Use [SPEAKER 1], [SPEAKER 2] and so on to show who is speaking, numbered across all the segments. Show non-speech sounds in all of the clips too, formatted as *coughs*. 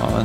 [SPEAKER 1] Ja,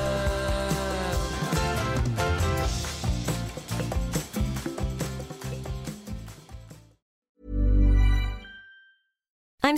[SPEAKER 2] I'm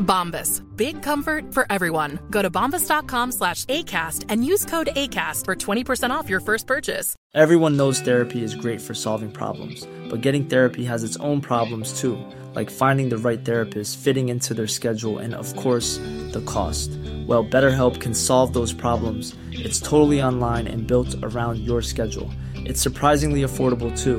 [SPEAKER 3] Bombas. Big comfort for everyone. Go to bombas.com slash ACAST and use code ACAST for 20% off your first purchase.
[SPEAKER 4] Everyone knows therapy is great for solving problems, but getting therapy has its own problems too, like finding the right therapist, fitting into their schedule, and of course, the cost. Well, BetterHelp can solve those problems. It's totally online and built around your schedule. It's surprisingly affordable too.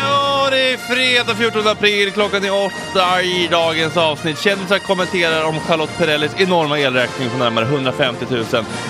[SPEAKER 1] Ja, det är fredag 14 april, klockan är åtta i dagens avsnitt. Kändisar kommenterar om Charlotte Perrellis enorma elräkning på närmare 150 000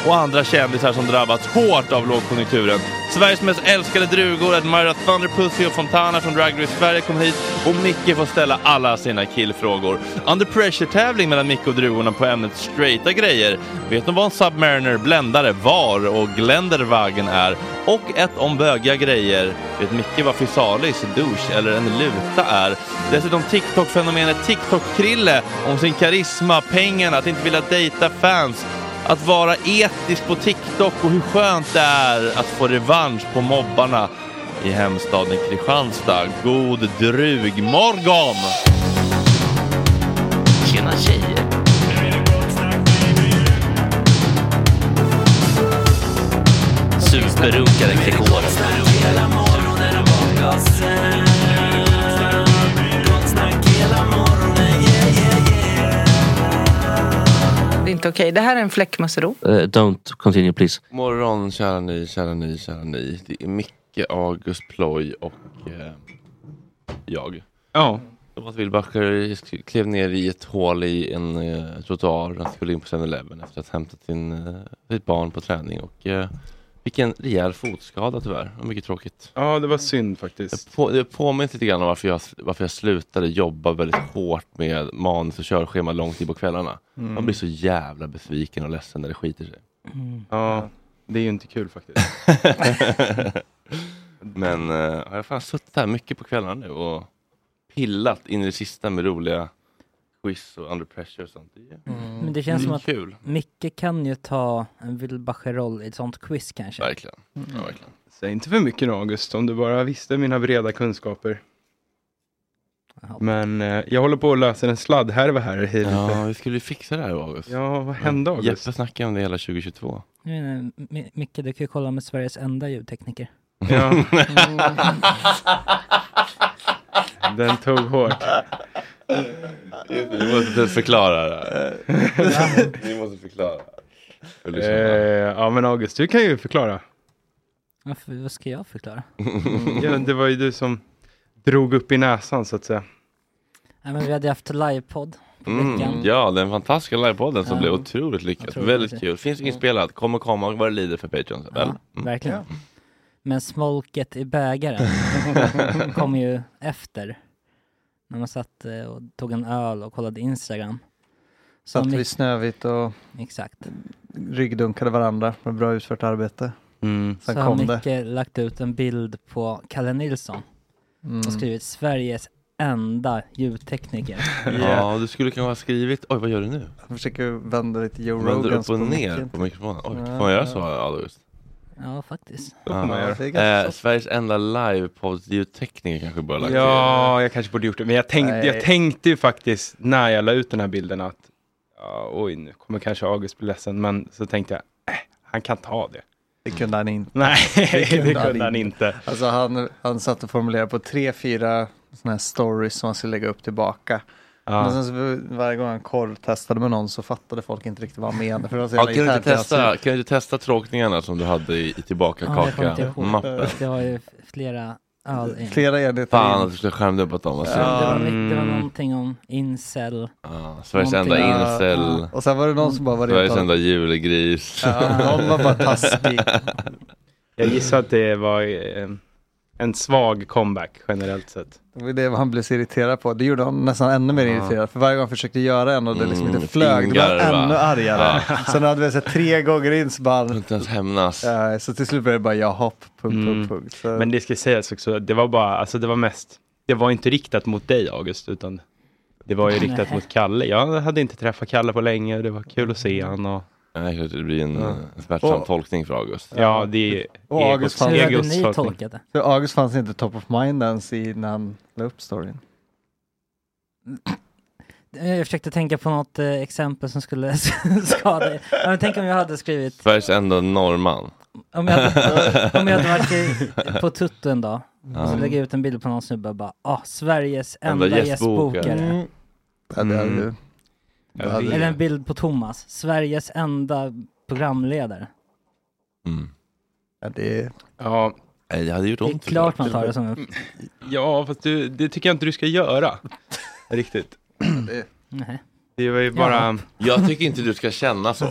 [SPEAKER 1] och andra kändisar som drabbats hårt av lågkonjunkturen. Sveriges mest älskade drugor, Admira Thunder Pussy och Fontana från Drag Race Sverige kommer hit och Micke får ställa alla sina killfrågor. Under pressure-tävling mellan Micke och drugorna på ämnet straighta grejer. Vet de vad en Submariner, bländare, var och Glendervagen är? Och ett om bögiga grejer. Vet Micke vad physalis, douche eller en luta är? Dessutom TikTok-fenomenet TikTok-Krille om sin karisma, pengarna, att inte vilja dejta fans. att vara etisk på TikTok och hur skönt det är att få revansch på mobbarna i hemstaden Kristianstad. God drugmorgon! Tjena tjejer! Superrunkare Gregoren.
[SPEAKER 5] Det är inte okej. Det här är en fläckmössero.
[SPEAKER 6] Eh, don't continue please.
[SPEAKER 1] morgon kära ni, kära ni, kära ni. Det är Micke, August, Ploy och eh, jag.
[SPEAKER 6] Ja.
[SPEAKER 1] Thomas Wilbacher sk- klev ner i ett hål i en eh, trottoar när han skulle in på 7-Eleven efter att ha hämtat sin, eh, sitt barn på träning och eh, fick en rejäl fotskada tyvärr. Och mycket tråkigt.
[SPEAKER 6] Ja, det var synd faktiskt.
[SPEAKER 1] På, det påminns lite grann om varför jag, varför jag slutade jobba väldigt hårt med manus och körschema långt in på kvällarna. Man blir så jävla besviken och ledsen när det skiter sig.
[SPEAKER 6] Ja, det är ju inte kul
[SPEAKER 1] *laughs*
[SPEAKER 6] faktiskt.
[SPEAKER 1] Men eh, jag har fan suttit här mycket på kvällarna nu och pillat in i det sista med roliga quiz och under pressure och sånt. Det är,
[SPEAKER 6] Mm.
[SPEAKER 7] Men det känns
[SPEAKER 1] det
[SPEAKER 7] som
[SPEAKER 1] är
[SPEAKER 7] att
[SPEAKER 1] Mm. kul.
[SPEAKER 7] Micke kan ju ta en Wilbacher-roll i ett sånt quiz kanske.
[SPEAKER 1] Verkligen. Ja, verkligen.
[SPEAKER 6] Säg inte för mycket nu August, om du bara visste mina breda kunskaper.
[SPEAKER 7] Jaha.
[SPEAKER 6] Men eh, jag håller på att lösa en sladdhärva här. i
[SPEAKER 1] Ja,
[SPEAKER 6] Ja.
[SPEAKER 1] vi skulle ju fixa det här August. Mm.
[SPEAKER 6] ja, vad hände August?
[SPEAKER 1] Jeppe snackade om det hela 2022.
[SPEAKER 7] Jag menar, Mi- Micke, du kan ju kolla med Sveriges enda ljudtekniker.
[SPEAKER 6] Ja. Den tog hårt.
[SPEAKER 1] Vi måste typ förklara det
[SPEAKER 6] *laughs*
[SPEAKER 1] här. Vi måste förklara.
[SPEAKER 6] Eh, ja men August, du kan ju
[SPEAKER 1] *laughs*
[SPEAKER 6] förklara. Mm,
[SPEAKER 7] Varför, *laughs* vad ska jag förklara?
[SPEAKER 6] Ja, det var ju du som drog upp i näsan så att säga.
[SPEAKER 7] Nej, men vi hade haft livepodd på veckan.
[SPEAKER 1] Mm, ja, den fantastiska livepodden som
[SPEAKER 7] Ja.
[SPEAKER 1] blev otroligt lyckad.
[SPEAKER 7] Otroligt
[SPEAKER 1] Väldigt
[SPEAKER 7] lyckad.
[SPEAKER 1] kul. Finns inspelad. Kommer komma vad det lider för Patreon.
[SPEAKER 7] Ja,
[SPEAKER 1] Väl?
[SPEAKER 7] verkligen. Men smolket i
[SPEAKER 1] *laughs*
[SPEAKER 7] bägaren kom ju efter. När man satt eh, och tog en öl och kollade Instagram. Så
[SPEAKER 8] Satt
[SPEAKER 7] Mic-
[SPEAKER 8] vid Snövit och
[SPEAKER 7] Exakt.
[SPEAKER 8] ryggdunkade varandra med bra utfört arbete.
[SPEAKER 1] Mm.
[SPEAKER 8] Sen
[SPEAKER 7] så har
[SPEAKER 8] kom det.
[SPEAKER 7] Micke lagt ut en bild på Kalle Nilsson
[SPEAKER 8] Mm.
[SPEAKER 7] och skrivit Sveriges enda ljudtekniker.
[SPEAKER 1] *laughs* Ja, du skulle kanske ha skrivit... Oj, vad gör du nu?
[SPEAKER 8] Jag försöker vända lite Joe
[SPEAKER 1] Vänder
[SPEAKER 8] Rogans
[SPEAKER 1] upp och
[SPEAKER 8] på
[SPEAKER 1] ner
[SPEAKER 8] micken.
[SPEAKER 1] på mikrofonen. Oj,
[SPEAKER 8] Ja,
[SPEAKER 1] får man göra
[SPEAKER 8] ja.
[SPEAKER 1] så August?
[SPEAKER 7] Ja, faktiskt.
[SPEAKER 8] Ja, det är ganska
[SPEAKER 1] Eh,
[SPEAKER 8] soft.
[SPEAKER 1] Sveriges enda livepodd-ljudtekniker kanske bör ha lagt
[SPEAKER 6] Ja, jag kanske borde gjort det. Men jag tänkte, jag
[SPEAKER 8] Nej.
[SPEAKER 6] tänkte ju faktiskt när jag la ut den här bilden att ja, oj, nu kommer kanske August bli ledsen. Men så tänkte jag, äh, han kan ta det.
[SPEAKER 8] Det kunde han inte. *laughs*
[SPEAKER 6] Nej, det kunde,
[SPEAKER 8] han
[SPEAKER 6] han inte.
[SPEAKER 8] Alltså han, han satt och formulerade på tre, fyra sådana här stories som han skulle lägga upp tillbaka. Men
[SPEAKER 6] Ja.
[SPEAKER 8] sen så varje gång han korvtestade med någon så fattade folk inte riktigt vad han menade. För det var så
[SPEAKER 1] Ja,
[SPEAKER 8] jävla
[SPEAKER 1] kan, du inte
[SPEAKER 8] internt.
[SPEAKER 1] testa, kan du inte testa tråkningarna som du hade i, i
[SPEAKER 7] Ja, jag kommer inte ihåg.
[SPEAKER 1] tillbaka-kaka-mappen?
[SPEAKER 7] Det var ju flera öl in.
[SPEAKER 8] Flera enheter.
[SPEAKER 1] Fan
[SPEAKER 8] in.
[SPEAKER 1] att du skulle ha skärmdumpat dem. Alltså.
[SPEAKER 7] Det,
[SPEAKER 1] Ja.
[SPEAKER 7] var, mycket- det var någonting om incel.
[SPEAKER 1] Sveriges enda
[SPEAKER 7] Någonting.
[SPEAKER 1] incel.
[SPEAKER 8] Och sen var det någon som bara var
[SPEAKER 1] Sveriges
[SPEAKER 8] rent
[SPEAKER 1] enda julgris.
[SPEAKER 8] Ja, någon var bara taskig.
[SPEAKER 6] Jag gissar att det var eh, en svag comeback generellt sett.
[SPEAKER 8] Det var det han blev så irriterad på. Det gjorde honom nästan ännu mer irriterad. För varje gång han försökte göra en och det liksom inte
[SPEAKER 1] Mm,
[SPEAKER 8] flög, det var
[SPEAKER 1] fingarva.
[SPEAKER 8] ännu argare. *laughs* Sen hade vi sett tre gånger in så bara,
[SPEAKER 1] Inte ens hämnas.
[SPEAKER 8] eh, så till slut blev det bara ja hopp, punkt,
[SPEAKER 7] Mm.
[SPEAKER 8] punkt, punkt. Så,
[SPEAKER 6] Mm. Men det ska sägas också, det var bara, alltså det var mest, det var inte riktat mot dig August, utan det var ju riktat
[SPEAKER 7] Nej.
[SPEAKER 6] mot Kalle. Jag hade inte träffat Kalle på länge och det var kul att
[SPEAKER 7] Mm.
[SPEAKER 6] se han och
[SPEAKER 1] Nej, det blir en eh, smärtsam
[SPEAKER 8] Och-
[SPEAKER 1] tolkning för August.
[SPEAKER 6] ja, det är ju
[SPEAKER 8] Och August
[SPEAKER 6] egos-
[SPEAKER 8] fann-
[SPEAKER 7] Hur hade
[SPEAKER 6] egos-
[SPEAKER 7] ni tolkat det?
[SPEAKER 8] så August fanns inte top of mind ens i när han la upp storyn.
[SPEAKER 7] Eh, Jag försökte tänka på något eh, exempel som skulle *laughs* skada er. Ja, men Tänk om jag hade skrivit,
[SPEAKER 1] Sveriges enda norrman.
[SPEAKER 7] om jag hade,
[SPEAKER 1] *laughs*
[SPEAKER 7] om jag hade varit i, på Tutto en dag, och så
[SPEAKER 1] Ja.
[SPEAKER 7] lägger jag ut en bild på någon snubbe och bara ah, Sveriges
[SPEAKER 1] Enda
[SPEAKER 7] enda,
[SPEAKER 1] gästbokare." Mm.
[SPEAKER 7] gästbokare.
[SPEAKER 8] Mm. Ja, det hade ju- det hade ju-
[SPEAKER 7] Eller en bild på Thomas, Sveriges enda
[SPEAKER 1] *laughs*
[SPEAKER 7] programledare.
[SPEAKER 1] Mm.
[SPEAKER 8] ja, det-
[SPEAKER 6] Ja,
[SPEAKER 1] Nej, det hade gjort
[SPEAKER 7] Det
[SPEAKER 1] ont.
[SPEAKER 7] är
[SPEAKER 1] tycker jag.
[SPEAKER 7] klart man tar det som en...
[SPEAKER 6] Mm, ja fast du, det tycker jag inte du ska göra. Riktigt.
[SPEAKER 1] Eh.
[SPEAKER 7] Nej.
[SPEAKER 6] Det var ju bara,
[SPEAKER 1] Jag tycker inte du ska
[SPEAKER 6] *laughs*
[SPEAKER 1] känna så.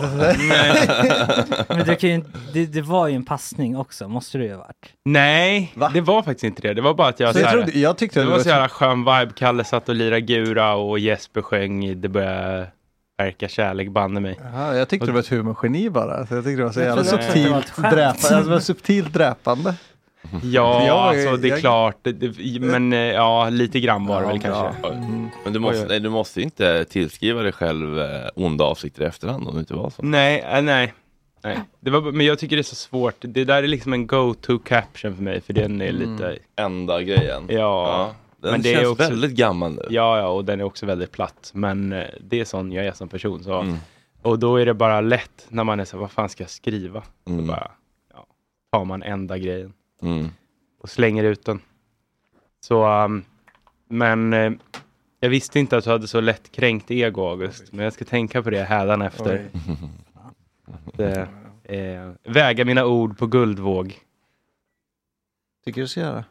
[SPEAKER 7] Men det, kan ju, det, det var ju en passning också, måste det ju ha varit.
[SPEAKER 6] nej,
[SPEAKER 8] Va?
[SPEAKER 6] det var faktiskt inte det. Det var bara att jag,
[SPEAKER 8] Så
[SPEAKER 6] så
[SPEAKER 8] jag,
[SPEAKER 6] här,
[SPEAKER 8] trodde, jag tyckte
[SPEAKER 6] det
[SPEAKER 8] att
[SPEAKER 6] var så jävla skön vibe. Kalle satt och lirade gura och Jesper sjöng i Det börjar verka kärlek banne mig.
[SPEAKER 8] Jaha, jag tyckte det var ett humorgeni bara. Så jag tyckte det var så
[SPEAKER 7] Jag
[SPEAKER 8] jävla
[SPEAKER 7] trodde också att det var ett
[SPEAKER 8] subtilt,
[SPEAKER 7] skämt.
[SPEAKER 8] dräpa, alltså, det var subtilt dräpande.
[SPEAKER 6] Ja,
[SPEAKER 1] Mm. Jag var ju-
[SPEAKER 6] alltså det är
[SPEAKER 1] jag-
[SPEAKER 6] klart. Det, det, men eh, ja, lite grann var det
[SPEAKER 1] Ja, Mm.
[SPEAKER 6] väl kanske.
[SPEAKER 1] bra. Men du måste, nej, du måste ju inte tillskriva dig själv eh, onda avsikter i efterhand om det inte var så.
[SPEAKER 6] Nej, eh, nej. nej. Det var, men jag tycker det är så svårt. Det där är liksom en go-to caption för mig, för den är
[SPEAKER 1] Mm.
[SPEAKER 6] lite...
[SPEAKER 1] Enda grejen.
[SPEAKER 6] Ja.
[SPEAKER 1] den känns väldigt
[SPEAKER 6] gammal nu. Ja, ja, och den är också väldigt platt. Men eh, det är sån jag är som person. Så.
[SPEAKER 1] Mm.
[SPEAKER 6] Och då är det bara lätt när man är så här, vad fan ska jag skriva? Så
[SPEAKER 1] Mm.
[SPEAKER 6] bara, ja, tar man enda grejen och slänger ut den. Så, um, men eh, jag visste inte att du hade så lätt kränkt ego, August. Men jag ska tänka på det hädanefter. efter. eh, väga mina ord på guldvåg.
[SPEAKER 8] Tycker du ska göra?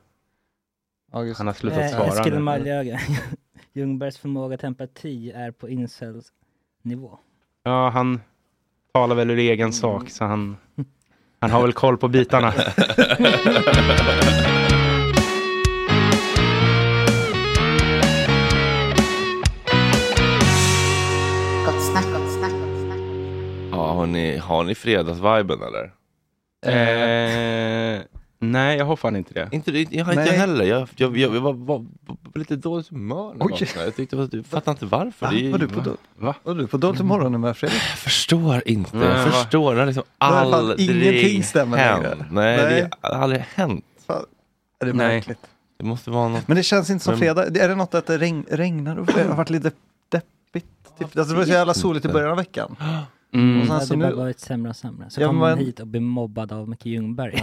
[SPEAKER 8] August.
[SPEAKER 6] Han har slutat
[SPEAKER 7] Eh,
[SPEAKER 6] svara
[SPEAKER 7] Eskil
[SPEAKER 6] nu.
[SPEAKER 7] Maljöga. *laughs* Ljungbergs förmåga till empati är på incels-nivå.
[SPEAKER 6] Ja, han talar väl ur egen sak, så han, han har väl koll på bitarna.
[SPEAKER 9] Gott snack, gott snack.
[SPEAKER 1] Ja, har ni, har ni fredagsviben eller?
[SPEAKER 6] Eh, nej, jag har fan inte det.
[SPEAKER 1] Inte, det- jag har inte
[SPEAKER 6] Nej.
[SPEAKER 1] jag heller. Jag, jag, jag, jag var, var, var lite dåligt humör. när jag
[SPEAKER 6] Oj.
[SPEAKER 1] vaknade. Jag tyckte, jag fattar inte varför.
[SPEAKER 6] Va?
[SPEAKER 1] Det är ju-
[SPEAKER 6] Var du på
[SPEAKER 8] då-
[SPEAKER 1] Va?
[SPEAKER 8] Var du på dåligt humör nu med Fredrik?
[SPEAKER 1] Jag förstår inte.
[SPEAKER 8] Nej, va?
[SPEAKER 1] jag förstår. Det har liksom
[SPEAKER 8] Det har fan
[SPEAKER 1] aldrig
[SPEAKER 8] ingenting stämmer
[SPEAKER 1] hänt.
[SPEAKER 8] längre.
[SPEAKER 1] Nej,
[SPEAKER 8] Nej.
[SPEAKER 1] det har aldrig hänt.
[SPEAKER 8] Är det
[SPEAKER 1] Nej.
[SPEAKER 8] märkligt?
[SPEAKER 1] Det måste vara något.
[SPEAKER 8] Men det känns inte som
[SPEAKER 1] Men- *laughs*
[SPEAKER 8] fredag. Är det något att det regn, regnar och det har varit lite deppigt? Typ. Alltså, det var så jävla soligt i
[SPEAKER 1] Mm.
[SPEAKER 8] början av veckan. Mm. Och
[SPEAKER 7] Och
[SPEAKER 8] sen
[SPEAKER 7] det
[SPEAKER 8] så
[SPEAKER 7] har bara
[SPEAKER 8] nu,
[SPEAKER 7] varit sämre och sämre. Så
[SPEAKER 8] Ja,
[SPEAKER 7] kommer man
[SPEAKER 8] men-
[SPEAKER 7] hit och blir mobbad av Micke Ljungberg.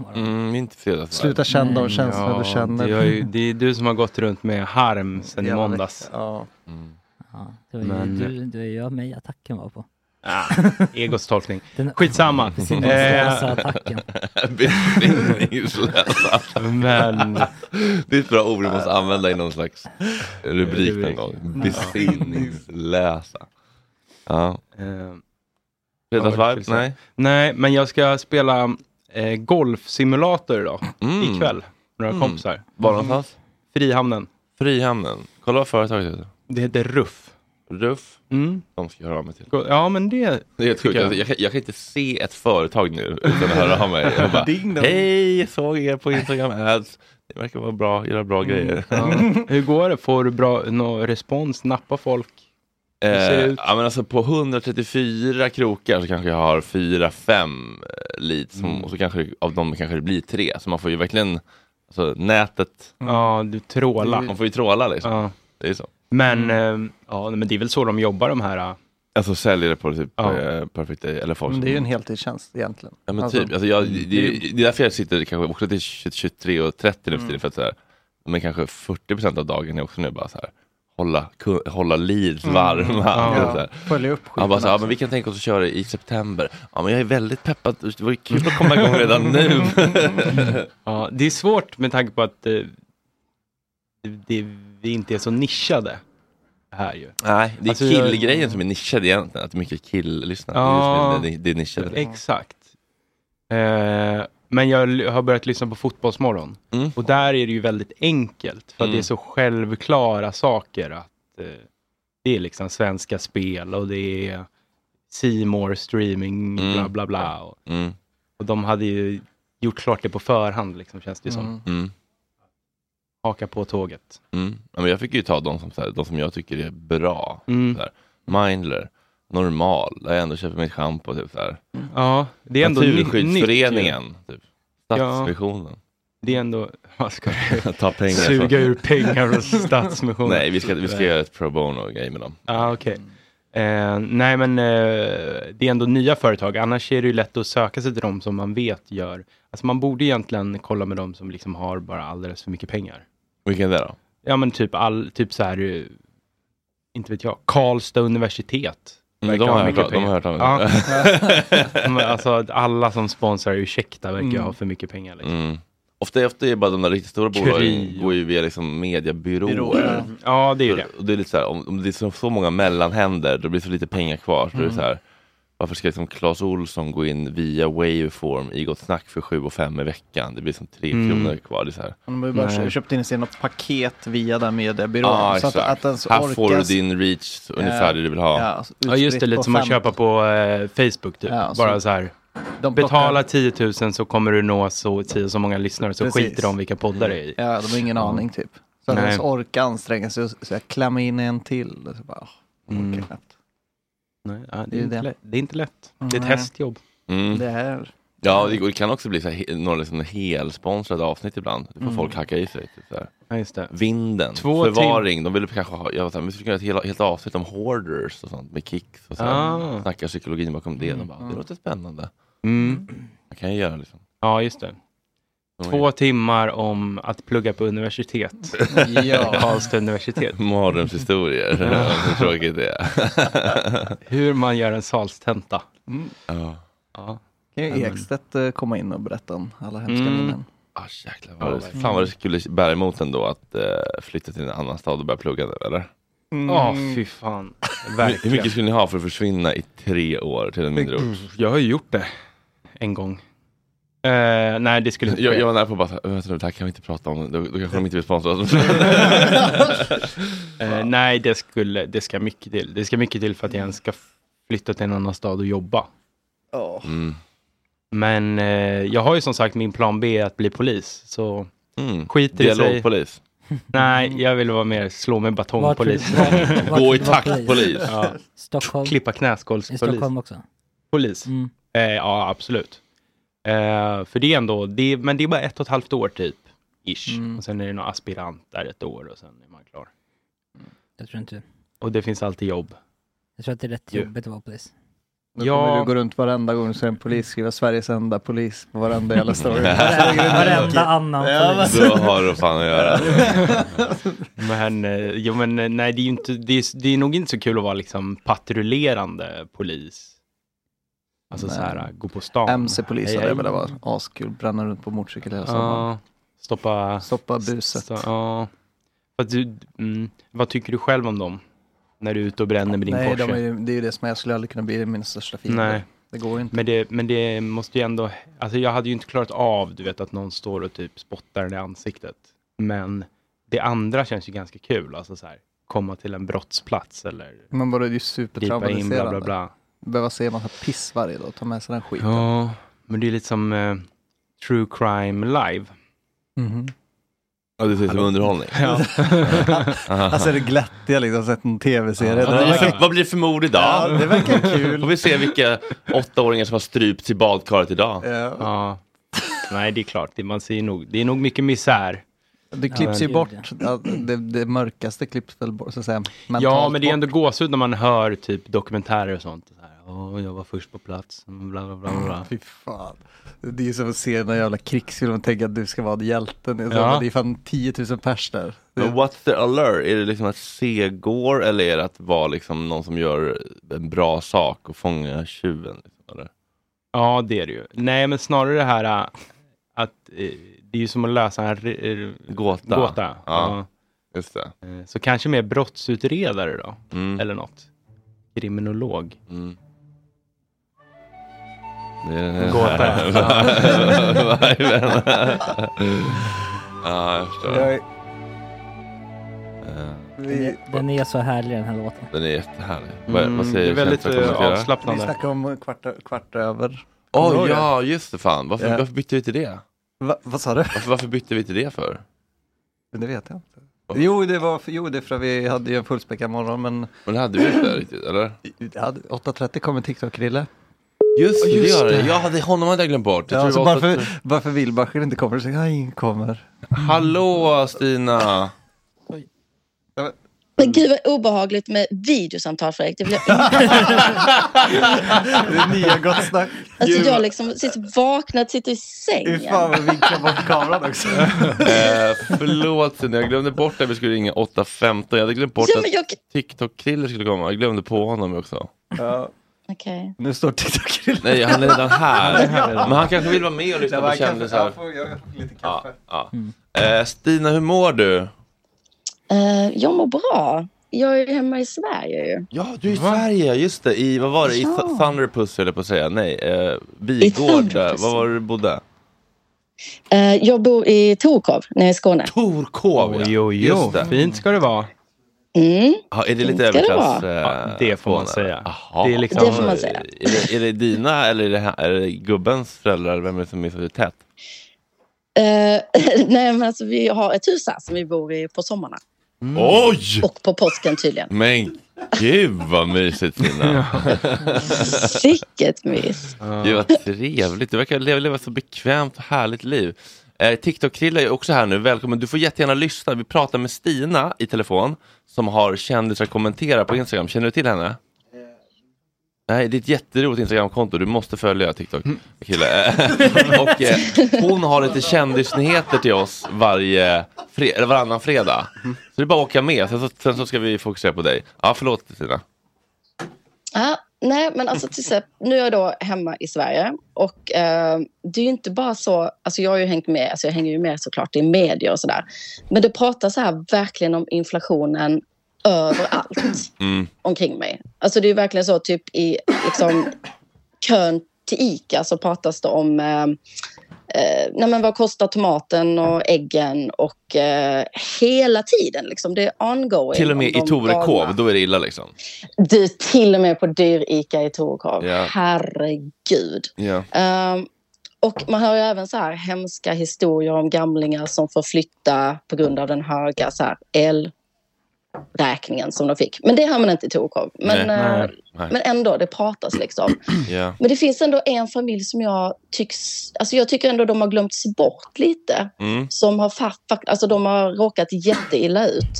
[SPEAKER 7] *laughs*
[SPEAKER 1] Mm, inte fredagsviben.
[SPEAKER 8] Sluta känna
[SPEAKER 1] Mm.
[SPEAKER 8] de känslorna
[SPEAKER 6] Ja,
[SPEAKER 8] du känner.
[SPEAKER 6] Det, är ju, det är du som har gått runt med harm sen i
[SPEAKER 8] Jävla
[SPEAKER 6] måndags.
[SPEAKER 8] Ja.
[SPEAKER 1] Mm.
[SPEAKER 7] Ja, det var ju
[SPEAKER 6] Men- eh,
[SPEAKER 7] du, det var ju jag mig attacken var på.
[SPEAKER 6] Ah,
[SPEAKER 7] *laughs*
[SPEAKER 6] egos tolkning.
[SPEAKER 7] Den- *laughs*
[SPEAKER 6] Skitsamma. Eh,
[SPEAKER 7] Den sinnessläsa
[SPEAKER 6] *laughs*
[SPEAKER 1] *laughs*
[SPEAKER 7] attacken.
[SPEAKER 1] Bildningslösa.
[SPEAKER 6] Men...
[SPEAKER 1] *laughs* Det är ett bra ord vi måste använda i någon slags rubrik någon gång.
[SPEAKER 6] Ja. Mm.
[SPEAKER 1] Besinningslösa. Ja.
[SPEAKER 6] Fredagsvarv?
[SPEAKER 1] Fredagsvibe? Nej.
[SPEAKER 6] Nej, men jag ska spela eh, golfsimulator idag. Ikväll. Med några
[SPEAKER 1] Mm.
[SPEAKER 6] kompisar. Mm.
[SPEAKER 1] Var någonstans?
[SPEAKER 6] Frihamnen.
[SPEAKER 1] Frihamnen. Kolla vad företaget heter.
[SPEAKER 6] Det heter Ruff.
[SPEAKER 1] Ruff.
[SPEAKER 6] Mm.
[SPEAKER 1] De ska jag höra av mig till.
[SPEAKER 6] Go- Ja, men det...
[SPEAKER 1] Det är helt sjukt. Alltså,
[SPEAKER 6] tycker jag.
[SPEAKER 1] Jag. Jag, kan- jag kan inte se ett företag nu utan att höra av mig. Jag bara,
[SPEAKER 6] Ding dong.
[SPEAKER 1] Hej, jag såg er på Instagram ads. Det verkar vara bra, era bra grejer.
[SPEAKER 6] Mm, Ja.
[SPEAKER 8] Mm.
[SPEAKER 6] Hur går det? Får du bra nå respons? Nappar folk? Hur ser det
[SPEAKER 1] *laughs* Eh,
[SPEAKER 6] ut?
[SPEAKER 1] ja, men alltså på 134 krokar så kanske jag har 4-5 leads som,
[SPEAKER 6] Mm.
[SPEAKER 1] och så kanske av dem kanske det blir tre. Så man får ju verkligen, alltså nätet,
[SPEAKER 6] Ja, du trålar.
[SPEAKER 1] man får ju tråla liksom.
[SPEAKER 6] Ja.
[SPEAKER 1] Det är så.
[SPEAKER 6] Men,
[SPEAKER 8] Mm.
[SPEAKER 6] eh, ja, men det är väl så de jobbar de här. eh.
[SPEAKER 1] Alltså säljer det på typ
[SPEAKER 6] Ja.
[SPEAKER 1] eh, Perfect Day eller folk
[SPEAKER 8] Men
[SPEAKER 1] som-
[SPEAKER 8] det är ju en heltidstjänst egentligen.
[SPEAKER 1] Ja men
[SPEAKER 8] Alltså,
[SPEAKER 1] typ, alltså jag, det, det, det är därför jag sitter kanske också till 20, 23 och 30 nu för tiden. För att så här, men kanske 40% av dagen är också nu bara så här, hålla, ku- hålla leads
[SPEAKER 8] Mm.
[SPEAKER 1] varma.
[SPEAKER 8] Ja.
[SPEAKER 1] Och så här.
[SPEAKER 8] Följa upp
[SPEAKER 1] Ja, bara
[SPEAKER 8] skiten
[SPEAKER 1] så, ja,
[SPEAKER 8] också.
[SPEAKER 1] men vi kan tänka oss att köra i september. Ja men jag är väldigt peppad, det var ju kul att komma igång redan nu.
[SPEAKER 6] *laughs* Ja, det är svårt med tanke på att eh, det, det, vi inte är så nischade här ju.
[SPEAKER 1] Nej, det är
[SPEAKER 6] Alltså, jag-
[SPEAKER 1] killgrejen som är nischad egentligen, att det är mycket kill-lyssnare.
[SPEAKER 6] Ja.
[SPEAKER 1] Det, är det, som är- det är nischade.
[SPEAKER 6] Exakt. Eh, men jag l- har börjat lyssna på Fotbollsmorgon. Och där är det ju väldigt enkelt. För att
[SPEAKER 1] Mm.
[SPEAKER 6] det är så självklara saker. att eh, Det är liksom Svenska Spel och det är C More streaming,
[SPEAKER 1] Mm.
[SPEAKER 6] bla bla bla. Och,
[SPEAKER 1] Mm.
[SPEAKER 6] och de hade ju gjort klart det på förhand, liksom, känns det ju som.
[SPEAKER 8] Mm.
[SPEAKER 1] Mm.
[SPEAKER 6] Haka på tåget.
[SPEAKER 1] Mm. Ja, men jag fick ju ta de som, så här, de som jag tycker är bra.
[SPEAKER 6] Mm.
[SPEAKER 1] Så här, Mindler, Normal, där jag ändå köper mitt schampo. Typ, så här.
[SPEAKER 6] Ja, det är ändå ny-
[SPEAKER 1] Naturskyddsföreningen,
[SPEAKER 6] nytt ju.
[SPEAKER 1] typ. Stadsmissionen. *laughs*
[SPEAKER 6] Det är ändå... *laughs* Vad ska du?
[SPEAKER 1] Ta pengar.
[SPEAKER 6] Suga
[SPEAKER 1] från-
[SPEAKER 6] ur pengar
[SPEAKER 1] *laughs*
[SPEAKER 6] från Stadsmissionen.
[SPEAKER 1] Nej, vi ska, vi ska göra ett pro bono-grej med dem.
[SPEAKER 6] Ja, okej. Eh, nej, men eh, det är ändå nya företag. Annars är det ju lätt att söka sig till dem som man vet gör. Alltså man borde egentligen kolla med dem som liksom har bara alldeles för mycket pengar.
[SPEAKER 1] Vilka är det då?
[SPEAKER 6] Ja, men typ all, typ så här, eh, inte vet jag, Karlstad universitet.
[SPEAKER 1] Mm,
[SPEAKER 6] Verkar
[SPEAKER 1] de
[SPEAKER 6] ha
[SPEAKER 1] har jag
[SPEAKER 6] mycket
[SPEAKER 1] hört- de har jag
[SPEAKER 6] pengar.
[SPEAKER 1] hört
[SPEAKER 6] Ja. *laughs* Men alltså alla som sponsrar Ursäkta verkar
[SPEAKER 1] Mm.
[SPEAKER 6] ha för mycket pengar. Liksom.
[SPEAKER 1] Mm. Ofta, ofta är det bara de där riktigt stora bolagen
[SPEAKER 6] Curie.
[SPEAKER 1] går ju via liksom mediebyråer.
[SPEAKER 6] Byråer, Ja, det är ju det.
[SPEAKER 1] Och det är lite så här, om, om det är så, så många mellanhänder, då blir det så lite pengar kvar. Så det är
[SPEAKER 6] Mm.
[SPEAKER 1] så här, varför ska liksom Claes Olsson gå in via Waveform i Gott Snack för 7 och 5 i veckan? Det blir som 3
[SPEAKER 8] Mm.
[SPEAKER 1] kronor kvar. Det är så här.
[SPEAKER 8] Han har ju bara
[SPEAKER 1] Nej.
[SPEAKER 8] kö- köpt in sig i något paket via den mediebyrån.
[SPEAKER 1] Ja,
[SPEAKER 8] så att,
[SPEAKER 1] exakt.
[SPEAKER 8] att ens
[SPEAKER 1] Här får du
[SPEAKER 8] orkas-
[SPEAKER 1] din reach
[SPEAKER 8] Ja.
[SPEAKER 1] ungefär det du vill ha.
[SPEAKER 8] Ja, alltså,
[SPEAKER 6] Ja, just det,
[SPEAKER 8] utspritt
[SPEAKER 6] lite
[SPEAKER 8] på
[SPEAKER 6] som man
[SPEAKER 8] fem-
[SPEAKER 6] köper på eh, Facebook typ.
[SPEAKER 8] Ja,
[SPEAKER 6] bara
[SPEAKER 8] så-
[SPEAKER 6] så här,
[SPEAKER 8] De plockar-
[SPEAKER 6] Betala 10 000 så kommer du nå så, tio, så många lyssnare så
[SPEAKER 8] Precis.
[SPEAKER 6] skiter de vilka poddar det är i.
[SPEAKER 8] Ja, de har ingen
[SPEAKER 6] Ja.
[SPEAKER 8] aning typ. Så att de
[SPEAKER 6] Nej.
[SPEAKER 8] ens orkar anstränga sig och så jag klämma in en till. Och så bara, åh, orkar
[SPEAKER 6] Mm.
[SPEAKER 8] knappt.
[SPEAKER 6] Nej, ja,
[SPEAKER 8] Det
[SPEAKER 6] det,
[SPEAKER 8] är
[SPEAKER 6] är inte
[SPEAKER 8] det.
[SPEAKER 6] lätt. det är inte lätt. Det är ett
[SPEAKER 8] Nej.
[SPEAKER 6] hästjobb.
[SPEAKER 1] Mm.
[SPEAKER 8] Det här.
[SPEAKER 1] Ja, och det, och det kan också bli så här, he- några liksom helsponsrade avsnitt ibland. Det får
[SPEAKER 8] Mm.
[SPEAKER 1] folk hacka i sig. Typ så här.
[SPEAKER 6] Ja, just det.
[SPEAKER 1] Vinden,
[SPEAKER 6] Två
[SPEAKER 1] förvaring. De ville kanske ha, jag vet inte, vi skulle kunna göra ett helt, helt avsnitt om hoarders och sånt med kicks och så här.
[SPEAKER 6] Ah.
[SPEAKER 1] Snacka psykologin bakom det. De bara,
[SPEAKER 6] Mm.
[SPEAKER 1] det låter spännande.
[SPEAKER 6] Mm.
[SPEAKER 1] Man kan ju göra liksom.
[SPEAKER 6] Ja, just det. Två timmar om att plugga på universitet.
[SPEAKER 8] *laughs* Ja.
[SPEAKER 6] Karlstad universitet. *laughs*
[SPEAKER 1] *laughs* Mardrömshistorier.
[SPEAKER 6] Ja.
[SPEAKER 1] *laughs* Hur tråkigt det är.
[SPEAKER 6] *laughs* Hur man gör en salstenta.
[SPEAKER 8] Mm.
[SPEAKER 1] Ja.
[SPEAKER 6] Ja.
[SPEAKER 8] Kan ju Ekstedt eh, komma in och berätta om alla hemska
[SPEAKER 6] Mm.
[SPEAKER 8] minnen.
[SPEAKER 1] Ah, jäklar, vad det, fan vad det skulle bära emot ändå att eh, flytta till en annan stad och börja plugga nu, eller?
[SPEAKER 8] Mm.
[SPEAKER 6] Ja, fy fan.
[SPEAKER 1] Hur- Hur
[SPEAKER 6] Verkligen.
[SPEAKER 1] mycket skulle ni ha för att försvinna i tre år till en mindre ort?
[SPEAKER 6] Jag har ju gjort det en gång. Eh, nej, det skulle inte
[SPEAKER 1] Jag,
[SPEAKER 6] ske.
[SPEAKER 1] jag var nära på att bara, så här, vänta nu, det här kan vi inte prata om, då, då kanske de inte vill sponsra oss.
[SPEAKER 6] Eh, nej, det, skulle, det, ska mycket till. det ska mycket till för att jag ens ska flytta till en annan stad och jobba.
[SPEAKER 8] Ja.
[SPEAKER 1] Mm.
[SPEAKER 6] Men eh, jag har ju som sagt min plan B är att bli polis. Så
[SPEAKER 1] Mm.
[SPEAKER 6] skiter i sig.
[SPEAKER 1] Dialogpolis.
[SPEAKER 6] Nej, jag vill vara mer slå med batongpolis.
[SPEAKER 7] Vart vill du- vart-
[SPEAKER 1] Gå
[SPEAKER 7] vart vill
[SPEAKER 1] i
[SPEAKER 7] du vara
[SPEAKER 1] takt, polis.
[SPEAKER 6] Ja.
[SPEAKER 7] Stockholm.
[SPEAKER 6] Klippa
[SPEAKER 7] I
[SPEAKER 6] knäskålspolis.
[SPEAKER 7] Stockholm också.
[SPEAKER 6] Polis.
[SPEAKER 7] Mm.
[SPEAKER 6] Eh, ja, absolut. Eh, för det är ändå, det är, men det är bara ett och ett halvt år typ. Ish.
[SPEAKER 8] Mm.
[SPEAKER 6] Och sen är det någon aspirant där ett år och sen är man klar.
[SPEAKER 7] Jag tror inte.
[SPEAKER 6] Och det finns alltid jobb.
[SPEAKER 7] Jag tror att det är rätt
[SPEAKER 6] Jo.
[SPEAKER 7] jobbigt att vara polis.
[SPEAKER 8] Då
[SPEAKER 6] Ja.
[SPEAKER 8] kommer du gå runt varenda gång du ser en polis skriva Sveriges enda polis på varenda jävla
[SPEAKER 6] *laughs*
[SPEAKER 8] story.
[SPEAKER 7] Varenda annan polis.
[SPEAKER 8] Alltså.
[SPEAKER 1] Då har du fan att göra.
[SPEAKER 6] *laughs* Men, eh, jo, men eh, nej, det är, ju inte, det, är, det är nog inte så kul att vara liksom patrullerande polis. Alltså
[SPEAKER 8] Nej.
[SPEAKER 6] så här, gå på stan.
[SPEAKER 8] MC-polis hade
[SPEAKER 6] Hej,
[SPEAKER 8] jag
[SPEAKER 6] hej.
[SPEAKER 8] velat vara. Askul, bränna runt på motorcykel hela sommaren.
[SPEAKER 6] Ja, stoppa...
[SPEAKER 8] Stoppa buset.
[SPEAKER 6] sta- Ja. Fast du, mm, vad tycker du själv om dem? När du är ute och bränner med din
[SPEAKER 8] Nej,
[SPEAKER 6] Porsche?
[SPEAKER 8] de är, ju- det är ju det som jag skulle aldrig kunna bli min största fiende.
[SPEAKER 6] Nej.
[SPEAKER 8] Det går ju inte.
[SPEAKER 6] Men det, men det måste ju ändå, alltså jag hade ju inte klarat av, du vet, att någon står och typ spottar en i ansiktet. Men det andra känns ju ganska kul, alltså så här, komma till en brottsplats eller
[SPEAKER 8] Men bara det är ju
[SPEAKER 6] gripa in, bla bla
[SPEAKER 8] supertraumatiserande.
[SPEAKER 6] bla.
[SPEAKER 8] Behöva se en massa piss varje dag, ta med sig den skiten.
[SPEAKER 6] Ja, men det är lite som eh, true crime live.
[SPEAKER 8] Mhm.
[SPEAKER 1] Ja, det ser ut som underhållning.
[SPEAKER 8] *laughs*
[SPEAKER 6] Ja.
[SPEAKER 8] Alltså det glättiga liksom, sett en tv-serie.
[SPEAKER 1] Vad blir det för- Vad blir det för mord idag?
[SPEAKER 8] Ja, det verkar kul.
[SPEAKER 1] Får vi se vilka *laughs* åttaåringar som har strypt i badkaret idag.
[SPEAKER 8] Ja.
[SPEAKER 6] ja. Nej, det är klart, det, man ser ju nog, det är nog mycket misär.
[SPEAKER 8] Det klipps ju
[SPEAKER 7] men-
[SPEAKER 8] bort, ja, det, det mörkaste klipps väl bort, så att säga. Mentalt
[SPEAKER 6] ja, men det är ändå
[SPEAKER 8] bort.
[SPEAKER 6] gåshud när man hör typ dokumentärer och sånt. Så här, "Åh, jag var först på plats, bla bla bla. bla.
[SPEAKER 8] Fy fan. Det är ju som att se den jävla krigsfilm och tänka att du ska vara hjälten. Det är, så,
[SPEAKER 6] Ja.
[SPEAKER 8] det är fan 10 000 pers där. Det,
[SPEAKER 1] Men what's the allure? Är det liksom att se går eller är det att vara liksom någon som gör en bra sak och fånga tjuven? Liksom, eller?
[SPEAKER 6] Ja, det är det ju. Nej, men snarare det här äh, att eh, det är ju som att lösa en re- eh,
[SPEAKER 1] Gåta.
[SPEAKER 6] gåta.
[SPEAKER 1] Ja. Just det.
[SPEAKER 6] Ja. Eh, Så kanske mer brottsutredare då,
[SPEAKER 1] Mm.
[SPEAKER 6] eller något. Kriminolog.
[SPEAKER 1] Mm. Det är den här-
[SPEAKER 6] Gåta,
[SPEAKER 1] Viben. Ja, jag förstår.
[SPEAKER 8] jag,
[SPEAKER 1] Eh,
[SPEAKER 8] vi,
[SPEAKER 7] Den är så härlig den här låten.
[SPEAKER 1] Den är jättehärlig. Vad, vad
[SPEAKER 6] det
[SPEAKER 1] säger
[SPEAKER 6] är väldigt
[SPEAKER 1] Kjell för att
[SPEAKER 6] eh,
[SPEAKER 1] kommentera?
[SPEAKER 8] vi
[SPEAKER 6] avslappnande.
[SPEAKER 8] snackade om kvart, kvart över. Kommer du
[SPEAKER 1] Åh
[SPEAKER 8] ihåg det?
[SPEAKER 1] ja, just det fan. Varför,
[SPEAKER 8] Ja.
[SPEAKER 1] varför bytte vi till det?
[SPEAKER 8] Va, vad sa du?
[SPEAKER 1] Varför, varför bytte vi till det för?
[SPEAKER 8] Men Det vet jag inte. Jo, det var för, jo, det är för att vi hade ju en fullspäckad morgon, men
[SPEAKER 1] Men det hade vi inte riktigt, eller?
[SPEAKER 8] ja, 8.30 kommer TikTok-Krille.
[SPEAKER 1] Just,
[SPEAKER 6] det, just
[SPEAKER 1] det gör det.
[SPEAKER 6] det.
[SPEAKER 1] Jag hade honom hade jag glömt bort. Jag
[SPEAKER 8] Ja,
[SPEAKER 1] tror
[SPEAKER 8] så
[SPEAKER 1] det var
[SPEAKER 8] varför,
[SPEAKER 1] så att-
[SPEAKER 8] varför Wilbacher inte kommer, så jag ingen kommer.
[SPEAKER 1] Hallå Stina! Mm.
[SPEAKER 10] Men gud vad obehagligt med videosamtal Fredrik. Det
[SPEAKER 1] *laughs*
[SPEAKER 10] blir,
[SPEAKER 8] *laughs* Det är nya Gott Snack.
[SPEAKER 10] alltså jag liksom sitter vaknad, sitter i
[SPEAKER 8] Fy
[SPEAKER 10] sängen.
[SPEAKER 8] fan vad vi vinklar bort kameran
[SPEAKER 1] *laughs*
[SPEAKER 8] också.
[SPEAKER 1] Eh, förlåt Stina, jag glömde bort att vi skulle ringa 8.15. Jag hade glömt bort
[SPEAKER 10] Ja, men
[SPEAKER 1] att
[SPEAKER 10] jag...
[SPEAKER 1] TikTok-Kriller skulle komma. Jag glömde på honom också.
[SPEAKER 8] Ja,
[SPEAKER 10] Okej.
[SPEAKER 8] nu står TikTok-Krille.
[SPEAKER 1] Nej, han är redan här. Men han kanske vill vara med och lyssna på kändisar.
[SPEAKER 8] Jag får lite
[SPEAKER 1] Ja,
[SPEAKER 8] kaffe.
[SPEAKER 1] ja. Eh, Stina, hur mår du?
[SPEAKER 10] Eh, jag mår bra. Jag är ju hemma i Sverige ju.
[SPEAKER 1] Ja, du är i Sverige, just det. I, vad var det? I
[SPEAKER 10] Ja.
[SPEAKER 1] Th- Thunderpuss höll jag på att säga. Nej, eh, Vigård.
[SPEAKER 10] Thunderpuss.
[SPEAKER 1] Vad var det du bodde?
[SPEAKER 10] Eh, jag bor i Torkov, nere i Skåne.
[SPEAKER 1] Torkov, ja.
[SPEAKER 6] Oj, oj,
[SPEAKER 1] Just
[SPEAKER 6] oj.
[SPEAKER 1] det.
[SPEAKER 6] Fint ska det vara.
[SPEAKER 10] Mm.
[SPEAKER 1] Ja, är det lite
[SPEAKER 10] Ska det
[SPEAKER 1] överklass? eh,
[SPEAKER 10] vara?
[SPEAKER 1] Ja,
[SPEAKER 6] det får man säga. Det är liksom-
[SPEAKER 10] Det får man säga.
[SPEAKER 1] Är det, är det dina eller är det, här, är det gubbens föräldrar? Vem är det som är så tät?
[SPEAKER 10] Eh, *laughs* nej, men alltså, vi har ett hus här som vi bor i på sommarna.
[SPEAKER 1] Mm. Oj!
[SPEAKER 10] Och på påsken tydligen.
[SPEAKER 1] Men gud vad mysigt
[SPEAKER 10] *laughs*
[SPEAKER 1] Tina!
[SPEAKER 10] Vilket mys.
[SPEAKER 1] Gud vad trevligt, du verkar leva, leva ett så bekvämt och härligt liv. Eh, TikTok-Krilla är också här nu, välkommen. Du får jättegärna lyssna. Vi pratar med Stina i telefon som har kändisar kommentera på Instagram. Känner du till henne? Nej, det är ett jätteroligt Instagramkonto. Du måste följa TikTok. Kille. Eh, *laughs* och, eh, hon har lite kändisnyheter till oss varje fre- eller varannan fredag. Så det är bara att åka med. Sen så, sen så ska vi fokusera på dig. Ja, förlåt Stina.
[SPEAKER 10] Ja, nej, men alltså till exempel, nu är jag då hemma i Sverige och eh, det är ju inte bara så, alltså jag har ju hängt med, alltså jag hänger ju med såklart i media och sådär. Men det pratas så här verkligen om inflationen
[SPEAKER 1] *clears throat*
[SPEAKER 10] överallt
[SPEAKER 1] Mm.
[SPEAKER 10] omkring mig. Alltså det är ju verkligen så typ i liksom kön till ICA så pratas det om eh, eh, nej men vad kostar tomaten och äggen och eh, hela tiden liksom. Det är ongoing.
[SPEAKER 1] Till och med
[SPEAKER 10] om
[SPEAKER 1] i
[SPEAKER 10] de
[SPEAKER 1] Torekov,
[SPEAKER 10] galna-
[SPEAKER 1] då är det illa liksom.
[SPEAKER 10] du, till och med på dyr-Ica i Torekov.
[SPEAKER 1] Ja.
[SPEAKER 10] Herregud.
[SPEAKER 1] Ja.
[SPEAKER 10] Ehm, och man hör ju även så här hemska historier om gamlingar som får flytta på grund av den höga så här, elräkningen som de fick. Men det har man inte i Torekov. Men,
[SPEAKER 1] Nej.
[SPEAKER 10] eh,
[SPEAKER 1] Nej. Nej.
[SPEAKER 10] men ändå, det pratas liksom.
[SPEAKER 1] Ja.
[SPEAKER 10] Men det finns ändå en familj som jag tycks... Alltså jag tycker ändå de har glömts bort lite.
[SPEAKER 1] Mm.
[SPEAKER 10] Som har, fa- fa- alltså de har råkat jätteilla ut.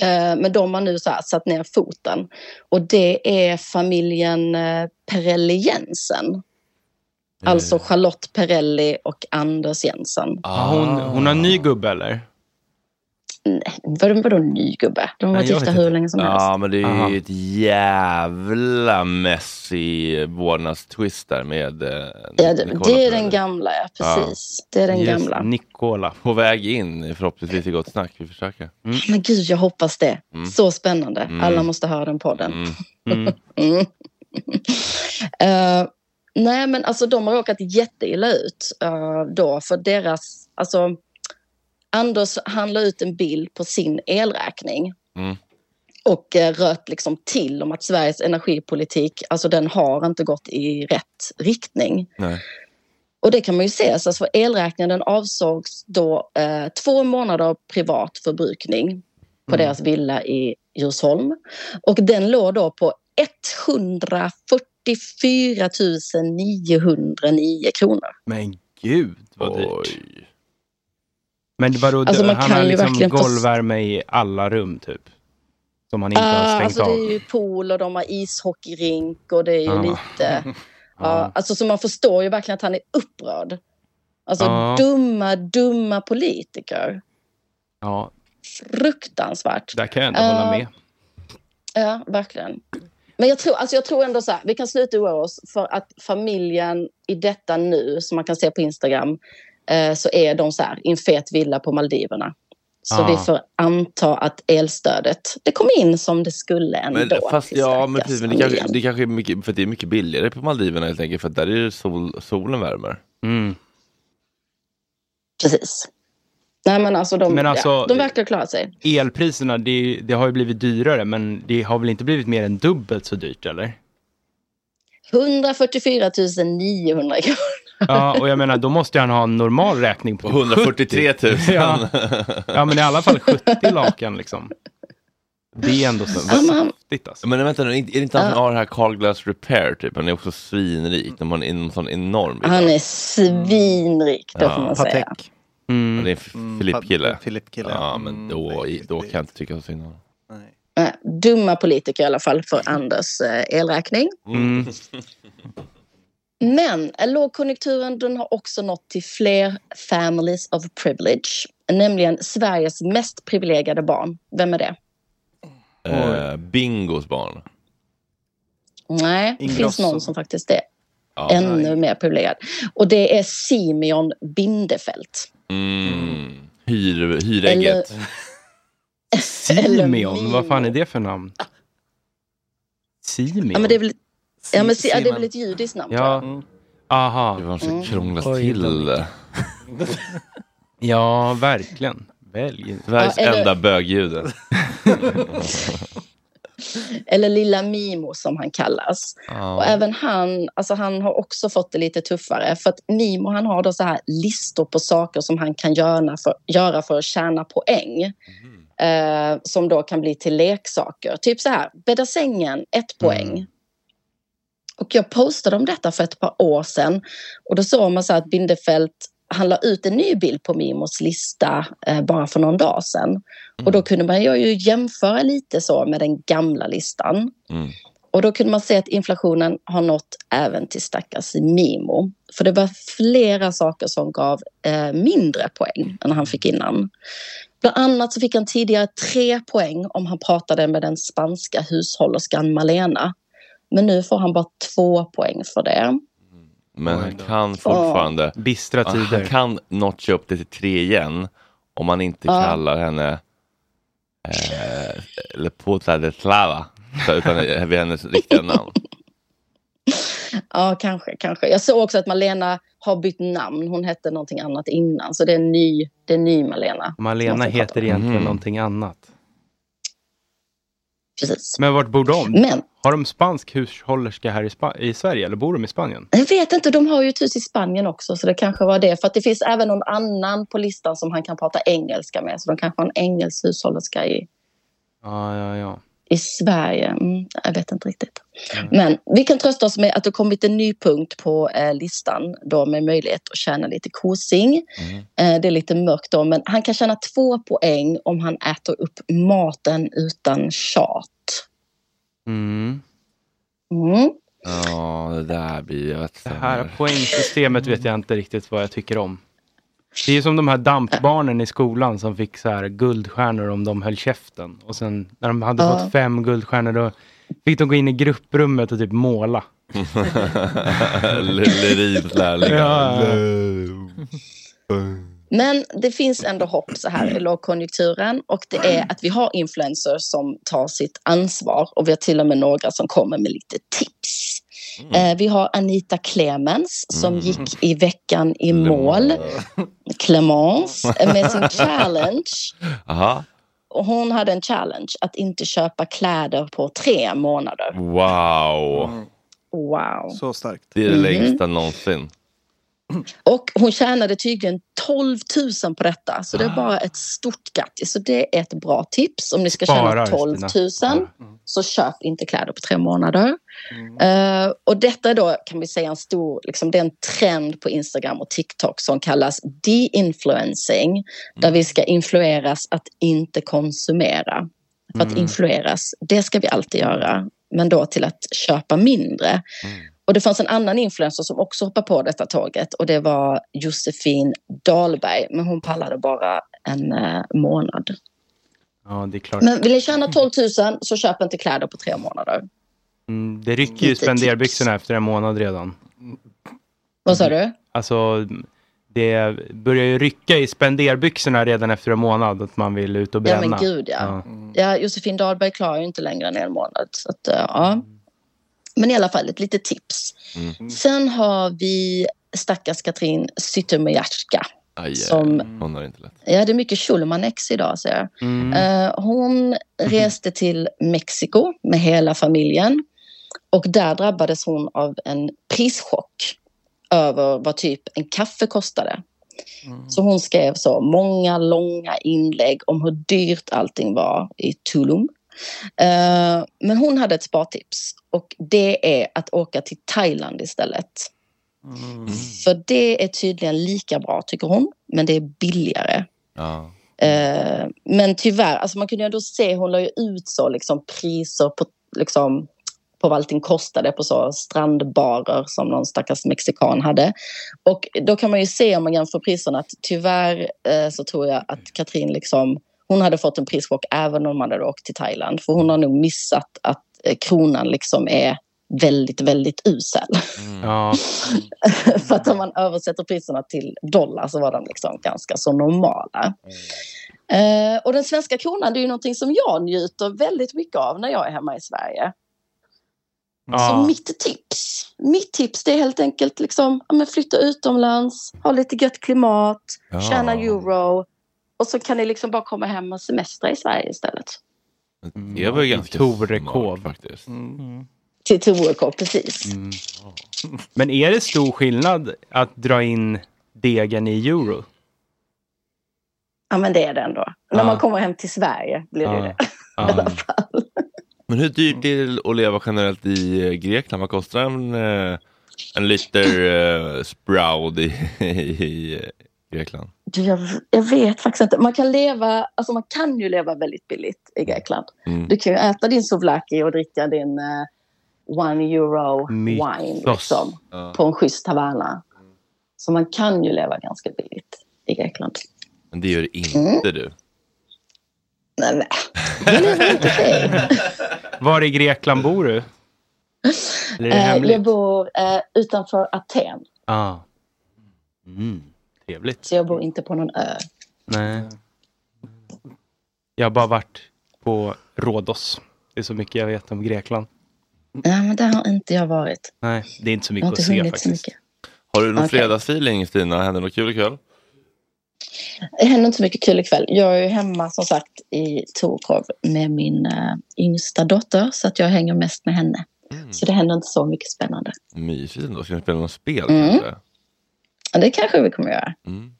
[SPEAKER 10] Eh, Men de har nu så här satt ner foten. Och det är familjen eh, Perelli Jensen.
[SPEAKER 1] Eh.
[SPEAKER 10] Alltså Charlotte Perelli och Anders Jensen.
[SPEAKER 6] Ah, Hon, hon har en ny gubbe eller?
[SPEAKER 10] Vadå, vadå ny gubbe? De har
[SPEAKER 6] Nej,
[SPEAKER 10] varit
[SPEAKER 6] jag
[SPEAKER 10] gifta
[SPEAKER 6] vet
[SPEAKER 10] hur
[SPEAKER 6] inte.
[SPEAKER 10] länge som helst.
[SPEAKER 1] Ja, men det är
[SPEAKER 6] Aha.
[SPEAKER 1] ju ett jävla messy vårdnadstwist där med eh,
[SPEAKER 10] Ja, det,
[SPEAKER 1] Nicola
[SPEAKER 10] det är
[SPEAKER 1] Perrelli.
[SPEAKER 10] den gamla, ja, precis. Det är den
[SPEAKER 1] Just
[SPEAKER 10] gamla.
[SPEAKER 1] Nicola. På väg in förhoppningsvis i Gott Snack. Vi försöker.
[SPEAKER 10] Men gud, jag hoppas det.
[SPEAKER 1] Mm.
[SPEAKER 10] Så spännande.
[SPEAKER 1] Mm.
[SPEAKER 10] Alla måste höra den podden.
[SPEAKER 1] Mm.
[SPEAKER 10] Mm. *laughs* Eh, nej, men alltså de har råkat jätteilla ut eh, då för deras... Alltså, Anders han la ut en bild på sin elräkning
[SPEAKER 1] Mm.
[SPEAKER 10] och eh, röt liksom till om att Sveriges energipolitik, alltså den har inte gått i rätt riktning.
[SPEAKER 1] Nej.
[SPEAKER 10] Och det kan man ju se, så alltså elräkningen den avsågs då eh, två månader av privat förbrukning på
[SPEAKER 11] Mm.
[SPEAKER 10] deras villa i Djursholm. Och den låg då på 144 909 kronor.
[SPEAKER 6] Men gud vad dyrt. Men vadå,
[SPEAKER 10] Alltså, man
[SPEAKER 6] han
[SPEAKER 10] kan
[SPEAKER 6] har
[SPEAKER 10] ju
[SPEAKER 6] liksom
[SPEAKER 10] verkligen få-
[SPEAKER 6] golvvärme i alla rum typ? Som han inte har
[SPEAKER 10] Ah,
[SPEAKER 6] stängt
[SPEAKER 10] alltså
[SPEAKER 6] av?
[SPEAKER 10] det är ju pool och de har ishockeyrink och det är ju
[SPEAKER 6] Ah.
[SPEAKER 10] lite...
[SPEAKER 6] *laughs*
[SPEAKER 10] Ja, alltså, så man förstår ju verkligen att han är upprörd. Alltså
[SPEAKER 6] Ah.
[SPEAKER 10] dumma, dumma politiker.
[SPEAKER 6] Ja,
[SPEAKER 10] Fruktansvärt.
[SPEAKER 6] där kan jag ändå
[SPEAKER 10] Eh,
[SPEAKER 6] hålla med.
[SPEAKER 10] Ja, verkligen. Men jag tror, alltså jag tror ändå så här, vi kan sluta oroa oss för att familjen i detta nu, som man kan se på Instagram, eh, så är de så här i en fet villa på Maldiverna. Så
[SPEAKER 1] Ah.
[SPEAKER 10] vi får anta att elstödet, det kom in som det skulle ändå.
[SPEAKER 1] Men, fast,
[SPEAKER 10] till alltså.
[SPEAKER 1] ja,
[SPEAKER 10] stackars
[SPEAKER 1] men precis, men det,
[SPEAKER 10] familjen.
[SPEAKER 1] kanske, det kanske är mycket, för att det är mycket billigare på Maldiverna helt enkelt. För att där är det sol, solen värmer.
[SPEAKER 10] Precis. Nej men alltså de,
[SPEAKER 6] Men
[SPEAKER 10] ja,
[SPEAKER 6] alltså-
[SPEAKER 10] de verkar klara sig.
[SPEAKER 6] Elpriserna, det, är ju- det har ju blivit dyrare, men det har väl inte blivit mer än dubbelt så dyrt eller?
[SPEAKER 10] 144 900 kronor.
[SPEAKER 6] Ja, och jag menar, då måste han ha en normal räkning på typ
[SPEAKER 1] 143 000.
[SPEAKER 6] 70. Ja. ja, men i alla fall 70 lakan liksom. Det är ändå så.
[SPEAKER 10] Ja, men-
[SPEAKER 1] Men vänta nu, är det inte han som
[SPEAKER 10] Ja.
[SPEAKER 1] har det här Carglass Repair typ? Han är också svinrik. De har en sån enorm bil.
[SPEAKER 10] Han är svinrik, det får man säga.
[SPEAKER 6] Mm.
[SPEAKER 10] Mm,
[SPEAKER 1] Ja, Det är en Filippkille.
[SPEAKER 12] Filippkille.
[SPEAKER 1] Ja, men då, då kan jag inte tycka så synd om honom.
[SPEAKER 10] Nej, Eh, dumma politiker i alla fall för Anders eh, elräkning. Men eh, lågkonjunkturen den har också nått till fler families of privilege. Nämligen Sveriges mest privilegierade barn. Vem är det?
[SPEAKER 1] Eh, bingos barn.
[SPEAKER 10] Nej, det finns
[SPEAKER 1] Ingrosso.
[SPEAKER 10] någon som faktiskt är
[SPEAKER 1] Ja.
[SPEAKER 10] ännu mer privilegierad. Och det är Simeon Bindefeld.
[SPEAKER 1] Mm. Hyr, hyrägget.
[SPEAKER 6] Simeon, vad fan är det för namn? Simeon?
[SPEAKER 10] Ja, men det är väl, ja, men, si- ja, det är väl ett judiskt namn? tror jag.
[SPEAKER 6] Ja. Aha.
[SPEAKER 1] Det var
[SPEAKER 10] Mm.
[SPEAKER 1] så krånglas
[SPEAKER 6] Oj,
[SPEAKER 1] till.
[SPEAKER 6] *laughs* Ja, verkligen. Välj.
[SPEAKER 1] Sveriges
[SPEAKER 10] Ja, eller-
[SPEAKER 1] enda bögjude.
[SPEAKER 10] Eller Lilla Mimo som han kallas.
[SPEAKER 1] Ja.
[SPEAKER 10] Och även han, alltså han har också fått det lite tuffare. För att Mimo han har då så här listor på saker som han kan göra för, göra för att tjäna poäng. Eh, som då kan bli till leksaker. Typ så här, bädda sängen, ett poäng. Och jag postade om detta för ett par år sedan. Och då såg man så här att Bindefält han la ut en ny bild på Mimos lista eh, bara för någon dag sedan. Och då kunde man ju jämföra lite så med den gamla listan.
[SPEAKER 1] Mm.
[SPEAKER 10] Och då kunde man se att inflationen har nått även till stackars Mimo. För det var flera saker som gav eh, mindre poäng än han fick innan. Bland annat så fick han tidigare tre poäng om han pratade med den spanska hushållerskan Malena. Men nu får han bara två poäng för det.
[SPEAKER 1] Men han kan fortfarande...
[SPEAKER 6] Bistra
[SPEAKER 1] Han-
[SPEAKER 6] tider.
[SPEAKER 1] Han kan notcha upp det till tre igen om man inte
[SPEAKER 10] Ja.
[SPEAKER 1] kallar henne eh, Le Puta de Slava. så- Utan eh, vid hennes riktiga namn. *laughs*
[SPEAKER 10] Ja, kanske, kanske. Jag såg också att Malena har bytt namn. Hon hette någonting annat innan. Så det är en ny, det är en ny Malena.
[SPEAKER 6] *laughs* Malena heter egentligen
[SPEAKER 1] Mm.
[SPEAKER 6] någonting annat.
[SPEAKER 10] Precis.
[SPEAKER 6] Men vart bor de?
[SPEAKER 10] Men-
[SPEAKER 6] Har de spansk hushållerska här i, Spa- i Sverige eller bor de i Spanien?
[SPEAKER 10] Jag vet inte, de har ju ett hus i Spanien också. Så det kanske var det. För att det finns även någon annan på listan som han kan prata engelska med. Så de kanske har en engelsk hushållerska i,
[SPEAKER 6] Ja, ja, ja.
[SPEAKER 10] i Sverige. Mm, jag vet inte riktigt. Men vi kan trösta oss med att det kommit en ny punkt på eh, listan då med möjlighet att tjäna lite kosing.
[SPEAKER 1] Mm.
[SPEAKER 10] Eh, det är lite mörkt då, men han kan tjäna två poäng om han äter upp maten utan tjat.
[SPEAKER 6] Mm.
[SPEAKER 10] Mm.
[SPEAKER 1] Ja, det där blir ju ett
[SPEAKER 6] Det här poängsystemet vet jag inte riktigt vad jag tycker om. Det är ju som de här dampbarnen i skolan som fick så här guldstjärnor om de höll käften. Och sen när de hade
[SPEAKER 10] Ja.
[SPEAKER 6] fått fem guldstjärnor då fick de gå in i grupprummet och typ måla.
[SPEAKER 1] Lyrinslärlingar.
[SPEAKER 6] Ja.
[SPEAKER 10] Men det finns ändå hopp så här i lågkonjunkturen och det är att vi har influencers som tar sitt ansvar och vi har till och med några som kommer med lite tips. Eh, vi har Anita Clemens som gick i veckan i mål, Clemens, eh, med sin challenge.
[SPEAKER 1] Aha.
[SPEAKER 10] Och hon hade en challenge att inte köpa kläder på tre månader.
[SPEAKER 1] Wow.
[SPEAKER 10] Mm. Wow.
[SPEAKER 8] Så starkt.
[SPEAKER 1] Det är det
[SPEAKER 10] Mhm.
[SPEAKER 1] längsta någonsin.
[SPEAKER 10] Och hon tjänade tydligen 12 000 på detta. Så det är bara ett stort grattis. Så det är ett bra tips. Om ni ska tjäna
[SPEAKER 1] Sparar,
[SPEAKER 10] 12 000 så köp inte kläder på tre månader. Eh, och detta är då kan vi säga en stor, liksom, det är en trend på Instagram och TikTok som kallas de-influencing. Där vi ska influeras att inte konsumera. För att
[SPEAKER 13] Mm.
[SPEAKER 10] influeras, det ska vi alltid göra. Men då till att köpa mindre. Och det fanns en annan influencer som också hoppade på detta tåget och det var Josefin Dahlberg. Men hon pallade bara en eh, månad.
[SPEAKER 6] Ja, det är klart.
[SPEAKER 10] Men vill ni tjäna 12 000 så köp inte kläder på tre månader.
[SPEAKER 6] Mm, det rycker ju
[SPEAKER 10] Lite
[SPEAKER 6] spenderbyxorna efter en månad redan.
[SPEAKER 10] Vad sa du?
[SPEAKER 6] Alltså, det börjar ju rycka i spenderbyxorna redan efter en månad att man vill ut och
[SPEAKER 10] Ja
[SPEAKER 6] bränna.
[SPEAKER 10] men gud ja. ja Josefin Dahlberg klarar ju inte längre än en månad. Så att, eh, ja. Men i alla fall ett litet tips.
[SPEAKER 1] Mm.
[SPEAKER 10] Sen har vi stackars Katrin Zytomierska.
[SPEAKER 1] Aj,
[SPEAKER 10] Som-
[SPEAKER 1] Som... Hon har inte lätt.
[SPEAKER 10] Ja, det är mycket Schulmanex idag ser jag.
[SPEAKER 1] Mm.
[SPEAKER 10] Eh, hon reste till Mexiko med hela familjen. Och där drabbades hon av en prischock över vad typ en kaffe kostade. Så hon skrev så många långa inlägg om hur dyrt allting var i Tulum. Eh, men hon hade ett spartips och det är att åka till Thailand istället.
[SPEAKER 1] Mm.
[SPEAKER 10] För det är tydligen lika bra tycker hon, men det är billigare.
[SPEAKER 1] Ja.
[SPEAKER 10] Eh, men tyvärr, alltså man kunde ju ändå se, hon la ju ut så liksom priser på, liksom, på vad allting kostade på så strandbarer som någon stackars mexikan hade. Och då kan man ju se om man jämför priserna att tyvärr eh, så tror jag att Katrin liksom, hon hade fått en prischock även om man hade åkt till Thailand. För hon har nog missat att eh, kronan liksom är väldigt, väldigt usel. *laughs*
[SPEAKER 6] Ja.
[SPEAKER 10] För att om man översätter priserna till dollar så var de liksom ganska så normala. Eh, och den svenska kronan det är ju någonting som jag njuter väldigt mycket av när jag är hemma i Sverige. Så mitt tips, mitt tips det är helt enkelt liksom, ja, men flytta utomlands, ha lite gött klimat,
[SPEAKER 1] Ja.
[SPEAKER 10] tjäna euro och så kan ni liksom bara komma hem och semestra i Sverige istället.
[SPEAKER 1] Det var ju
[SPEAKER 6] Mm.
[SPEAKER 1] ganska
[SPEAKER 6] Torekov.
[SPEAKER 1] smart faktiskt.
[SPEAKER 10] Till Torekov, precis.
[SPEAKER 6] Mm. Men är det stor skillnad att dra in degen i euro?
[SPEAKER 10] Ja, men det är det ändå. När
[SPEAKER 6] Ja.
[SPEAKER 10] man kommer hem till Sverige blir det
[SPEAKER 1] Ja.
[SPEAKER 10] det.
[SPEAKER 1] *laughs* Men hur dyrt är det att leva generellt i eh, Grekland? Vad kostar en, eh, en liter eh, sprout i, *laughs* i eh, Grekland?
[SPEAKER 10] Du, Jag, jag vet faktiskt inte. Man kan, leva, alltså man kan ju leva väldigt billigt i Grekland.
[SPEAKER 1] Mm.
[SPEAKER 10] Du kan ju äta din souvlaki och dricka din eh, one euro
[SPEAKER 1] Mytos.
[SPEAKER 10] wine liksom,
[SPEAKER 1] Ja.
[SPEAKER 10] på en schysst taverna. Så man kan ju leva ganska billigt i Grekland.
[SPEAKER 1] Men det gör inte du.
[SPEAKER 10] Nej, nej.
[SPEAKER 6] *laughs* Var i Grekland bor du? Eller är det
[SPEAKER 10] Eh,
[SPEAKER 6] hemligt?
[SPEAKER 10] jag bor eh, utanför Aten,
[SPEAKER 6] Ah. Mm. Trevligt.
[SPEAKER 10] så jag bor inte på någon ö.
[SPEAKER 6] Nej. Jag har bara varit på Rhodos. Det är så mycket jag vet om Grekland.
[SPEAKER 10] Nej, men där har inte jag varit.
[SPEAKER 6] Nej, det är inte så
[SPEAKER 10] Jag har
[SPEAKER 6] Mm. mycket att
[SPEAKER 10] inte
[SPEAKER 6] se
[SPEAKER 10] hunnit så
[SPEAKER 6] faktiskt.
[SPEAKER 10] mycket.
[SPEAKER 1] Har du någon
[SPEAKER 10] Mm. Okej.
[SPEAKER 1] fredagsfeeling Stina? Händer något kul ikväll?
[SPEAKER 10] Det händer inte så mycket kul ikväll. Jag är ju hemma som sagt i Torkov med min eh, yngsta dotter så att jag hänger mest med henne.
[SPEAKER 1] Mm.
[SPEAKER 10] Så det händer inte så mycket spännande.
[SPEAKER 1] Mysigt ändå. Ska ni spela något spel?
[SPEAKER 10] Mm.
[SPEAKER 1] kanske?
[SPEAKER 10] Ja, Det kanske vi kommer göra.
[SPEAKER 1] Mm.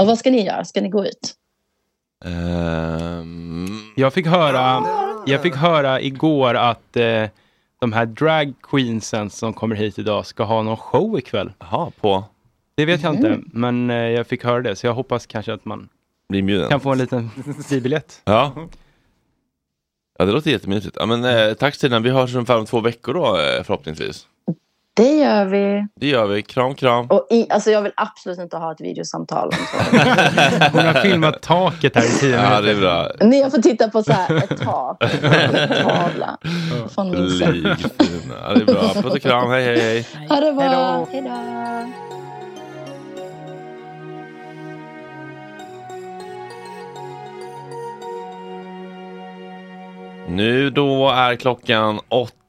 [SPEAKER 10] Och vad ska ni göra? Ska ni gå ut?
[SPEAKER 1] Ehm,
[SPEAKER 6] Jag fick höra, jag fick höra igår att eh, de här drag queensen som kommer hit idag ska ha någon show ikväll.
[SPEAKER 1] Jaha, på?
[SPEAKER 6] Det vet jag inte,
[SPEAKER 1] Mhm.
[SPEAKER 6] men eh, jag fick höra det. Så jag hoppas kanske att man
[SPEAKER 1] Blir inbjuden?
[SPEAKER 6] kan få
[SPEAKER 13] *laughs*
[SPEAKER 6] en liten fribiljett.
[SPEAKER 1] Ja. ja, det låter jättemysigt. Ja, men, eh, tack Stina, vi hörs om fem två veckor då eh, förhoppningsvis.
[SPEAKER 10] Det gör vi.
[SPEAKER 1] Det gör vi. Kram, kram. *laughs*
[SPEAKER 10] Och i, alltså jag vill absolut inte ha ett videosamtal. om så.
[SPEAKER 6] Hon har filmat taket här i tio
[SPEAKER 1] Ja, det är bra.
[SPEAKER 10] Ni har fått titta på så här ett tak.
[SPEAKER 1] *laughs*
[SPEAKER 10] Tavla. Från min
[SPEAKER 1] Blyg Stina. Ja, det är
[SPEAKER 10] *laughs*
[SPEAKER 1] bra. Puss och kram. Hej, hej, hej.
[SPEAKER 10] Ha det bra. Hej då.
[SPEAKER 1] Nu då är klockan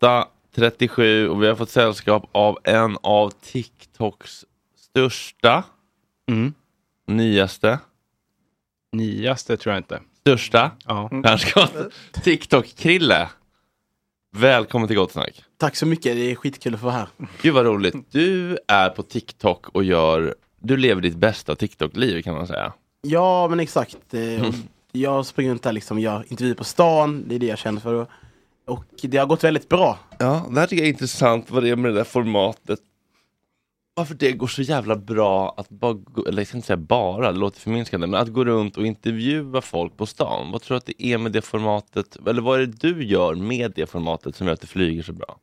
[SPEAKER 1] 8.37 och vi har fått sällskap av en av TikToks största,
[SPEAKER 6] Mm.
[SPEAKER 1] nyaste,
[SPEAKER 6] Nyaste tror jag inte.
[SPEAKER 1] största,
[SPEAKER 6] Ja.
[SPEAKER 1] kanske TikTok-krille. Välkommen till Gott Snack.
[SPEAKER 13] Tack så mycket, det är skitkul att få vara här.
[SPEAKER 1] Gud vad roligt. Du är på TikTok och gör, du lever ditt bästa TikTok-liv kan man säga.
[SPEAKER 13] Ja, men exakt. Eh, och Jag springer runt där liksom, jag intervjuer på stan, det är det jag känner för. Och det har gått väldigt bra.
[SPEAKER 1] Ja, det här tycker jag är intressant vad det är med det där formatet. Varför det går så jävla bra att bara, gå, eller jag ska inte säga bara, det låter förminskande, men att gå runt och intervjua folk på stan. Vad tror du att det är med det formatet, eller vad är det du gör med det formatet som gör att det flyger så bra?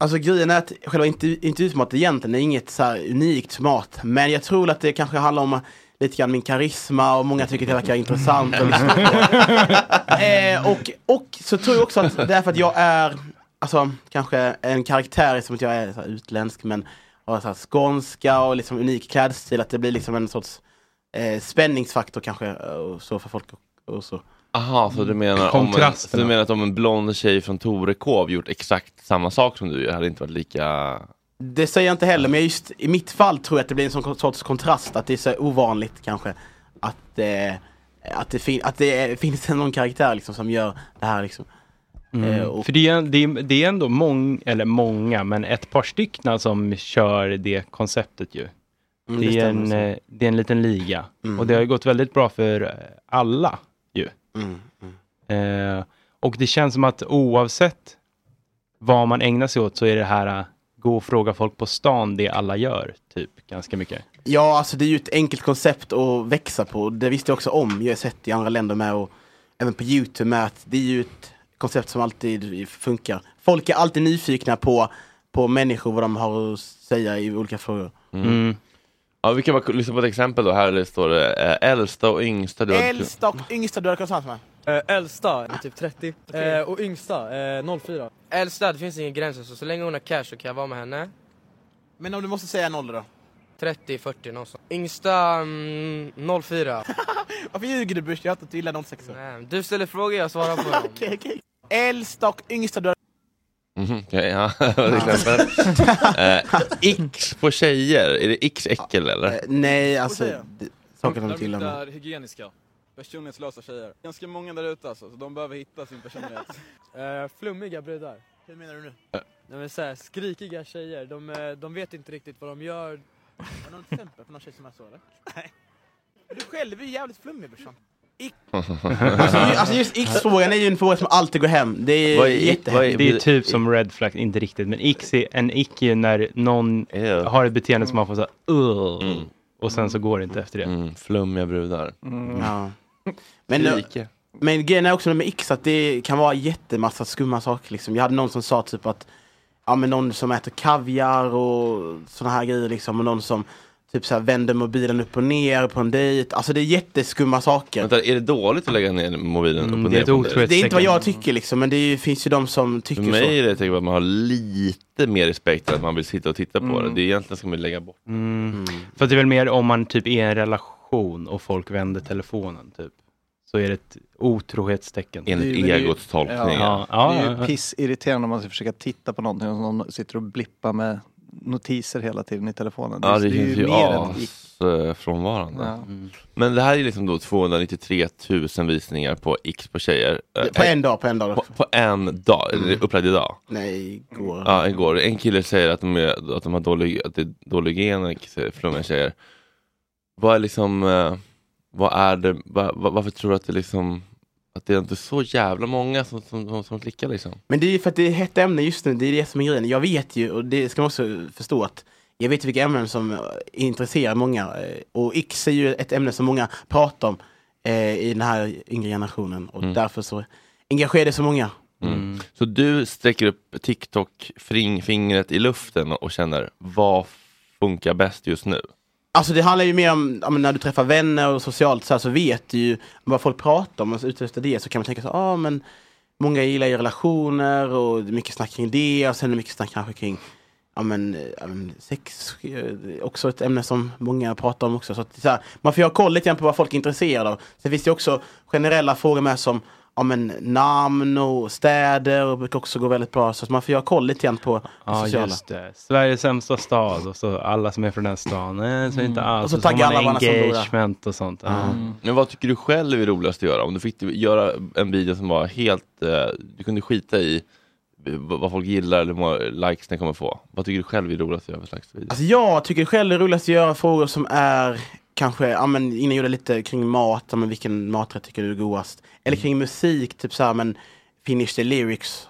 [SPEAKER 13] Alltså grejen är att själva intervju- intervjuformatet egentligen är inget så här unikt format. Men jag tror att det kanske handlar om lite grann min karisma och många tycker att jag verkar intressant. Och, liksom. eh, och, och så tror jag också att det är för att jag är, alltså kanske en karaktär som att jag är så här, utländsk men har så här, skånska och liksom unik klädstil. Att det blir liksom en sorts eh, spänningsfaktor kanske och så för folk. Och, och så.
[SPEAKER 1] Aha, så du menar, om en, så
[SPEAKER 13] Kontrasterna.
[SPEAKER 1] du menar att om en blond tjej från Torekov gjort exakt samma sak som du gör, hade det inte varit lika...
[SPEAKER 13] Det säger jag inte heller, men just i mitt fall tror jag att det blir en sån sorts kontrast, att det är så ovanligt kanske att, eh, att, det, fin- att det eh, finns någon karaktär liksom som gör det här liksom. Eh,
[SPEAKER 6] Mm.
[SPEAKER 13] och,
[SPEAKER 6] För det är, det, är, det är ändå mång, eller många, men ett par stycken som kör det konceptet ju.
[SPEAKER 13] Mm,
[SPEAKER 6] det,
[SPEAKER 13] det
[SPEAKER 6] är
[SPEAKER 13] stämmer
[SPEAKER 6] en,
[SPEAKER 13] så.
[SPEAKER 6] eh, det är en liten liga
[SPEAKER 13] Mm.
[SPEAKER 6] och det har ju gått väldigt bra för eh, alla ju.
[SPEAKER 13] mm, mm.
[SPEAKER 6] Eh, och det känns som att oavsett vad man ägnar sig åt så är det här eh, gå och fråga folk på stan det alla gör, typ ganska mycket.
[SPEAKER 13] Ja, alltså det är ju ett enkelt koncept att växa på. Det visste jag också om. Jag har sett i andra länder med och även på YouTube med att det är ju ett koncept som alltid funkar. Folk är alltid nyfikna på, på människor, vad de har att säga i olika frågor.
[SPEAKER 6] Mm.
[SPEAKER 1] Ja, vi kan bara lyssna på ett exempel då. Här står det eh, äldsta och yngsta. Du har-
[SPEAKER 13] Äldsta och yngsta du har kommit med?
[SPEAKER 5] äldsta är
[SPEAKER 13] Ah,
[SPEAKER 5] typ 30 eh, och yngsta eh, 04. Äldsta, det finns ingen gräns alltså. Så länge hon har cash så kan jag vara med henne.
[SPEAKER 13] Men om du måste säga en ålder då?
[SPEAKER 5] 30, 40 någonstans. Yngsta mm, 04.
[SPEAKER 13] *laughs* Varför ljuger du Bush? Jag har inte gillat 06
[SPEAKER 5] Nej, Du ställer frågor, jag svarar på dem.
[SPEAKER 13] *laughs* Okej, okej. Äldsta och yngsta du har
[SPEAKER 1] Mhm, okej, ja. *laughs* Till exempel. eh, X på
[SPEAKER 13] eh,
[SPEAKER 1] tjejer, är det X äckel eller?
[SPEAKER 13] Nej, alltså... d- Saker har gått illa med.
[SPEAKER 14] hygieniska. Personlighetslösa tjejer. Ganska många där ute alltså, så de behöver hitta sin personlighet.
[SPEAKER 5] *laughs* Eh, flummiga brudar.
[SPEAKER 13] Hur menar du nu?
[SPEAKER 5] Nej, men så här, skrikiga tjejer, de, eh, de vet inte riktigt vad de gör.
[SPEAKER 13] Har du något exempel på någon tjej som är så eller? Nej. Du själv är ju jävligt flummig brorsan.
[SPEAKER 1] alltså,
[SPEAKER 13] Alltså just X-frågan är ju en fråga som alltid går hem. Det är,
[SPEAKER 6] Vad
[SPEAKER 13] är
[SPEAKER 6] är-
[SPEAKER 13] jättehemskt.
[SPEAKER 6] vad är- det är typ som red flag, inte riktigt, men ick är, en ick är ju när någon har ett beteende som man får såhär uh, och sen så går det inte efter det.
[SPEAKER 1] Flummiga brudar.
[SPEAKER 6] Mm.
[SPEAKER 13] Ja. Men, eh,
[SPEAKER 1] Skriker.
[SPEAKER 13] men grejen är också med X att det kan vara jättemassa skumma saker liksom. Jag hade någon som sa typ att ja, men någon som äter kaviar och såna här grejer liksom. Och någon som typ så här vänder mobilen upp och ner på en dejt. Alltså det är jätteskumma saker.
[SPEAKER 1] Vänta, är det dåligt att lägga ner mobilen upp och ner?
[SPEAKER 6] Mm, det är ett
[SPEAKER 1] på en
[SPEAKER 6] otroligt
[SPEAKER 1] dejt?
[SPEAKER 13] Det är inte vad jag tycker liksom, men det är ju, finns ju de som tycker
[SPEAKER 1] För mig
[SPEAKER 13] så.
[SPEAKER 1] är det typ att man har lite mer respekt för att man vill sitta och titta på
[SPEAKER 6] Mm.
[SPEAKER 1] det. Det är egentligen ska man lägga bort.
[SPEAKER 6] Mm. För att det är väl mer om man typ är i en relation och folk vänder telefonen typ. Så är det ett otrohetstecken.
[SPEAKER 8] Det är ju- Ja. Det är ju pissirriterande om man ska försöka titta på någonting och någon sitter och blippar med notiser hela tiden i telefonen.
[SPEAKER 1] Ja, det,
[SPEAKER 8] är
[SPEAKER 1] känns ju eh,
[SPEAKER 8] mer än ick.
[SPEAKER 1] asfrånvarande.
[SPEAKER 8] Ja.
[SPEAKER 6] Mm.
[SPEAKER 1] Men det här är liksom då 293 000 visningar på X på tjejer. Eh,
[SPEAKER 13] På en dag, på en dag.
[SPEAKER 1] På, på en dag, mm. upplagd idag.
[SPEAKER 13] Nej, igår.
[SPEAKER 1] Ja, igår. En kille säger att de, är, att de har dålig, att det är dålig gen, flummiga tjejer. Vad är liksom, eh, vad är det, va- va- varför tror du att det liksom, att det är inte så jävla många som, som, som, som klickar liksom?
[SPEAKER 13] Men det är ju för att det är hett ämne just nu, det är det som är grejen. Jag vet ju, och det ska man också förstå att jag vet ju vilka ämnen som eh, intresserar många. eh, Och X är ju ett ämne som många pratar om eh, i den här yngre generationen. Och
[SPEAKER 1] Mm.
[SPEAKER 13] därför så engagerar det så många.
[SPEAKER 1] Mm. Så du sträcker upp TikTok-fingret i luften och känner, vad funkar bäst just nu?
[SPEAKER 13] Alltså det handlar ju mer om, ja, men när du träffar vänner och socialt så, här, så vet du ju vad folk pratar om och så utifrån det så kan man tänka så, ah, men många gillar ju relationer och det är mycket snack kring det och sen är det mycket snack kanske kring ja, men, eh, ja, men sex, eh, det är också ett ämne som många pratar om också. Så att, det är så här, man får ju ha koll lite grann på vad folk är intresserade av. Sen finns det ju också generella frågor med som ja, men, namn och städer och brukar också gå väldigt bra. Så att man får ju ha koll lite grann på det
[SPEAKER 6] Ja,
[SPEAKER 13] sociala.
[SPEAKER 6] just det. Sveriges sämsta stad och så alla som är från den stan, eh, så
[SPEAKER 8] Mm.
[SPEAKER 6] inte alls.
[SPEAKER 13] Och så taggar alla varandra som då, ja.
[SPEAKER 6] engagement och sånt.
[SPEAKER 13] eh,
[SPEAKER 6] Ja.
[SPEAKER 1] Men vad tycker du själv är roligast att göra? Om du fick göra en video som var helt, eh, du kunde skita i v- vad folk gillar eller hur många likes den kommer få. Vad tycker du själv är roligast att göra för slags video?
[SPEAKER 13] Alltså jag tycker själv det är roligast att göra frågor som är kanske, ja men innan jag gjorde lite kring mat, ja, men vilken maträtt tycker du är godast? Eller kring musik, typ såhär men finish the lyrics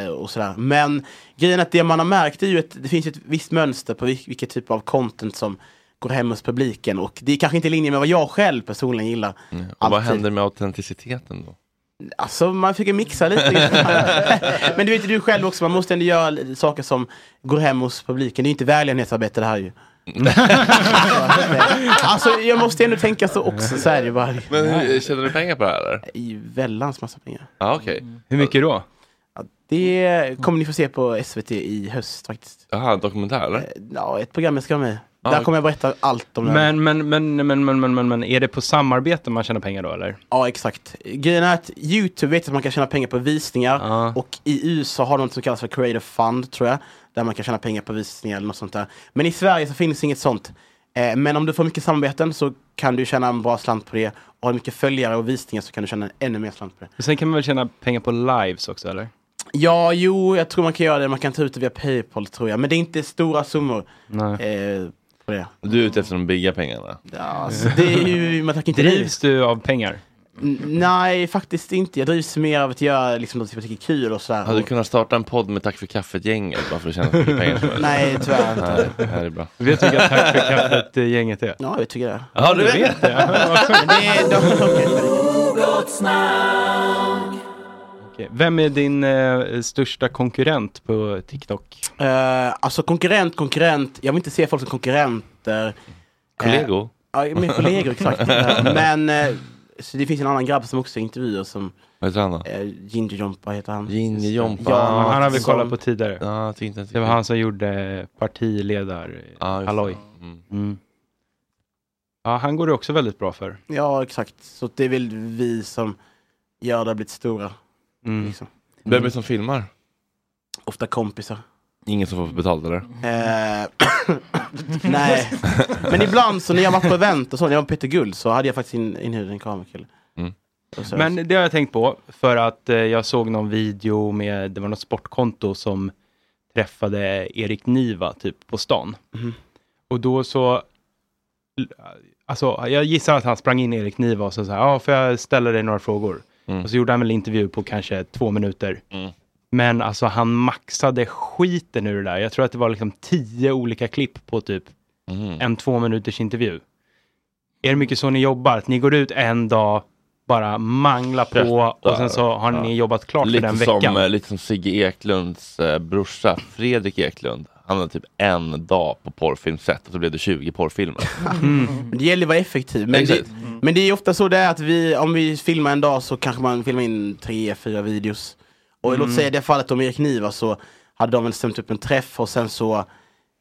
[SPEAKER 13] eh, och sådär. Men grejen är att det man har märkt är ju att det finns ju ett visst mönster på vil- vilket typ av content som går hem hos publiken och det är kanske inte i linje med vad jag själv personligen gillar.
[SPEAKER 1] Och vad
[SPEAKER 13] Alltid.
[SPEAKER 1] händer med autenticiteten då?
[SPEAKER 13] Alltså man fick ju mixa lite.
[SPEAKER 1] *laughs*
[SPEAKER 13] men du vet ju du själv också, man måste ändå göra l- saker som går hem hos publiken. Det är ju inte välgörenhetsarbete det här
[SPEAKER 1] *laughs*
[SPEAKER 13] ju. alltså jag måste ändå tänka så också, så är det ju bara.
[SPEAKER 1] Men hur, tjänar du pengar på det här eller? Mm.
[SPEAKER 13] I vällans massa pengar.
[SPEAKER 1] Ja, okej.
[SPEAKER 6] Hur mycket då?
[SPEAKER 13] Det kommer ni få se på SVT i höst faktiskt. Eh,
[SPEAKER 1] Jaha, dokumentär eller?
[SPEAKER 13] Ja, ett program jag ska vara med i.
[SPEAKER 6] Ja.
[SPEAKER 13] Där kommer jag berätta allt om det här.
[SPEAKER 6] Men, men, men, men, men, men, men, men, är det på samarbete man tjänar pengar då eller?
[SPEAKER 13] Ja, exakt. Grejen är att YouTube vet att man kan tjäna pengar på visningar och i USA har de något som kallas för Creative Fund, tror jag, där man kan tjäna pengar på visningar eller något sånt där. Men i Sverige så finns inget sånt. Eh, men om du får mycket samarbeten så kan du tjäna en bra slant på det. Och har du mycket följare och visningar så kan du tjäna ännu mer slant på det.
[SPEAKER 6] Sen kan man väl tjäna pengar på lives också eller?
[SPEAKER 13] Ja, jo, jag tror man kan göra det. Man kan ta ut det via Paypal, tror jag. Men det är inte stora summor. Eh, på det.
[SPEAKER 1] Du är ute efter de bigga pengarna?
[SPEAKER 13] Ja, alltså, det är ju, man tackar inte nej.
[SPEAKER 6] Drivs du av pengar?
[SPEAKER 13] N- Nej, faktiskt inte. Jag drivs mer av att göra liksom, något som jag tycker är kul och sådär.
[SPEAKER 1] Hade du kunnat starta en podd med Tack för kaffet-gänget bara för att tjäna så mycket pengar som
[SPEAKER 13] *laughs*
[SPEAKER 1] möjligt?
[SPEAKER 13] Nej, tyvärr inte.
[SPEAKER 1] Nej, det här är bra.
[SPEAKER 6] Vet du vilka Tack för kaffet-gänget är?
[SPEAKER 13] Ja, jag tycker det.
[SPEAKER 1] Ja, du vet det?
[SPEAKER 6] Okej. Vem är din eh, största konkurrent på TikTok?
[SPEAKER 13] Eh, alltså konkurrent, konkurrent. Jag vill inte se folk som konkurrenter.
[SPEAKER 1] Kollegor?
[SPEAKER 13] Eh, ja, mer kollegor exakt.
[SPEAKER 1] *laughs*
[SPEAKER 13] Eh, men eh, så det finns en annan grabb som också intervjuar som
[SPEAKER 1] Vad heter han då?
[SPEAKER 13] eh, Ginger Jompa heter han.
[SPEAKER 1] Ginger Jompa. Ah,
[SPEAKER 6] Ja, han har vi
[SPEAKER 13] som-
[SPEAKER 6] kollat på tidigare.
[SPEAKER 1] Ja, jag tyckte inte-
[SPEAKER 6] det var han som gjorde partiledar
[SPEAKER 1] just
[SPEAKER 6] Halloj. Mm. Ja, han går det också väldigt bra för.
[SPEAKER 13] Ja, exakt. Så det är väl vi som gör det har blivit stora.
[SPEAKER 6] Mm.
[SPEAKER 13] Liksom.
[SPEAKER 1] Vem är det som filmar?
[SPEAKER 13] Ofta kompisar.
[SPEAKER 1] Ingen som får betalt eller?
[SPEAKER 13] Eh, *coughs* nej, men ibland så när jag var på event och så, när jag var på Peter Guld så hade jag faktiskt in- inhyrd en kamerakille.
[SPEAKER 1] Mm.
[SPEAKER 6] Men det har jag tänkt på för att eh, jag såg någon video med, det var något sportkonto som träffade Erik Niva typ på stan.
[SPEAKER 13] Mhm.
[SPEAKER 6] Och då så, alltså jag gissar att han sprang in i Erik Niva och så sa, ja får jag ställa dig några frågor?
[SPEAKER 1] Mm.
[SPEAKER 6] Och så gjorde han väl intervju på kanske två minuter. Men alltså han maxade skiten ur det där. Jag tror att det var liksom tio olika klipp på typ
[SPEAKER 1] Mm.
[SPEAKER 6] en två minuters intervju. Är det mycket så ni jobbar? Att ni går ut en dag, bara manglar på och sen så har ni
[SPEAKER 1] Ja.
[SPEAKER 6] jobbat klart
[SPEAKER 1] lite
[SPEAKER 6] för den
[SPEAKER 1] som,
[SPEAKER 6] veckan?
[SPEAKER 1] eh, Lite som Sigge Eklunds eh, brorsa Fredrik Eklund. Han hade typ en dag på porrfilmset och så blev det 20 porrfilmer.
[SPEAKER 13] Men Det gäller att vara effektiv. Men det,
[SPEAKER 1] Exakt.
[SPEAKER 6] Mm.
[SPEAKER 13] men det är ju ofta så det är att vi, om vi filmar en dag så kanske man filmar in tre, fyra videos. Och
[SPEAKER 6] Mm.
[SPEAKER 13] låt säga i det fallet om Erik Niva så hade de väl stämt upp en träff och sen så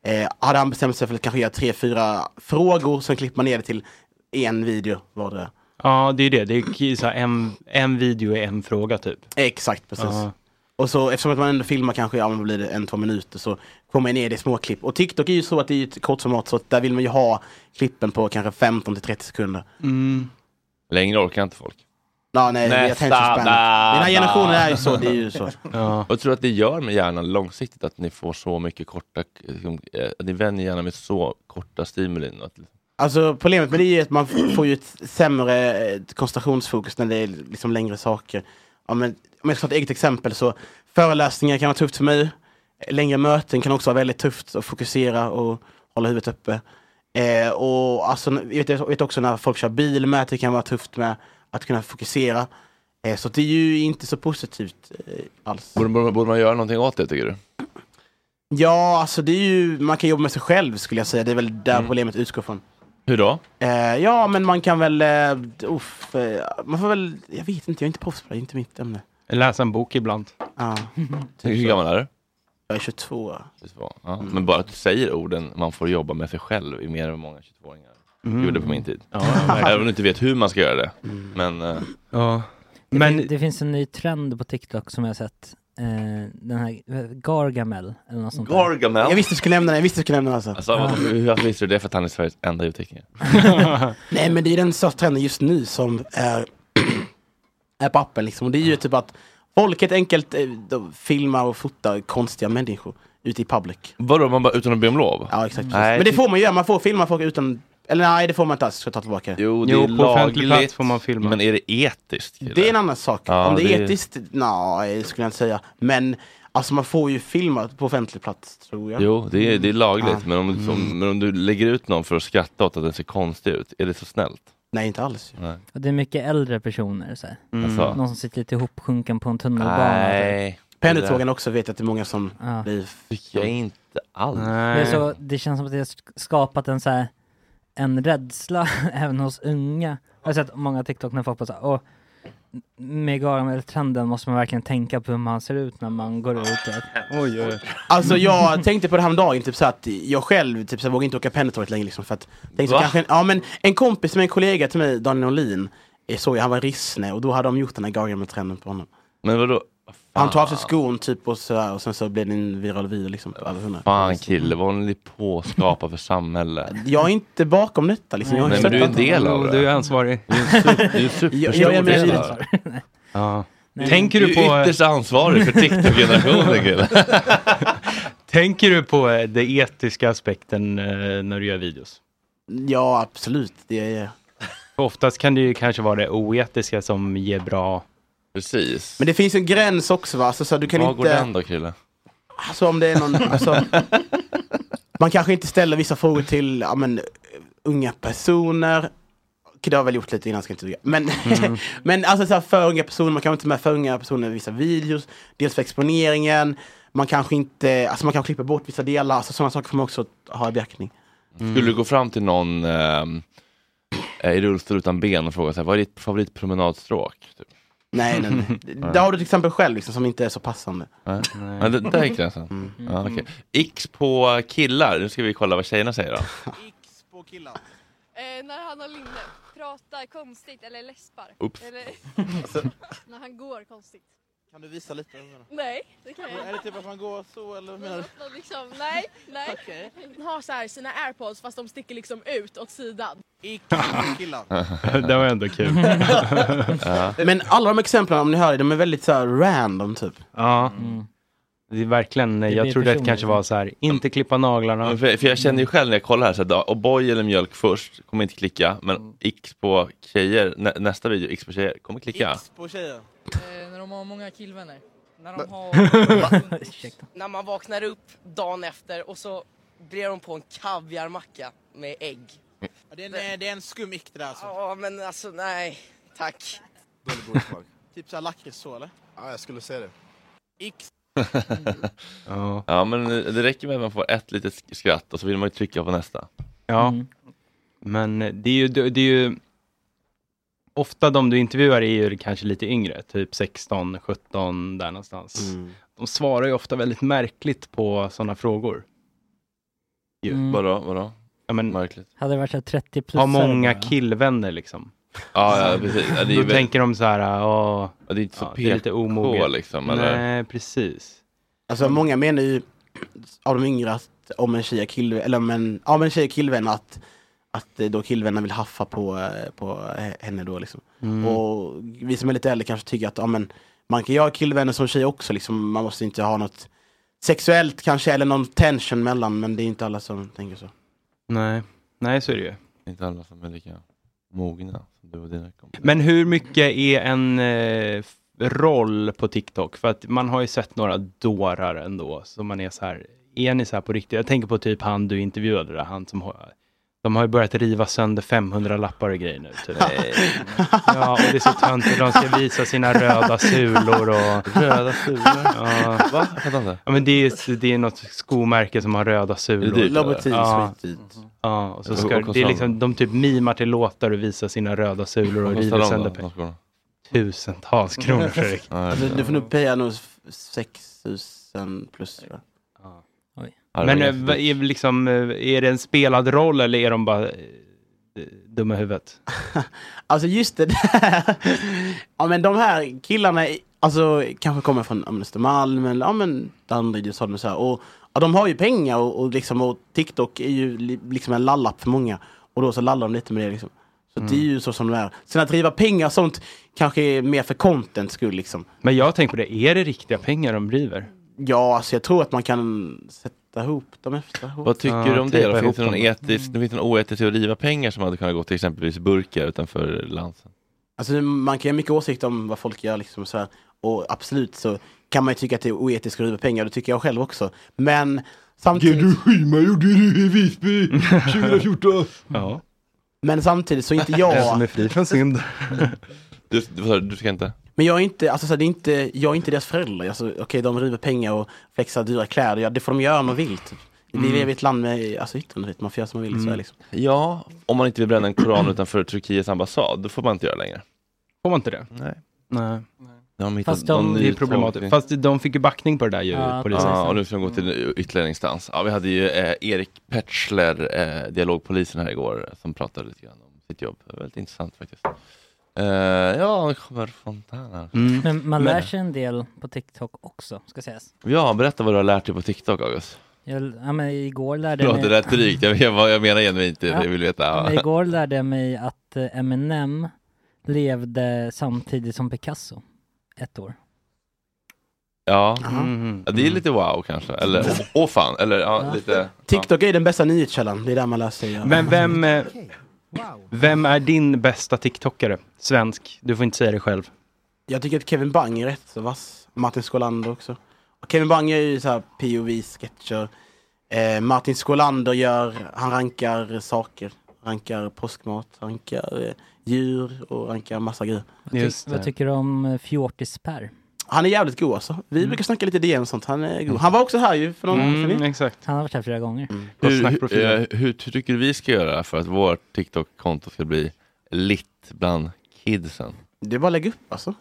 [SPEAKER 13] eh, hade han bestämt sig för att kanske göra tre, fyra frågor. Sen klipper man ner det till en video vardera.
[SPEAKER 6] Ja, det är ju det. Det är ju så här en, en video är en fråga typ.
[SPEAKER 13] Exakt, precis.
[SPEAKER 6] Ja.
[SPEAKER 13] Och så eftersom att man ändå filmar kanske, ja men vad blir det, en, två minuter så kommer jag ner det i små klipp. Och TikTok är ju så att det är ju ett kortformat så att där vill man ju ha klippen på kanske 15 till 30 sekunder. Mm.
[SPEAKER 1] Längre orkar inte folk.
[SPEAKER 13] Ja, nej, det är
[SPEAKER 1] Nästa,
[SPEAKER 13] attention span.
[SPEAKER 1] da,
[SPEAKER 13] Den här generationen
[SPEAKER 1] da.
[SPEAKER 13] är ju så, det är ju *laughs* så.
[SPEAKER 1] Och jag tror att det gör med hjärnan långsiktigt att ni får så mycket korta, liksom, eh, att ni vänjer hjärnan med så korta stimulin. och Att,
[SPEAKER 13] Alltså problemet med det är ju att man f- får ju ett sämre eh, koncentrationsfokus när det är liksom längre saker. Ja, men, om jag ska ta ett eget exempel så föreläsningar kan vara tufft för mig. Längre möten kan också vara väldigt tufft att fokusera och hålla huvudet uppe. Eh, och alltså, jag vet, jag vet också när folk kör bil med att det kan vara tufft med att kunna fokusera. Eh, så det är ju inte så positivt eh, alls.
[SPEAKER 1] borde, borde, borde man göra någonting åt det tycker du?
[SPEAKER 13] Ja, alltså det är ju, man kan jobba med sig själv skulle jag säga. Det är väl
[SPEAKER 7] Mm.
[SPEAKER 13] där problemet utgår från.
[SPEAKER 1] Hur då?
[SPEAKER 13] Eh, ja, men man kan väl... Eh, uff, eh, man får väl... Jag vet inte, jag är inte proffs på det. Det är inte
[SPEAKER 7] *laughs*
[SPEAKER 13] mitt ämne.
[SPEAKER 6] Läsa en bok ibland.
[SPEAKER 13] Ja. Typ
[SPEAKER 1] Hur gammal är du? Typ
[SPEAKER 13] Jag är 22.
[SPEAKER 1] Ja.
[SPEAKER 13] Mm.
[SPEAKER 1] Men bara att du säger orden man får jobba med sig själv i mer än många 22-åringar
[SPEAKER 6] Mm.
[SPEAKER 1] gjorde på min tid.
[SPEAKER 6] Ja, verkligen.
[SPEAKER 1] Även om du inte vet hur man ska göra det.
[SPEAKER 13] Mm.
[SPEAKER 1] Men, eh,
[SPEAKER 6] Ja.
[SPEAKER 7] Det, fin- det finns en ny trend på TikTok som jag har sett. Eh, den här eh, Gargamel eller något sånt där.
[SPEAKER 1] Gargamel?
[SPEAKER 13] Jag visste du skulle nämna den, jag visste du skulle nämna den alltså.
[SPEAKER 1] Alltså, vad- hur varför visste du det? För att han är Sveriges enda ljudtekniker.
[SPEAKER 13] *laughs* Nej, men det är den största trenden just nu som är, *clears throat* är på appen liksom. Och det är ju typ att folk helt enkelt eh, de filmar och fotar konstiga människor ute i public.
[SPEAKER 1] Vadå, man bara utan att be om lov?
[SPEAKER 13] Ja, exakt.
[SPEAKER 1] Nej, typ-
[SPEAKER 13] men det får man ju göra, man får filma folk utan... Eller nej, det får man inte alls. Ska jag ta tillbaka.
[SPEAKER 1] Jo, det är lagligt. Får man filma. Men är det etiskt? kille?
[SPEAKER 13] Det är en annan sak.
[SPEAKER 1] Ja,
[SPEAKER 13] Om det
[SPEAKER 1] det
[SPEAKER 13] är
[SPEAKER 1] är-
[SPEAKER 13] etiskt, nej, skulle jag inte säga. Men alltså man får ju filma på offentlig plats, tror jag.
[SPEAKER 1] Jo, det är, det är lagligt.
[SPEAKER 13] Ja. Mm.
[SPEAKER 1] Men, om,
[SPEAKER 7] Mm.
[SPEAKER 1] om, men om du lägger ut någon för att skratta åt att den ser konstig ut, är det så snällt?
[SPEAKER 13] Nej, inte alls.
[SPEAKER 1] Nej.
[SPEAKER 7] Och det är mycket äldre personer så här.
[SPEAKER 1] Mm. Alltså.
[SPEAKER 7] Någon som sitter lite ihopsjunken på en tunnelbana. typ.
[SPEAKER 1] Nej.
[SPEAKER 13] Pendeltågen också vet jag att det är många som
[SPEAKER 7] Ja.
[SPEAKER 13] blir...
[SPEAKER 1] Tycker jag inte alls.
[SPEAKER 7] Det, är så, det känns som att det har sk- skapat en så här, en rädsla *laughs* även hos unga. Jag har sett många TikTok när folk bara såhär, med Gargamel-trenden måste man verkligen tänka på hur man ser ut när man går ut. typ."
[SPEAKER 6] Oj, oj.
[SPEAKER 13] Alltså jag tänkte på det här om dagen, typ så att jag själv typ så här, vågar inte åka pendeltåget längre liksom för att tänk så
[SPEAKER 6] Va?
[SPEAKER 13] kanske, ja, men en kompis med en kollega till mig, Daniel Norlin, eh, såg jag, han var i Rissne och då hade de gjort den här Gargamel-trenden på honom.
[SPEAKER 1] Men vadå?
[SPEAKER 13] Han tar av sig skon typ och så här, och sen så blev det en viral video liksom på över 100.
[SPEAKER 1] Fan kille, vad håller ni på att skapa för samhälle?
[SPEAKER 13] Jag är inte bakom detta liksom. Jag har
[SPEAKER 1] Nej,
[SPEAKER 13] inte
[SPEAKER 1] men du är en
[SPEAKER 13] stöttat
[SPEAKER 1] del av
[SPEAKER 13] honom.
[SPEAKER 1] det. Du är ansvarig. Du är en sup- du är
[SPEAKER 13] *laughs*
[SPEAKER 1] en superstor
[SPEAKER 13] Jag- jag är med
[SPEAKER 1] del
[SPEAKER 13] i det.
[SPEAKER 1] av det.
[SPEAKER 6] *laughs* Ja.
[SPEAKER 1] Nej.
[SPEAKER 6] Tänker
[SPEAKER 1] Du
[SPEAKER 6] du
[SPEAKER 1] är
[SPEAKER 6] på...
[SPEAKER 1] ytterst ansvarig för
[SPEAKER 6] *laughs*
[SPEAKER 1] TikTok-generationen, kille.
[SPEAKER 6] Tänker du på eh, den etiska aspekten eh, när du gör videos?
[SPEAKER 13] Ja, absolut. Det är...
[SPEAKER 6] Oftast kan det ju kanske vara det oetiska som ger bra...
[SPEAKER 1] Precis.
[SPEAKER 13] Men det finns en gräns också va? Alltså, så här, du kan
[SPEAKER 1] Var
[SPEAKER 13] inte...
[SPEAKER 1] går den då, Krille?
[SPEAKER 13] Alltså om det är någon, alltså, man kanske inte ställer vissa frågor till ja, men, unga personer. Okej, Det har jag väl gjort lite innan, ska jag inte ljuga. Men,
[SPEAKER 1] Mm.
[SPEAKER 13] *laughs* men alltså så här, för unga personer, man kanske inte ta med för unga personer i vissa videos. Dels för exponeringen, man kanske inte, alltså man kanske klipper bort vissa delar. Alltså sådana saker får man också ha i beaktning.
[SPEAKER 1] Skulle du gå fram till någon ehm, eh, i rullstol utan ben och fråga så här, vad är ditt favoritpromenadstråk? Typ.
[SPEAKER 13] Nej, nej, nej. Där har du till exempel själv liksom, som inte är så passande.
[SPEAKER 1] *laughs* Mm.
[SPEAKER 13] Mm.
[SPEAKER 1] Nej. Ja, det,
[SPEAKER 13] *laughs*
[SPEAKER 1] där gick gränsen. Ja, okej. X på killar, nu ska vi kolla vad tjejerna
[SPEAKER 13] *laughs*
[SPEAKER 1] säger då.
[SPEAKER 15] Eh, när han och Linne pratar konstigt eller läspar.
[SPEAKER 1] Oops.
[SPEAKER 15] Eller *laughs* när han går konstigt.
[SPEAKER 13] Kan du visa lite?
[SPEAKER 15] Nej, det kan jag inte.
[SPEAKER 13] Är det typ att man går så eller vad menar du?
[SPEAKER 15] Någon Liksom, nej, nej. Han har så här sina airpods fast de sticker liksom ut åt sidan.
[SPEAKER 13] killar.
[SPEAKER 6] *laughs*
[SPEAKER 16] *laughs*
[SPEAKER 6] det var ändå
[SPEAKER 1] *laughs*
[SPEAKER 6] kul. *laughs*
[SPEAKER 13] Men alla de exemplen, om ni hör, de är väldigt så här random typ.
[SPEAKER 6] Ja. Det är verkligen,
[SPEAKER 13] Det
[SPEAKER 6] jag
[SPEAKER 13] blir
[SPEAKER 6] trodde att det
[SPEAKER 13] personligt.
[SPEAKER 6] kanske var så här, inte klippa naglarna.
[SPEAKER 1] Ja, För, för jag känner ju själv när jag kollar här, så här da- O'boy eller mjölk först, kommer inte klicka. Men X på tjejer, nä, nästa video, X på tjejer, kommer klicka.
[SPEAKER 17] På tjejen? Eh, när de har många killvänner. När de
[SPEAKER 7] Va?
[SPEAKER 16] *laughs*
[SPEAKER 17] har... när man vaknar upp dagen efter och så brer de på en kaviarmacka med ägg.
[SPEAKER 16] Det är en, det är en skum ick det där alltså.
[SPEAKER 17] Ja, men alltså nej. Tack.
[SPEAKER 16] Dålig
[SPEAKER 17] *laughs*
[SPEAKER 16] bordsmak. typ såhär lakrits så eller? Ja, jag skulle säga det. Ick.
[SPEAKER 6] ja.
[SPEAKER 1] men det räcker med att man får ett litet sk- skratt och så vill man ju trycka på nästa.
[SPEAKER 6] Ja. Men det är, ju, det är ju... Ofta de du intervjuar är ju kanske lite yngre, typ 16, 17, där någonstans.
[SPEAKER 1] Mm.
[SPEAKER 6] De svarar ju ofta väldigt märkligt på sådana frågor. Ju.
[SPEAKER 7] Mm.
[SPEAKER 1] Vadå, vadå?
[SPEAKER 6] Ja, men,
[SPEAKER 1] märkligt.
[SPEAKER 7] Hade det varit så här 30 plus
[SPEAKER 6] Har många killvänner liksom.
[SPEAKER 1] Ja, ja, precis. Ja, det är
[SPEAKER 6] Då
[SPEAKER 1] ju väl-
[SPEAKER 6] tänker de så här, ja,
[SPEAKER 1] det är inte så
[SPEAKER 6] det är lite
[SPEAKER 1] PK
[SPEAKER 6] omoget.
[SPEAKER 1] liksom,
[SPEAKER 6] Nej,
[SPEAKER 1] eller?
[SPEAKER 6] precis.
[SPEAKER 13] Alltså många menar ju av de yngre att om en tjej är killvän, eller om en, ja, om en tjej är killvän att, att eh, då killvännen vill haffa på, eh, på he- henne då liksom.
[SPEAKER 6] Mm.
[SPEAKER 13] Och vi som är lite äldre kanske tycker att ja, men, man kan ju ha killvänner som tjej också liksom. Man måste inte ha något sexuellt kanske eller någon tension mellan men det är inte alla som tänker så.
[SPEAKER 6] Nej. Nej, så är det ju.
[SPEAKER 1] Inte alla som är lika mogna som du och dina kompisar.
[SPEAKER 6] Men hur mycket är en eh, f- roll på TikTok? För att man har ju sett några dårar ändå, så man är så här, är ni så här på riktigt? Jag tänker på typ han du intervjuade där, han som har, de har ju börjat riva sönder 500 lappar och grejer nu. Typ. *laughs* Ja, och det är så töntigt, de ska visa sina röda sulor och...
[SPEAKER 1] Röda sulor?
[SPEAKER 6] Ja.
[SPEAKER 1] Va? Jag fattar inte.
[SPEAKER 6] Ja, men det är, det är något skomärke som har röda sulor.
[SPEAKER 1] Är det dyrt, eller?
[SPEAKER 6] ja.
[SPEAKER 1] Lobotin, Sweet Tea.
[SPEAKER 6] Ja, och så
[SPEAKER 1] Vad
[SPEAKER 6] ska,
[SPEAKER 1] kostar
[SPEAKER 6] det är
[SPEAKER 1] de?
[SPEAKER 6] liksom, de typ mimar till låtar och visar sina röda sulor och
[SPEAKER 1] Vad kostar
[SPEAKER 6] river
[SPEAKER 1] de
[SPEAKER 6] sönder
[SPEAKER 1] då?
[SPEAKER 6] pengar. Tusentals kronor Fredrik.
[SPEAKER 13] du, Alltså, du får nog peja nog f- 6000 plus tror jag.
[SPEAKER 1] Ja, det
[SPEAKER 6] Men
[SPEAKER 1] var
[SPEAKER 6] eh, vad är, liksom, eh, är det en spelad roll eller är de bara eh, dumma i huvudet?
[SPEAKER 13] Alltså just det där. ja men de här killarna, i- alltså kanske kommer från ja, men Östermalm eller ja men Danderyd och sådant och så här. Och ja, de har ju pengar och, och liksom och TikTok är ju li, liksom en lallapp för många. Och då så lallar de lite med det liksom. Så det
[SPEAKER 6] Mm.
[SPEAKER 13] är ju så som det är. Sen att driva pengar och sånt kanske är mer för content skull liksom.
[SPEAKER 6] Men jag tänker på det, är det riktiga pengar de driver?
[SPEAKER 13] Ja alltså jag tror att man kan sätta ihop dem efter.
[SPEAKER 1] Vad tycker du om det?
[SPEAKER 6] tejpa
[SPEAKER 1] då? Finns
[SPEAKER 6] ihop
[SPEAKER 1] det någon
[SPEAKER 6] dem.
[SPEAKER 1] etisk, det finns någon oetisk att riva pengar som hade kunnat gå till exempelvis burkar utanför lansen?
[SPEAKER 13] Alltså man kan ju ha mycket åsikt om vad folk gör liksom och så här. Och absolut så kan man ju tycka att det är oetiskt att riva pengar, det tycker jag själv också. Men samtidigt... Regimar gjorde det i
[SPEAKER 6] *laughs*
[SPEAKER 13] Visby 2014!
[SPEAKER 6] Ja.
[SPEAKER 13] Men samtidigt
[SPEAKER 6] *laughs*
[SPEAKER 13] så är inte
[SPEAKER 6] Den som
[SPEAKER 13] jag...
[SPEAKER 6] är fri från synd.
[SPEAKER 1] *laughs* Du, du, vad sa du? du ska inte?
[SPEAKER 13] Men jag är inte, alltså så här, det är inte, jag är inte deras föräldrar. Alltså, Okej, de river pengar och flexar dyra kläder, ja, det får de göra om de vill. Typ. Vi
[SPEAKER 1] Mm.
[SPEAKER 13] lever i ett land med alltså, yttrandefrihet, man får göra som man vill.
[SPEAKER 6] Mm.
[SPEAKER 13] Så här, liksom.
[SPEAKER 1] Ja, om man inte vill bränna en koran utanför Turkiets ambassad, då får man inte göra längre.
[SPEAKER 6] Får man inte det?
[SPEAKER 1] Nej.
[SPEAKER 6] Nej.
[SPEAKER 1] Nu har de hittat
[SPEAKER 6] Fast de,
[SPEAKER 1] någon
[SPEAKER 6] det är
[SPEAKER 1] ny
[SPEAKER 6] problematiskt.
[SPEAKER 1] tolkning.
[SPEAKER 6] Fast de fick ju backning på det där ju, polisen.
[SPEAKER 1] Ja, och nu ska de gå
[SPEAKER 7] Mm.
[SPEAKER 1] till ytterligare en instans. Ja, vi hade ju eh, Erik Petschler, eh, dialogpolisen här igår, eh, som pratade lite grann om sitt jobb. Det var väldigt intressant faktiskt. Eh, ja, han kommer från där. här.
[SPEAKER 7] Men man lär sig en del på TikTok också, ska sägas.
[SPEAKER 1] Ja, berätta vad du har lärt dig på TikTok, August.
[SPEAKER 7] Jag, ja, men igår lärde
[SPEAKER 1] Förlåt, det lät drygt. Jag, jag, vad jag menar genuint, det.
[SPEAKER 7] Ja.
[SPEAKER 1] jag vill veta.
[SPEAKER 7] Men Igår lärde jag mig att eh, Eminem levde samtidigt som Picasso. Ett år.
[SPEAKER 1] Ja.
[SPEAKER 7] Mhm.
[SPEAKER 1] ja, det är lite wow kanske. Eller
[SPEAKER 7] Mm.
[SPEAKER 1] åh åh, fan, eller ja, lite.
[SPEAKER 13] TikTok är ju den bästa nyhetskällan, det är där man lär sig. göra-
[SPEAKER 6] Men vem, eh, vem är din bästa TikTokare? Svensk. Du får inte säga det själv.
[SPEAKER 13] Jag tycker att Kevin Bang är rätt så vass. Martin Skolander också. Och Kevin Bang är ju så här POV-sketcher. Eh, Martin Skolander gör, han rankar saker. Rankar påskmat, rankar eh, djur och rankar massa grejer.
[SPEAKER 7] Vad, ty- vad tycker du om eh, Fjortis-Per?
[SPEAKER 13] Han är jävligt god alltså. Vi
[SPEAKER 6] Mm.
[SPEAKER 13] brukar snacka lite DM och sånt. Han är god. Han var också här ju för någon
[SPEAKER 7] Mm,
[SPEAKER 6] exakt.
[SPEAKER 7] Han har varit här flera gånger.
[SPEAKER 13] Mm.
[SPEAKER 1] Hur, hur,
[SPEAKER 7] Snackprofilen.
[SPEAKER 1] eh, hur tycker du vi ska göra för att vårt TikTok-konto ska bli litt bland kidsen?
[SPEAKER 13] Det är bara att lägga upp
[SPEAKER 6] *laughs*
[SPEAKER 13] alltså.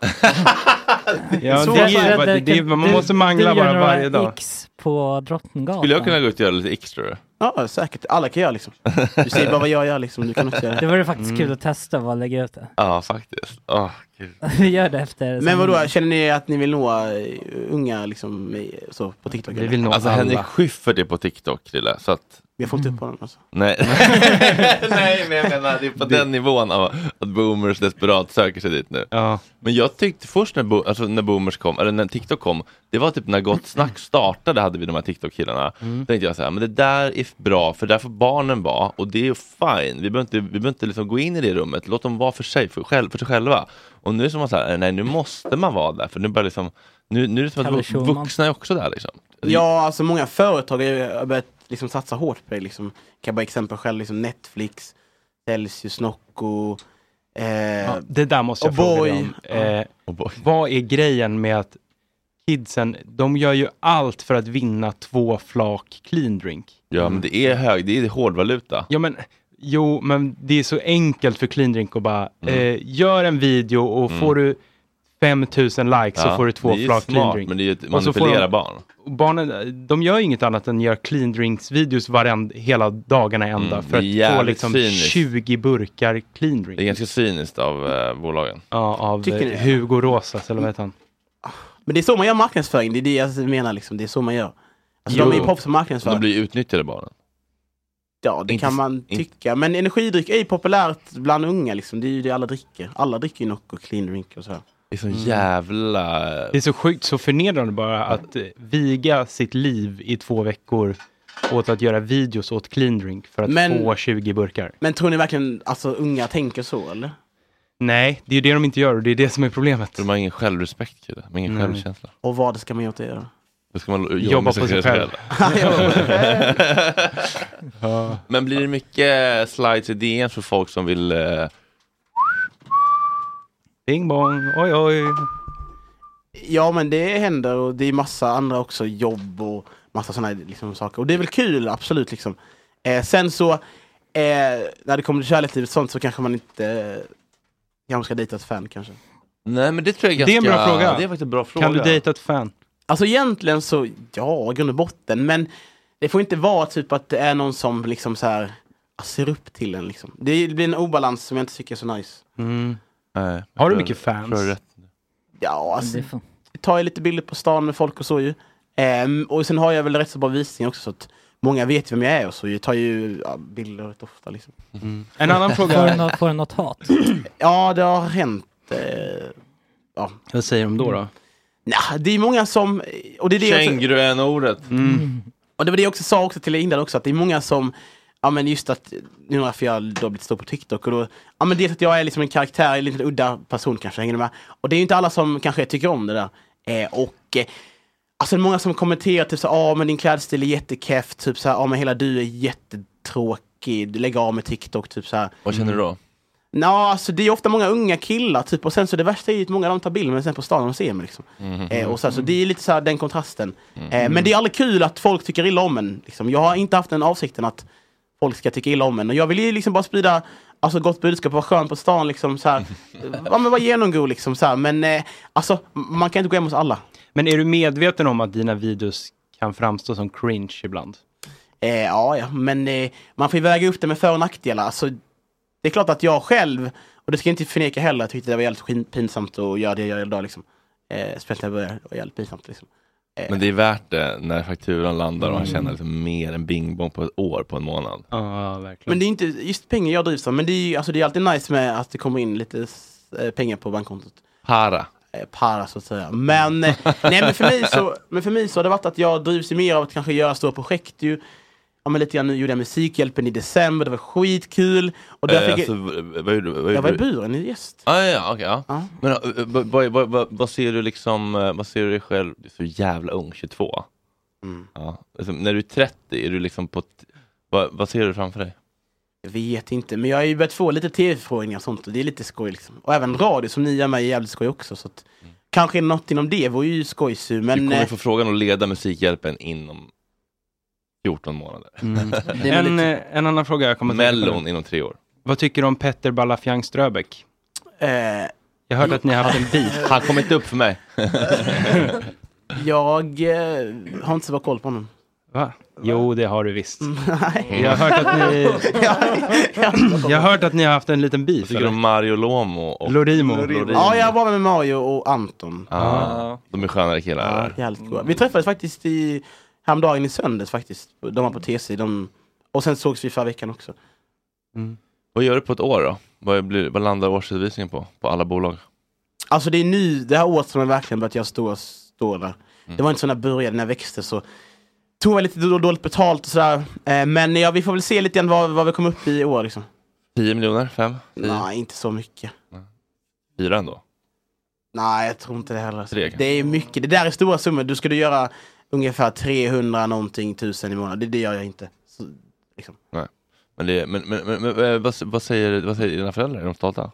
[SPEAKER 6] Ja,
[SPEAKER 13] Så
[SPEAKER 6] det är
[SPEAKER 13] fan.
[SPEAKER 6] ju bara- det- det är- man
[SPEAKER 13] Du-
[SPEAKER 6] måste
[SPEAKER 13] du
[SPEAKER 6] mangla
[SPEAKER 13] gör
[SPEAKER 6] bara
[SPEAKER 13] några
[SPEAKER 6] varje dag.
[SPEAKER 7] X på Drottninggatan.
[SPEAKER 1] Skulle jag kunna gå ut och göra lite extra?
[SPEAKER 13] Ja, säkert. Alla kan göra liksom. Du säger bara vad jag gör liksom. Du kan också
[SPEAKER 7] *laughs*
[SPEAKER 13] göra
[SPEAKER 7] Det vore faktiskt
[SPEAKER 6] Mm.
[SPEAKER 7] kul att testa vad lägga ut det.
[SPEAKER 1] Ja, faktiskt. Åh, gud.
[SPEAKER 7] *laughs* Vi gör det
[SPEAKER 6] Eh,
[SPEAKER 7] efter.
[SPEAKER 13] Men vadå, känner ni att ni vill nå eh, unga liksom, eh, så, på TikTok? eller?
[SPEAKER 1] alltså Henrik Schyffert är på TikTok, Krille, så att
[SPEAKER 13] Vi har fått upp honom alltså.
[SPEAKER 1] Nej. Nej, men jag menar det är på den nivån av att boomers desperat söker sig dit nu. Men jag tyckte först när, bo- alltså när boomers kom, eller när TikTok kom, det var typ när Gott Snack startade hade vi de här TikTok-killarna.
[SPEAKER 18] Mm.
[SPEAKER 1] tänkte jag så här, men det där är bra för där får barnen vara och det är ju fine. Vi behöver inte, vi behöver inte liksom gå in i det rummet, låt dem vara för sig, för, själv, för sig själva. Och nu är det som att så här, nej nu måste man vara där för nu börjar liksom, nu, nu är det som att
[SPEAKER 13] Kalle
[SPEAKER 1] vu-
[SPEAKER 13] Schulman.
[SPEAKER 1] vuxna är också där liksom.
[SPEAKER 13] Ja, alltså många företag har ju börjat liksom satsa hårt på det. Liksom. Jag kan bara exempel själv, liksom Netflix, Celsius, Nocco. Eh,
[SPEAKER 6] Ja, det där måste
[SPEAKER 1] Oh,
[SPEAKER 6] jag fråga dig om. Eh, vad är grejen med att kidsen, de gör ju allt för att vinna två flak clean drink.
[SPEAKER 1] Ja
[SPEAKER 13] Mm.
[SPEAKER 1] men det är hög, det är hårdvaluta.
[SPEAKER 6] Ja men, jo men det är så enkelt för clean drink att bara, eh, gör en video och
[SPEAKER 1] Mm.
[SPEAKER 6] får du 5000 likes
[SPEAKER 1] Ja,
[SPEAKER 6] så får du två
[SPEAKER 1] det är ju
[SPEAKER 6] flak clean
[SPEAKER 1] smart,
[SPEAKER 6] drink.
[SPEAKER 1] men det är ju att
[SPEAKER 6] Och så får Mm.
[SPEAKER 1] manipulera barn.
[SPEAKER 6] och Barnen, de gör ju inget annat än gör clean drinks videos varenda, hela dagarna ända
[SPEAKER 1] Mm, det
[SPEAKER 6] för
[SPEAKER 1] är
[SPEAKER 6] att få
[SPEAKER 1] jävligt
[SPEAKER 6] liksom
[SPEAKER 1] cyniskt.
[SPEAKER 6] 20 burkar clean drink.
[SPEAKER 1] Det är ganska cyniskt av eh, bolagen.
[SPEAKER 6] Ja, av
[SPEAKER 13] Tycker ni?
[SPEAKER 6] eh, Hugo Rosas, eller vad heter han?
[SPEAKER 13] Men det är så man gör marknadsföring, det är det jag menar. Liksom. Det är så man gör. Alltså, de är ju proffs på marknadsföring.
[SPEAKER 1] De blir ju
[SPEAKER 13] *laughs*
[SPEAKER 1] utnyttjade barnen. *laughs*
[SPEAKER 13] Ja, det
[SPEAKER 1] Inte-
[SPEAKER 13] kan man
[SPEAKER 1] inte-
[SPEAKER 13] tycka. Men energidryck är ju populärt bland unga. Liksom. Det är ju det alla dricker. Alla dricker ju Nocco, clean drink och så. här. Mm.
[SPEAKER 1] Det är så jävla...
[SPEAKER 6] Mm. Det är så sjukt, så förnedrande bara att eh, viga sitt liv i två veckor åt att göra videos åt clean drink för att
[SPEAKER 13] Men-
[SPEAKER 6] få 20 burkar.
[SPEAKER 13] Men tror ni verkligen alltså unga tänker så eller?
[SPEAKER 6] Nej, det är ju det de inte gör och det är det som är problemet.
[SPEAKER 1] De har ingen självrespekt, kille. De har ingen
[SPEAKER 6] Nej.
[SPEAKER 1] Mm. självkänsla.
[SPEAKER 13] Och vad ska man göra åt det då?
[SPEAKER 1] Då ska man
[SPEAKER 6] Jobba på sig själv.
[SPEAKER 13] *laughs*
[SPEAKER 1] *laughs*
[SPEAKER 13] Jobba på sig
[SPEAKER 6] Ja.
[SPEAKER 1] Men blir det mycket eh, slides i DN för folk som vill... eh,
[SPEAKER 6] Bing bong, oj oj.
[SPEAKER 13] Ja men det händer och det är massa andra också jobb och massa sådana liksom, saker. Och det är väl kul, absolut. liksom. Eh, sen så, eh, när det kommer till kärlekslivet och sånt så kanske man inte eh, kanske ska dejta ett fan kanske.
[SPEAKER 1] Nej men det tror jag är ganska...
[SPEAKER 6] Det är en bra fråga.
[SPEAKER 1] Det är faktiskt en bra fråga.
[SPEAKER 6] Kan du dejta ett fan?
[SPEAKER 13] Alltså egentligen så, ja, i grund och botten. Men det får inte vara typ att det är någon som liksom så här ser upp till en liksom. Det blir en obalans som jag inte tycker är så nice.
[SPEAKER 6] Mm.
[SPEAKER 1] Nej,
[SPEAKER 6] Har du
[SPEAKER 1] jag tror-
[SPEAKER 6] mycket fans?
[SPEAKER 1] tror jag är rätt.
[SPEAKER 13] Ja, alltså.
[SPEAKER 6] Det är
[SPEAKER 13] Jag tar ju lite bilder på stan med folk och så ju. Ehm, och sen har jag väl rätt så bra visning också så att många vet vem jag är och så. Jag tar ju ja, bilder rätt ofta liksom.
[SPEAKER 6] Mm. En annan
[SPEAKER 7] Får du
[SPEAKER 6] fråga.
[SPEAKER 7] något, får du något hat? *clears throat*
[SPEAKER 13] Ja, det har hänt. Eh, ja.
[SPEAKER 6] Vad säger de då? då?
[SPEAKER 13] Nah, det är många som... Och det är det jag också-
[SPEAKER 1] Känguruen-ordet.
[SPEAKER 6] Mm.
[SPEAKER 13] Och det var det jag också sa också till Lindan också, att det är många som, ja men just att, nu när jag då har blivit stor på TikTok och då, ja men dels att jag är liksom en karaktär, en liten udda person kanske, hänger ni med? Och det är ju inte alla som kanske tycker om det där. Eh, och eh, Alltså det är många som kommenterar typ så ja ah, men din klädstil är jättekeff, typ så här, ah, men hela du är jättetråkig, lägg av med TikTok, typ så här.
[SPEAKER 1] Vad känner du då?
[SPEAKER 13] Nå, alltså det är ofta många unga killar typ och sen så det värsta är ju att många av dem tar bild men sen på stan de ser mig liksom.
[SPEAKER 1] Mhm.
[SPEAKER 13] Eh, och så, här, så det är lite så här, den kontrasten. Eh, men det är aldrig kul att folk tycker illa om en. Liksom. Jag har inte haft den avsikten att folk ska tycka illa om en. Och jag vill ju liksom bara sprida alltså, gott budskap, vara skön på stan liksom. Så
[SPEAKER 1] *laughs*
[SPEAKER 13] här.
[SPEAKER 10] Mm.
[SPEAKER 13] ja men vara genomgod liksom. Så här. Men eh, alltså man kan inte gå hem hos alla.
[SPEAKER 6] Men är du medveten om att dina videos kan framstå som cringe ibland?
[SPEAKER 13] Eh, ja, ja, men eh, man får ju väga upp det med för och nackdelar. Alltså, det är klart att jag själv, och det ska jag inte förneka heller, tyckte det var jävligt skin- pinsamt att göra det jag gör idag. Liksom. Eh, speciellt när jag började, det var jävligt pinsamt. Liksom.
[SPEAKER 1] Men det är värt det när fakturan landar och han
[SPEAKER 13] Mm.
[SPEAKER 1] tjänar liksom mer än bingbong på ett år på en månad.
[SPEAKER 6] Ja, verkligen.
[SPEAKER 13] Men det är inte just pengar jag drivs av, men det är, ju- alltså, det är alltid nice med att det kommer in lite eh, pengar på bankkontot.
[SPEAKER 1] Para.
[SPEAKER 13] Eh, para så att säga. Men, eh, nej, men, för mig så, men för mig så har det varit att jag drivs ju mer av att kanske göra stora projekt. Ju. Ja, men lite grann, nu gjorde jag Musikhjälpen i december, det var skitkul. Och där
[SPEAKER 1] Eh,
[SPEAKER 13] fick
[SPEAKER 1] alltså,
[SPEAKER 13] jag,
[SPEAKER 1] v- v- vad gjorde du? Vad
[SPEAKER 13] jag var i
[SPEAKER 1] gjorde du?
[SPEAKER 13] buren i gäst.
[SPEAKER 1] Ah, ja, ja, okej. ja. Men eh, eh, vad- vad- vad- vad- vad ser du liksom, eh, vad ser du dig själv, du är så jävla ung, 22.
[SPEAKER 13] Mm.
[SPEAKER 1] Ja. Alltså, när du är 30, är du liksom på, t- vad, vad ser du framför dig?
[SPEAKER 13] Jag vet inte, men jag har ju börjat få lite tv-förfrågningar och sånt och det är lite skoj liksom. Och även radio som ni gör mig är jävligt skoj också. Så att, Kanske något inom det vore ju skojsu, men...
[SPEAKER 1] du kommer
[SPEAKER 13] eh,
[SPEAKER 1] få frågan att leda Musikhjälpen inom 14 månader.
[SPEAKER 13] Mm.
[SPEAKER 1] *laughs*
[SPEAKER 6] En, eh, en annan fråga jag kommer att tänka på
[SPEAKER 1] Mellon
[SPEAKER 6] nu.
[SPEAKER 1] inom tre år.
[SPEAKER 6] Vad tycker du om Petter Balafiang Ströbeck?
[SPEAKER 13] Eh,
[SPEAKER 6] Jag hörde att ni har haft en beef.
[SPEAKER 1] *laughs* Han kom inte upp för mig.
[SPEAKER 13] *laughs* jag eh, har inte så bra koll på honom. *laughs*
[SPEAKER 6] Va? *laughs* Jo, det har du visst.
[SPEAKER 13] Nej.
[SPEAKER 6] Jag har hört att ni...
[SPEAKER 13] *laughs*
[SPEAKER 6] Jag har hört att ni har haft en liten beef.
[SPEAKER 1] Vad tycker du om Mario Lomo och
[SPEAKER 6] Lorimo.
[SPEAKER 13] Ja, jag var med Mario och Anton.
[SPEAKER 1] Ah, de är skönare killar. eller?
[SPEAKER 13] Jävligt goa. Vi träffades faktiskt i, häromdagen i söndags faktiskt. De var på TC, de Och sen sågs vi förra veckan också.
[SPEAKER 1] Vad gör du på ett år då? Vad, blir, vad landar årsredovisningen på? På alla bolag?
[SPEAKER 13] Alltså det är nu, det här året som jag verkligen börjat göra stora stålar.
[SPEAKER 1] Mm.
[SPEAKER 13] Det var inte så när jag började, när jag växte så tog jag lite då- dåligt betalt och sådär. Eh, men ja, vi får väl se lite grann vad, vad vi kommer upp i i år liksom.
[SPEAKER 1] 10 miljoner? 5?
[SPEAKER 13] Nej, inte så mycket.
[SPEAKER 1] 4 ändå?
[SPEAKER 13] Nej, jag tror inte det heller.
[SPEAKER 1] Tre kanske?
[SPEAKER 13] Det är mycket, det där är stora summor. Du skulle göra ungefär 300 någonting tusen i månaden. Det, det gör jag inte. Så, liksom.
[SPEAKER 1] Nej. Men, det, men, men, men, men eh, vad, vad, säger, vad säger dina föräldrar? Är de stolta?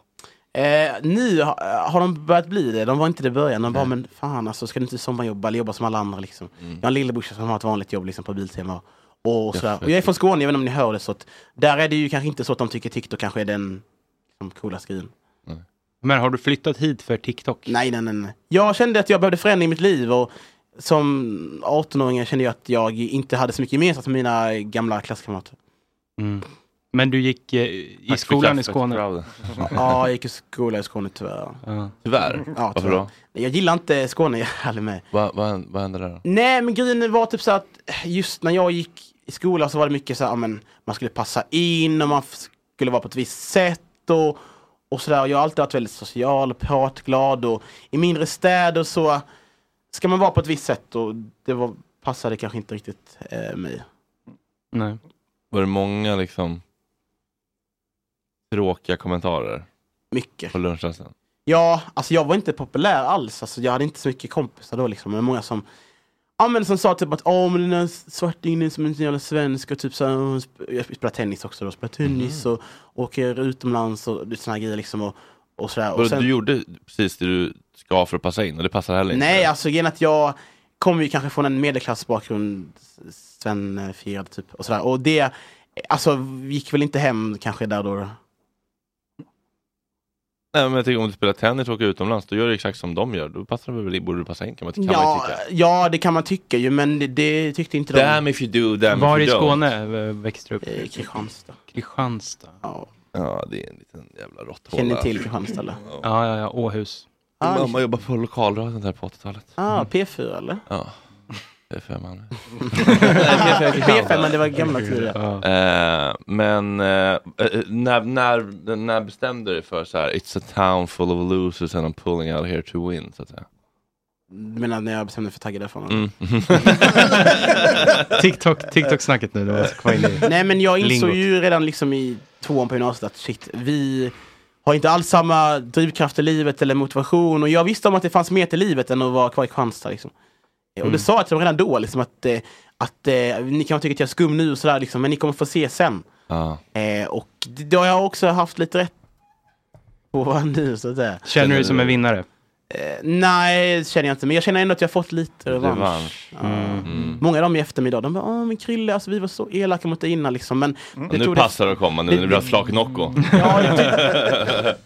[SPEAKER 13] Eh, nu har, har de börjat bli det. De var inte det i början. De bara, men fan alltså, ska du inte sommarjobba eller jobba som alla andra liksom?
[SPEAKER 6] Mm.
[SPEAKER 13] Jag har en lillebrorsa som har ett vanligt jobb liksom, på Biltema. Och, och, sådär. och jag är från Skåne, jag vet inte om ni hör det. Så att, där är det ju kanske inte så att de tycker TikTok kanske är den liksom, coolaste grejen.
[SPEAKER 6] Men har du flyttat hit för TikTok?
[SPEAKER 13] Nej, nej, nej, nej. Jag kände att jag behövde förändring i mitt liv. Och som 18-åring kände jag att jag inte hade så mycket gemensamt med mina gamla klasskamrater.
[SPEAKER 6] Mm. Men du gick eh, i
[SPEAKER 13] Tack för
[SPEAKER 6] skolan i
[SPEAKER 13] kaffet,
[SPEAKER 6] Skåne?
[SPEAKER 1] *laughs*
[SPEAKER 13] Ja, jag gick i skola i Skåne tyvärr.
[SPEAKER 6] Ja.
[SPEAKER 1] Tyvärr?
[SPEAKER 13] Ja,
[SPEAKER 1] Varför
[SPEAKER 13] tyvärr.
[SPEAKER 1] då?
[SPEAKER 13] Nej, Jag gillar inte Skåne, jag är ärlig med.
[SPEAKER 1] Vad, vad, vad händer där då?
[SPEAKER 13] Nej, men grejen var typ så att just när jag gick i skolan så var det mycket så här, ja, men man skulle passa in och man f- skulle vara på ett visst sätt och, och sådär. Och Jag har alltid varit väldigt social, pratglad och i mindre städer så ska man vara på ett visst sätt och det var, passade kanske inte riktigt eh, mig.
[SPEAKER 6] Nej.
[SPEAKER 1] Var det många liksom tråkiga kommentarer?
[SPEAKER 13] Mycket.
[SPEAKER 1] På lunchrasten?
[SPEAKER 13] Ja, alltså jag var inte populär alls. Alltså jag hade inte så mycket kompisar då liksom. Men många som, ja, men som sa typ att åh men den där svartingen som är en sån jävla svensk och typ så här, "Åh, hon sp- jag spelar tennis också då, spelar tennis
[SPEAKER 1] Mhm.
[SPEAKER 13] och åker utomlands och lite såna här grejer liksom. Och, och sådär.
[SPEAKER 1] Var
[SPEAKER 13] Och
[SPEAKER 1] det-
[SPEAKER 13] sen,
[SPEAKER 1] Du gjorde liksom? precis det du ska för att passa in och det passar heller inte?
[SPEAKER 13] nej, alltså grejen är att jag kommer ju kanske från en medelklassbakgrund, s- svennfierad typ och sådär. Och det, alltså gick väl inte hem kanske där då. då.
[SPEAKER 1] Nej men jag tänker om du spelar tennis och åker utomlands, då gör du exakt som de gör. Då passar det väl, borde du passa in kan man, kan man
[SPEAKER 13] Ja,
[SPEAKER 1] tycka.
[SPEAKER 13] ja, det kan man tycka ju, men det, det tyckte inte de.
[SPEAKER 1] Damn if you do, damn
[SPEAKER 6] Var i
[SPEAKER 1] if you don't.
[SPEAKER 6] Skåne eh, växte du upp?
[SPEAKER 13] Kristianstad.
[SPEAKER 6] Kristianstad?
[SPEAKER 13] Ja.
[SPEAKER 1] Ja, det är en liten jävla råtthåla.
[SPEAKER 6] Känner ni till
[SPEAKER 13] Kristianstad eller?
[SPEAKER 6] Ja, ja, ja. Åhus.
[SPEAKER 13] Ah,
[SPEAKER 1] Min mamma jobbar på lokalradion där på 80-talet.
[SPEAKER 13] Ah, P4 eller?
[SPEAKER 1] Ja. P5 Malmö.
[SPEAKER 13] P5, men det var *laughs* gamla tider.
[SPEAKER 1] Eh, men eh, eh, när, när, när bestämde du dig för så här, it's a town full of losers and I'm pulling out here to win, så att säga?
[SPEAKER 13] Mm. Du menar när jag bestämde mig för tagga därifrån?
[SPEAKER 1] Mm.
[SPEAKER 6] *laughs* TikTok, TikTok-snacket nu, det var så kvar in i
[SPEAKER 13] Nej men jag insåg
[SPEAKER 6] lingot.
[SPEAKER 13] ju redan liksom i tvåan på gymnasiet att shit, vi har inte alls samma drivkraft i livet eller motivation. Och jag visste om att det fanns mer till livet än att vara kvar i Kristianstad. Liksom. Eh, Och
[SPEAKER 6] Mm.
[SPEAKER 13] det sa jag till dem redan då, liksom, att, eh, att eh, ni kan tycka att jag är skum nu och sådär, liksom, men ni kommer få se sen.
[SPEAKER 1] Ja.
[SPEAKER 13] Eh, och det det har jag också haft lite rätt på nu, så att säga.
[SPEAKER 6] Känner du dig som en vinnare?
[SPEAKER 13] Eh, Nej, det känner jag inte. Men jag känner ändå att jag har fått lite revansch.
[SPEAKER 6] Revansch.
[SPEAKER 13] Ja.
[SPEAKER 1] Mm.
[SPEAKER 13] Många av dem i eftermiddag, de bara Åh, men Krille, alltså, vi var så elaka mot dig innan liksom. Men
[SPEAKER 1] Och nu
[SPEAKER 13] tog
[SPEAKER 1] passar det att komma, nu när det blir flaknocko.
[SPEAKER 13] Mm.
[SPEAKER 1] Ja,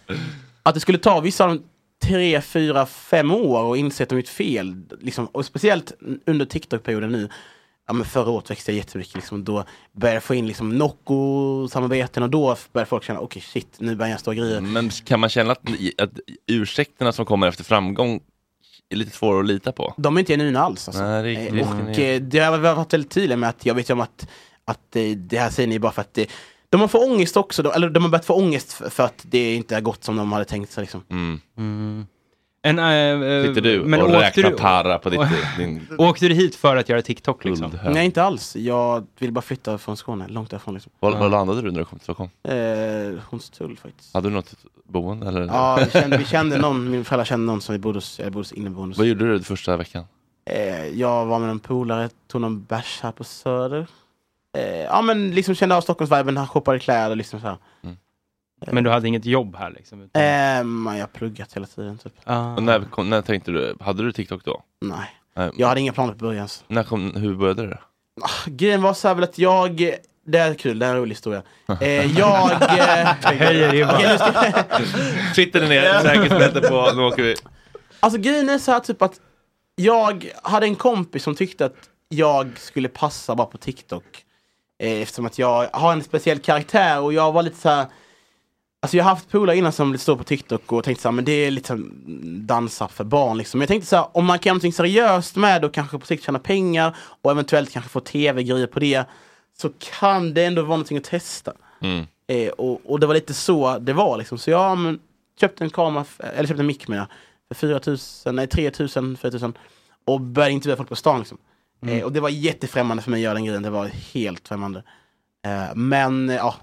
[SPEAKER 13] *laughs* att det skulle ta vissa av dem tre, fyra, fem år och inse att de gjort fel. Liksom. Och speciellt under TikTok-perioden nu. Ja, men förra året växte jag jättemycket. Liksom. Då började jag få in liksom, Nocco-samarbeten och då började folk känna, okej shit, nu börjar jag stå grejer.
[SPEAKER 1] *laughs* Men kan man känna att, att ursäkterna som kommer efter framgång är lite svårare att lita på?
[SPEAKER 13] De är inte genuina alls. Alltså.
[SPEAKER 1] Nej, det är- det är-
[SPEAKER 13] Eh, och eh, det har jag varit väldigt tydlig med att jag vet ju om att, att eh, det här säger ni bara för att eh, de har fått ångest också, de, eller de har börjat få ångest för, för att det inte har gått som de hade tänkt sig. Liksom.
[SPEAKER 6] Mm. En, äh, äh,
[SPEAKER 1] Mm. Sitter du och
[SPEAKER 6] åkte
[SPEAKER 1] räknar para på ditt-
[SPEAKER 6] *laughs*
[SPEAKER 1] din-
[SPEAKER 6] Åkte du hit för att göra TikTok liksom?
[SPEAKER 13] Nej, inte alls. Jag vill bara flytta från Skåne, långt därifrån. Liksom.
[SPEAKER 1] Var, var landade du när du kom till Stockholm?
[SPEAKER 13] Eh, Hornstull faktiskt.
[SPEAKER 1] Hade du något boende? Eller?
[SPEAKER 13] Ja, vi kände, vi kände någon, min föräldrar kände någon som vi bodde hos, jag bodde hos inneboende.
[SPEAKER 1] Vad gjorde du den första veckan?
[SPEAKER 13] Eh, jag var med en polare, tog någon bärs här på Söder. Eh, ja men liksom kände av Stockholmsviben, han shoppade kläder liksom så här.
[SPEAKER 1] Mm.
[SPEAKER 6] Men du hade inget jobb här liksom? utan-
[SPEAKER 13] Eh, men jag har pluggat hela tiden typ.
[SPEAKER 1] Och när, kom, när tänkte du, hade du TikTok då?
[SPEAKER 13] Nej.
[SPEAKER 1] Nej.
[SPEAKER 13] Jag hade inga planer på början. så.
[SPEAKER 1] När kom, hur började det?
[SPEAKER 13] Ah, Grejen var så här väl att jag, det här är kul, det här är en rolig historia. Eh,
[SPEAKER 1] *laughs*
[SPEAKER 13] jag... eh,
[SPEAKER 1] Höjer ribban.
[SPEAKER 13] Okej, nu ska-
[SPEAKER 1] *laughs* Sitter ni ner, säkerhetsbälte på, nu åker vi.
[SPEAKER 13] Alltså grejen är så här typ att jag hade en kompis som tyckte att jag skulle passa bara på TikTok. Eh, eftersom att jag har en speciell karaktär och jag var lite så här. Alltså jag har haft polare innan som står på TikTok och tänkte så här, men det är lite så här, mm, dansa för barn liksom. Men jag tänkte så här, om man kan göra någonting seriöst med och kanske på sikt tjäna pengar och eventuellt kanske få tv-grejer på det. så kan det ändå vara någonting att testa.
[SPEAKER 1] Mm.
[SPEAKER 13] Eh, och, och det var lite så det var liksom. Så jag men, köpte en kamera, f- eller köpte en mick menar jag, för 4000, nej 3000, 4000 och började intervjua folk på stan liksom.
[SPEAKER 1] Mm.
[SPEAKER 13] Eh, och det var jättefrämmande för mig att göra den grejen, det var helt främmande. Eh, men eh, ja,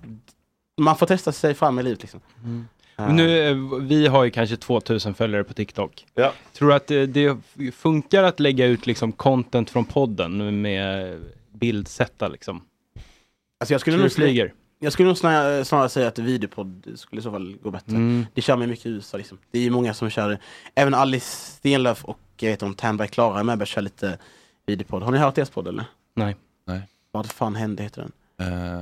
[SPEAKER 13] man får testa sig fram i livet liksom.
[SPEAKER 6] Mm. Men Nu, eh, vi har ju kanske 2000 följare på TikTok. Tror du att eh, det funkar att lägga ut liksom content från podden med bildsätta liksom?
[SPEAKER 13] Alltså jag skulle
[SPEAKER 6] Tror
[SPEAKER 13] nog
[SPEAKER 6] du flyger?
[SPEAKER 13] sna- Jag skulle nog snarare, snarare säga att videopodd skulle i så fall gå bättre.
[SPEAKER 6] Mm.
[SPEAKER 13] Det kör man ju mycket i USA liksom. Det är ju många som kör, även Alice Stenlöf och jag vet om Ternberg Klara är med och börjar köra lite videopodd. Har ni hört deras podd eller?
[SPEAKER 6] Nej.
[SPEAKER 1] Nej.
[SPEAKER 13] Vad fan hände heter den.
[SPEAKER 19] Uh.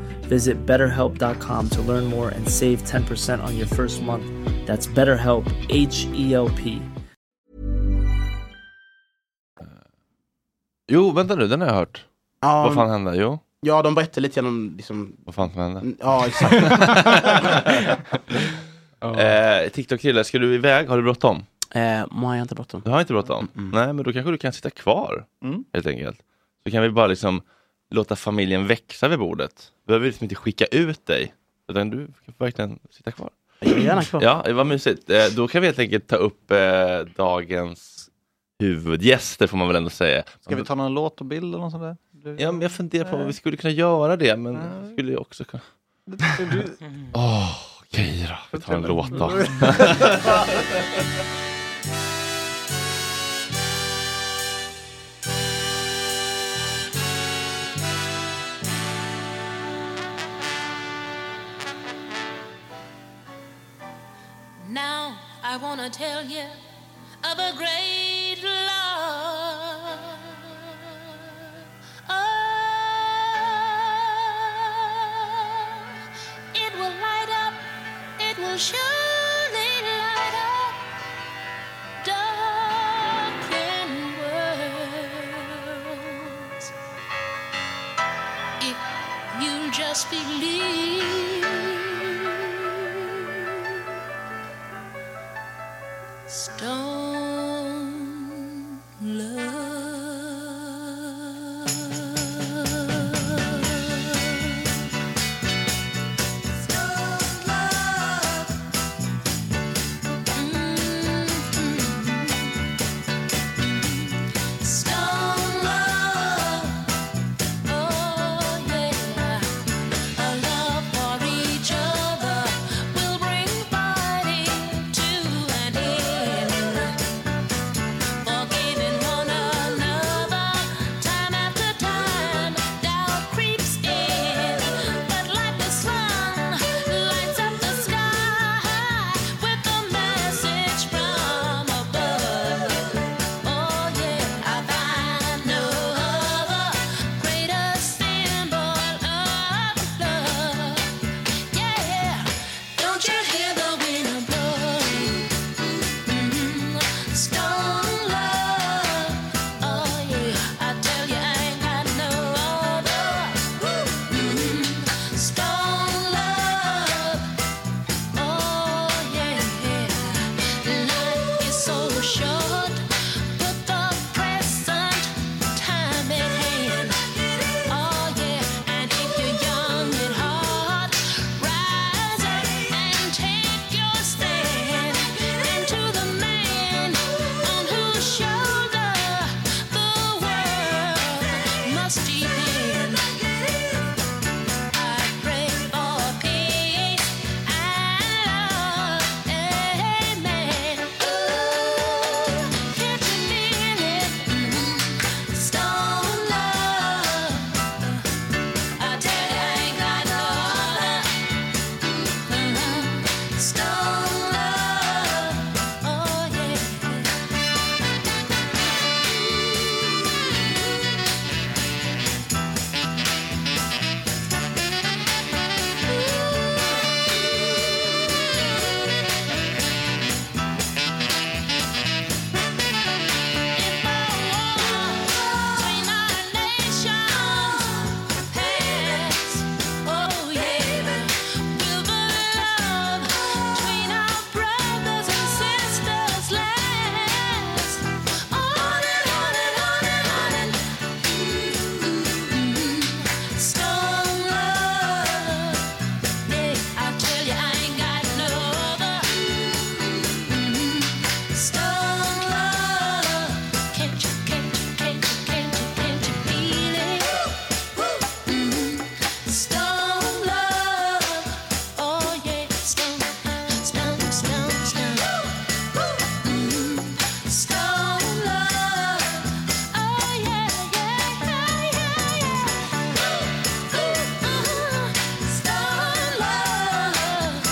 [SPEAKER 4] Visit betterhelp.com to learn more and save 10% on your first month. That's BetterHelp, H E L P.
[SPEAKER 1] Jo, vänta nu, den har jag hört.
[SPEAKER 13] Ja.
[SPEAKER 1] Vad fan hände? Jo,
[SPEAKER 13] Ja, de berättade lite grann om liksom...
[SPEAKER 1] vad fan som hände?
[SPEAKER 13] Ja,
[SPEAKER 1] *laughs*
[SPEAKER 13] exakt.
[SPEAKER 1] Eh, TikTok-kille, ska du iväg? Har du bråttom?
[SPEAKER 13] eh, Maja har inte bråttom.
[SPEAKER 1] Du har inte bråttom? Nej, men då kanske du kan sitta kvar,
[SPEAKER 13] Mm.
[SPEAKER 1] helt enkelt. Så kan vi bara liksom låta familjen växa vid bordet. Vi behöver liksom inte skicka ut dig, utan du kan verkligen sitta kvar.
[SPEAKER 13] Jag är gärna kvar.
[SPEAKER 1] Ja, det var mysigt. Eh, Då kan vi helt enkelt ta upp eh, dagens huvudgäster, får man väl ändå säga.
[SPEAKER 8] Ska vi ta någon låt och bild eller något sånt där?
[SPEAKER 1] Ja, men jag funderar på om vi skulle kunna göra det, men vi skulle ju också kunna... Åh, okej då. Vi tar en låt då.
[SPEAKER 20] Now I wanna tell you of a great love. Oh, it will light up, it will surely light up darkened worlds. If you just believe. Stone Mm-hmm. love. Stone love. Oh yeah. A love for each other will bring fighting to an end. Oh, Mm-hmm. Mm-hmm. Oh,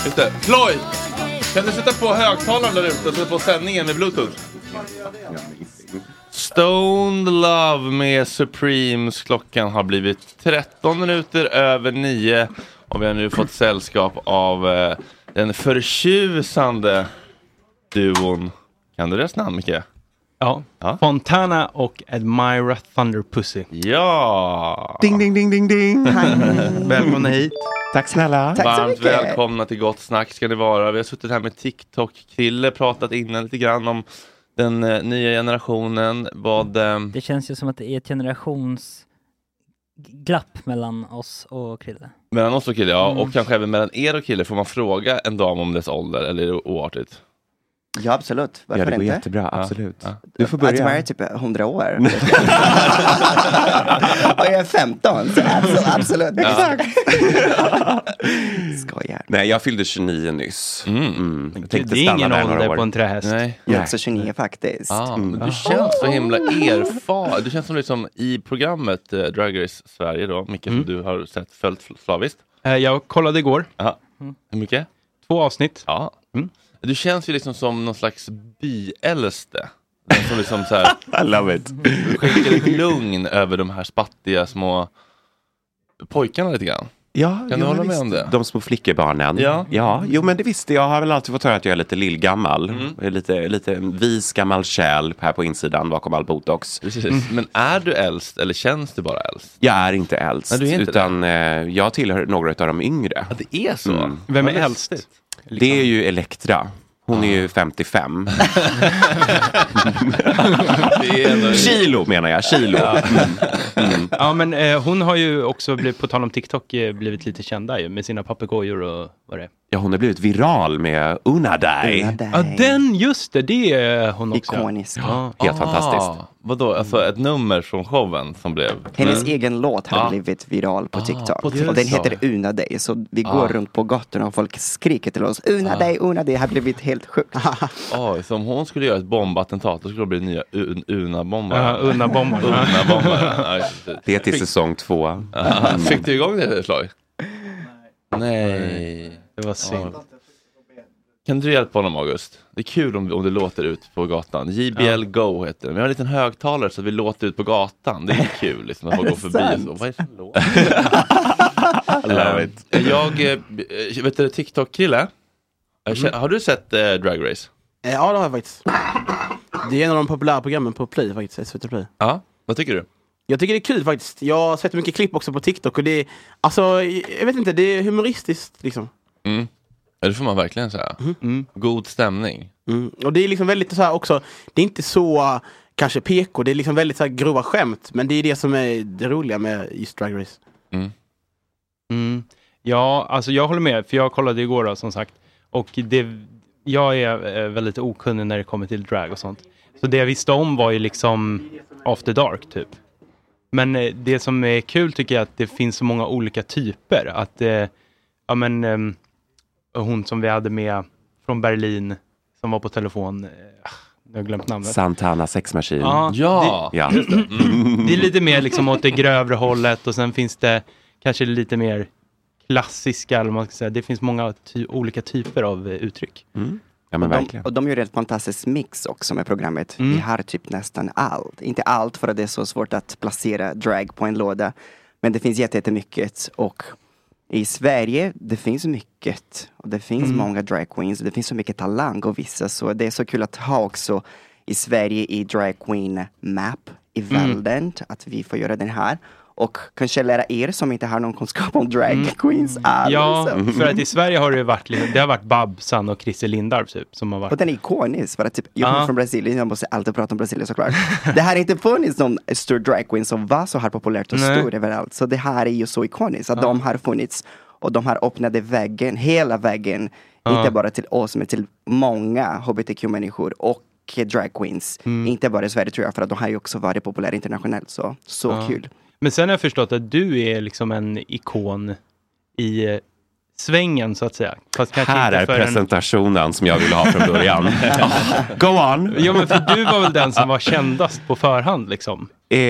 [SPEAKER 1] Just det. Floyd! Kan du sätta på högtalaren där ute så vi får sändningen med bluetooth? Stoned Love med Supremes. Klockan har blivit 13 minuter över 9 och vi har nu fått sällskap av eh, den förtjusande duon. Kan du deras namn, Micke?
[SPEAKER 6] Ja. Fontana och Admira Thunderpussy.
[SPEAKER 1] Ja!
[SPEAKER 21] Ding, ding, ding, ding, ding.
[SPEAKER 6] Välkomna hit.
[SPEAKER 21] Tack snälla.
[SPEAKER 1] Varmt välkomna till Gott Snack ska ni vara. Vi har suttit här med TikTok-kille, pratat innan lite grann om den eh, nya generationen. Vad, ehm,
[SPEAKER 7] Det känns ju som att det är ett generationsglapp mellan oss och Krille.
[SPEAKER 1] mellan oss och kille, ja.
[SPEAKER 7] Mm.
[SPEAKER 1] Och kanske även mellan er och kille. Får man fråga en dam om dess ålder eller är det oartigt?
[SPEAKER 22] Ja, absolut.
[SPEAKER 1] Ja,
[SPEAKER 22] Varför
[SPEAKER 1] det går
[SPEAKER 22] inte?
[SPEAKER 1] jättebra, absolut. Ja, ja.
[SPEAKER 22] Du får börja. Admire är typ 100 *laughs* år. och jag är 15, så absolut. absolut.
[SPEAKER 11] Ja. Exakt.
[SPEAKER 22] Skojar.
[SPEAKER 11] Nej, jag fyllde 29 nyss. Mm. Jag tänkte
[SPEAKER 22] Det är
[SPEAKER 11] stanna
[SPEAKER 22] ingen
[SPEAKER 11] där några
[SPEAKER 22] ålder
[SPEAKER 11] år.
[SPEAKER 22] på en Alltså,
[SPEAKER 6] trähäst.
[SPEAKER 11] Nej.
[SPEAKER 22] Jag är också 29 faktiskt.
[SPEAKER 1] Ah,
[SPEAKER 22] Mm.
[SPEAKER 1] men Du känns så himla erfaren. Du känns som liksom i programmet eh, Drag Race Sverige då, Micke, som du har sett följt fl- slaviskt.
[SPEAKER 6] Mm. Eh, Jag kollade igår. Mm.
[SPEAKER 1] Ja. Hur mycket?
[SPEAKER 6] Två avsnitt. Mm.
[SPEAKER 1] Ja. Du känns ju liksom som någon slags byäldste. Den som liksom så här,
[SPEAKER 6] *laughs*
[SPEAKER 11] I love it.
[SPEAKER 1] skänker ett lugn över de här spattiga små pojkarna lite grann.
[SPEAKER 11] Ja,
[SPEAKER 1] Kan
[SPEAKER 11] ja,
[SPEAKER 1] du hålla
[SPEAKER 11] men
[SPEAKER 1] med om
[SPEAKER 11] visst.
[SPEAKER 1] det?
[SPEAKER 11] De små flickebarnen.
[SPEAKER 1] Ja.
[SPEAKER 11] ja, jo men det visste jag. har väl alltid fått höra att jag är lite lillgammal.
[SPEAKER 1] Mm.
[SPEAKER 11] Jag är Lite, lite en vis gammal själ här på insidan bakom all botox.
[SPEAKER 1] Precis. Men är du äldst eller känns du bara äldst?
[SPEAKER 11] Jag är inte äldst.
[SPEAKER 1] Nej, du är inte
[SPEAKER 11] utan eh, jag tillhör några av de yngre. Mm.
[SPEAKER 1] det är så?
[SPEAKER 6] Vem är äldst?
[SPEAKER 11] Det är ju Elektra. Hon
[SPEAKER 1] Ah.
[SPEAKER 11] är ju *laughs* 55.
[SPEAKER 1] *laughs* Det är ändå-
[SPEAKER 11] Kilo menar jag, kilo.
[SPEAKER 6] Ja. *laughs* Ja, men eh, hon har ju också, blivit, på tal om TikTok, eh, blivit lite kända ju, med sina papegojor och vad det är.
[SPEAKER 11] *laughs* Ja, hon har blivit viral med Unadai.
[SPEAKER 6] Ja, den, just det, det är hon också.
[SPEAKER 11] Ikonisk.
[SPEAKER 6] Ja.
[SPEAKER 11] Helt fantastiskt.
[SPEAKER 1] Vadå, alltså ett nummer från showen som blev?
[SPEAKER 22] Hennes
[SPEAKER 1] Mm.
[SPEAKER 22] egen låt har
[SPEAKER 1] Ja.
[SPEAKER 22] blivit viral på TikTok.
[SPEAKER 1] Ah, på TikTok.
[SPEAKER 22] Och den heter Una Day. Så vi går
[SPEAKER 1] Ah.
[SPEAKER 22] runt på gatorna och folk skriker till oss. Una
[SPEAKER 1] Ah.
[SPEAKER 22] Day, Una Day. Det har blivit helt sjukt.
[SPEAKER 1] Oj, så om hon skulle göra ett bombattentat då skulle det bli nya un Una-bombaren.
[SPEAKER 6] Ja, Una-bombaren.
[SPEAKER 1] Una-bombaren, ja, just
[SPEAKER 11] Det är till säsong två.
[SPEAKER 1] Ja, Fick du igång det Floyd? Nej.
[SPEAKER 6] Det var synd.
[SPEAKER 1] Kan du hjälpa honom August? Det är kul om, om det låter ut på gatan. JBL Go heter den. Vi har en liten högtalare så att vi låter ut på gatan. Det är kul liksom, när
[SPEAKER 11] Är
[SPEAKER 1] folk går
[SPEAKER 11] det
[SPEAKER 1] förbi. Och
[SPEAKER 11] sant?
[SPEAKER 1] så, Vad är det för låt?
[SPEAKER 11] I love it.
[SPEAKER 1] Eh, Jag, eh, eh, vet du, TikTok-kille. Jag känner- Har du sett eh, Drag Race?
[SPEAKER 13] Eh, Ja, det har jag faktiskt. Det är en av de populära programmen på Play faktiskt, SVT Play.
[SPEAKER 1] Ja, vad tycker du?
[SPEAKER 13] Jag tycker det är kul faktiskt. Jag har sett mycket klipp också på TikTok och det är, alltså, jag vet inte, det är humoristiskt liksom.
[SPEAKER 1] Mm. Ja, det får man verkligen säga. Mm. God stämning.
[SPEAKER 13] Mm. Och det är liksom väldigt så här också, det är inte så uh, kanske PK, det är liksom väldigt så här grova skämt. Men det är det som är det roliga med just Drag Race.
[SPEAKER 6] Mm. Ja, alltså jag håller med, för jag kollade igår då, som sagt. Och det, jag är eh, väldigt okunnig när det kommer till drag och sånt. Så det jag visste om var ju liksom after dark, typ. Men eh, det som är kul tycker jag är att det finns så många olika typer. Att, eh, ja men, ehm, hon som vi hade med från Berlin, som var på telefon, eh, nu har jag glömt namnet.
[SPEAKER 11] Santana Sex Machine.
[SPEAKER 6] Ja,
[SPEAKER 11] ja.
[SPEAKER 6] det- just
[SPEAKER 1] Mm.
[SPEAKER 6] det. Det är lite mer liksom åt det grövre hållet och sen finns det kanske lite mer klassiska, eller vad man ska säga. Det finns många ty- olika typer av eh, uttryck.
[SPEAKER 11] Ja, men
[SPEAKER 22] och, de,
[SPEAKER 11] verkligen.
[SPEAKER 22] och de gör en fantastisk mix också med programmet.
[SPEAKER 6] Mm.
[SPEAKER 22] Vi har typ nästan allt. Inte allt för att det är så svårt att placera drag på en låda. Men det finns jätte- jättemycket. Och i Sverige, det finns mycket. Och det finns
[SPEAKER 23] Mm.
[SPEAKER 22] många drag queens. Och det finns så mycket talang och vissa. Så det är så kul att ha också i Sverige i drag queen map i
[SPEAKER 23] Mm.
[SPEAKER 22] världen. Att vi får göra den här. Och kanske lära er som inte har någon kunskap om drag queens alls.
[SPEAKER 6] Ja, för att i Sverige har det varit, liksom- det har varit Babsan och Christer Lindarw typ, som har
[SPEAKER 22] Och
[SPEAKER 6] varit.
[SPEAKER 22] den är ikonisk för att typ, jag kommer
[SPEAKER 6] Ja.
[SPEAKER 22] från Brasilien, jag måste alltid prata om
[SPEAKER 6] *laughs*
[SPEAKER 22] Brasilien såklart. det här har inte funnits någon stor dragqueen som var så här populärt och
[SPEAKER 6] Nej.
[SPEAKER 22] stor överallt. Så det här är ju så ikoniskt att de har funnits och de har öppnade vägen, hela vägen.
[SPEAKER 6] Ja.
[SPEAKER 22] Inte bara till oss men till många hbtq-människor och dragqueens.
[SPEAKER 6] Mm.
[SPEAKER 22] Inte bara i Sverige tror jag för att de har ju också varit populära internationellt. Så, så
[SPEAKER 6] Ja.
[SPEAKER 22] kul.
[SPEAKER 6] Men sen har jag förstått att du är liksom en ikon i eh, svängen så att säga. Fast kanske
[SPEAKER 11] Här
[SPEAKER 6] inte
[SPEAKER 11] är
[SPEAKER 6] förrän-
[SPEAKER 11] presentationen som jag ville ha från
[SPEAKER 1] *laughs*
[SPEAKER 11] början. *laughs* Ja. Go on!
[SPEAKER 6] Jo men för du var väl den som var kändast på förhand liksom.
[SPEAKER 11] Eh,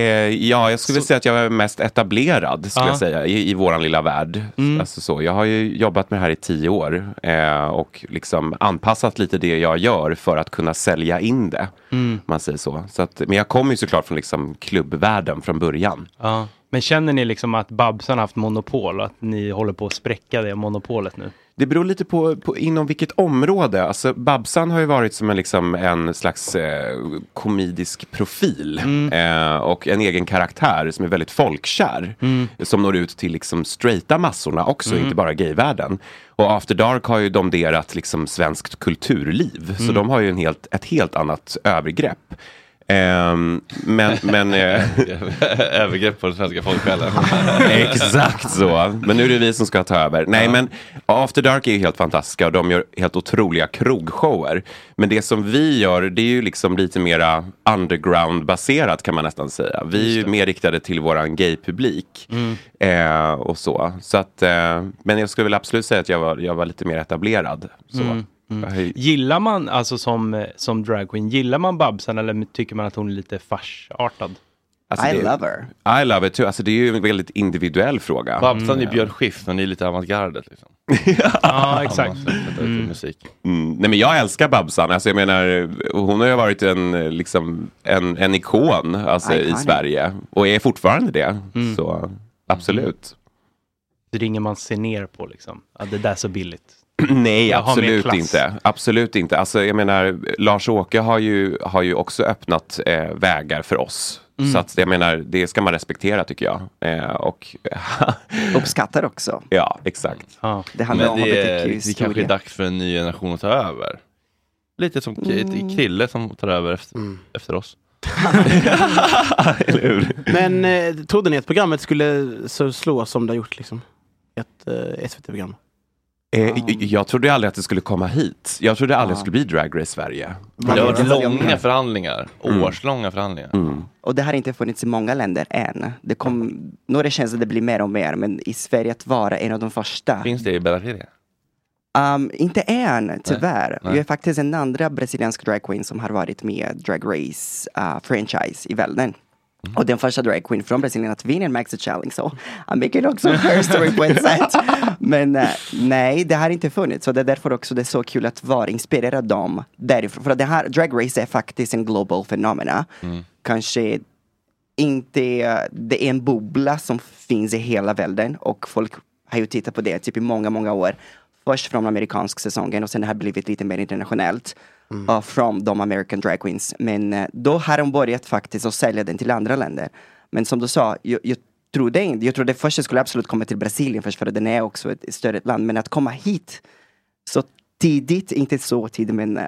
[SPEAKER 11] ja, jag skulle vilja säga att jag är mest etablerad skulle
[SPEAKER 6] Ja.
[SPEAKER 11] jag säga, i, i våran lilla värld. Alltså så. Jag har ju jobbat med det här i tio år eh, och liksom anpassat lite det jag gör för att kunna sälja in det.
[SPEAKER 6] Mm.
[SPEAKER 11] om Man säger så. så att, men jag kommer ju såklart från liksom klubbvärlden från början.
[SPEAKER 6] Ja. Men känner ni liksom att Babsan har haft monopol, att ni håller på att spräcka det monopolet nu?
[SPEAKER 11] Det beror lite på, på inom vilket område. Alltså, Babsan har ju varit som en, liksom, en slags eh, komedisk profil.
[SPEAKER 1] Mm.
[SPEAKER 11] Eh, och en egen karaktär som är väldigt folkkär.
[SPEAKER 24] Mm.
[SPEAKER 11] Som når ut till liksom, straighta massorna också,
[SPEAKER 24] Mm.
[SPEAKER 11] inte bara gayvärlden. Och After Dark har ju domderat liksom, svenskt kulturliv. Så
[SPEAKER 24] Mm.
[SPEAKER 11] de har ju en helt, ett helt annat övergrepp. Ehm, men... men eh,
[SPEAKER 1] *laughs* Övergrepp på den svenska folksjälen.
[SPEAKER 11] *laughs* Exakt så. Men nu är det vi som ska ta över. Nej, men After Dark är ju helt fantastiska och de gör helt otroliga krogshower. Men det som vi gör, det är ju liksom lite mera underground-baserat kan man nästan säga. Vi är ju mer riktade till våran gay-publik. Eh, och så. så att, eh, men jag skulle väl absolut säga att jag var, jag var lite mer etablerad. Så.
[SPEAKER 6] Mm,
[SPEAKER 11] Jag har ju-
[SPEAKER 6] Gillar man, alltså som, eh, som dragqueen, gillar man Babsan eller tycker man att hon är lite farsartad?
[SPEAKER 11] Alltså, det- I love it too. Alltså, det är ju en väldigt individuell fråga. Mm.
[SPEAKER 6] Babsan är
[SPEAKER 11] Björn Skifs, när ni är lite avantgardet. Liksom.
[SPEAKER 6] *laughs* Ja, exakt. Mm.
[SPEAKER 11] Mm. Nej men jag älskar Babsan. Alltså, jag menar, hon har ju varit en, eh, liksom, en, en ikon alltså, i
[SPEAKER 6] Iconic. Mm.
[SPEAKER 11] Sverige. Och är fortfarande det. Så absolut. *clears throat*
[SPEAKER 6] Det är ingen man ser ner på liksom. Ja, det där är
[SPEAKER 11] *laughs*
[SPEAKER 6] så billigt.
[SPEAKER 11] Nej,
[SPEAKER 6] Jag har mer
[SPEAKER 11] absolut
[SPEAKER 6] klass.
[SPEAKER 11] inte. Absolut inte. Alltså, jag menar, Lars-Åke har ju, har ju också öppnat eh, vägar för oss.
[SPEAKER 22] Mm.
[SPEAKER 11] Så att, jag menar, det ska man respektera tycker jag. Eh, och *laughs*
[SPEAKER 22] Uppskattar också.
[SPEAKER 11] Ja, exakt.
[SPEAKER 22] Det handlar
[SPEAKER 1] Men
[SPEAKER 22] om
[SPEAKER 1] det, är- det
[SPEAKER 22] hbtq-historia.
[SPEAKER 1] kanske är dags för en ny generation att ta över. Lite som K-
[SPEAKER 13] Mm.
[SPEAKER 1] Krille som tar över efter,
[SPEAKER 22] Mm.
[SPEAKER 1] efter
[SPEAKER 22] *laughs*
[SPEAKER 1] oss.
[SPEAKER 11] Eller hur?
[SPEAKER 13] Men eh, trodde ni att programmet skulle så slå som det har gjort liksom? Ett eh, SVT-program?
[SPEAKER 11] Eh, j- Jag trodde ju aldrig att det skulle komma hit. Jag trodde aldrig att det skulle bli Drag Race Sverige.
[SPEAKER 1] Det har varit långa
[SPEAKER 11] förhandlingar.
[SPEAKER 1] Årslånga förhandlingar.
[SPEAKER 11] Mm.
[SPEAKER 22] Och det har inte funnits i många länder än. Det kom, några känns att det blir mer och mer, men i Sverige att vara en av de första.
[SPEAKER 1] Finns det i Bellateria?
[SPEAKER 22] Um, inte än, tyvärr.
[SPEAKER 1] Nej.
[SPEAKER 22] Vi är faktiskt en andra brasiliansk dragqueen som har varit med Drag Race uh, franchise i världen.
[SPEAKER 1] Mm.
[SPEAKER 22] Och den första dragqueen från Brasilien att vinna en Maxi Challenge. Så I'm making också her story på
[SPEAKER 1] *laughs*
[SPEAKER 22] ett sätt. Men eh, nej, det har inte funnits. Så det är därför också det är så kul att vara inspirerad av dem därifrån. För att det här, Drag Race är faktiskt en global fenomena. Kanske inte, det är en bubbla som finns i hela världen och folk har ju tittat på det typ i många, många år. Först från amerikansk säsongen och sen har det blivit lite mer internationellt. Uh, från de American Drag Queens. Men eh, då har de börjat faktiskt att sälja den till andra länder. Men som du sa, jag, jag trodde inte, jag trodde först jag skulle absolut komma till Brasilien först för att den är också ett större land. Men att komma hit så tidigt, inte så tidigt men eh,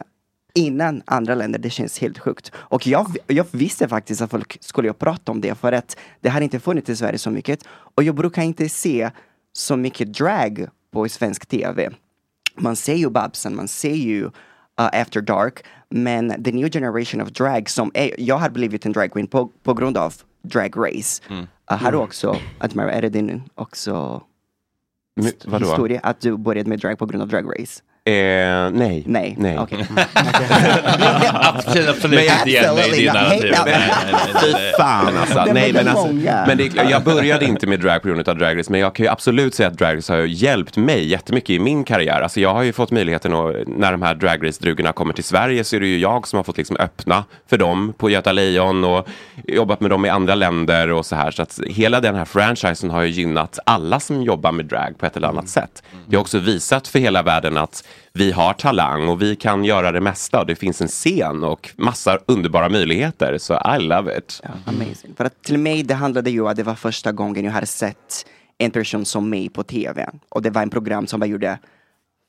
[SPEAKER 22] innan andra länder, det känns helt sjukt. Och jag, jag visste faktiskt att folk skulle prata om det för att det har inte funnits i Sverige så mycket. Och jag brukar inte se så mycket drag på svensk tv. Man ser ju Babsen, man ser ju uh, After Dark, men the new generation of drag som är, jag har blivit en dragqueen på, på grund av Drag Race.
[SPEAKER 11] Mm.
[SPEAKER 22] Uh, har du
[SPEAKER 11] Mm.
[SPEAKER 22] också, att är det din också
[SPEAKER 11] Men vadå?
[SPEAKER 22] historia att du började med drag på grund av Drag Race?
[SPEAKER 11] Eh, nej.
[SPEAKER 22] Nej.
[SPEAKER 11] nej. Mm.
[SPEAKER 22] Okej.
[SPEAKER 11] *laughs* Absolut, absolut
[SPEAKER 22] Men
[SPEAKER 11] inte igen mig i din
[SPEAKER 22] absolutely not.
[SPEAKER 11] narrativ.
[SPEAKER 22] Hej då.
[SPEAKER 11] typ Nej, nej, nej, nej, nej. Fan alltså.
[SPEAKER 22] Det var
[SPEAKER 11] Nej, men
[SPEAKER 22] det
[SPEAKER 11] alltså
[SPEAKER 22] många.
[SPEAKER 11] men det, är- jag började inte med drag på grund av Drag Race, men jag kan ju absolut säga att Drag Race har ju hjälpt mig jättemycket i min karriär. Alltså jag har ju fått möjligheten att, när de här Drag Race-drugorna kommer till Sverige så är det ju jag som har fått liksom öppna för dem på Göta Lejon och jobbat med dem i andra länder och så här. Så att hela den här franchisen har ju gynnat alla som jobbar med drag på ett eller annat sätt. Det har också visat för hela världen att vi har talang och vi kan göra det mesta och det finns en scen och massa underbara möjligheter. Så I love it.
[SPEAKER 22] Amazing. För att till mig, det handlade ju om att det var första gången jag hade sett en person som mig på tv. Och det var en program som jag gjorde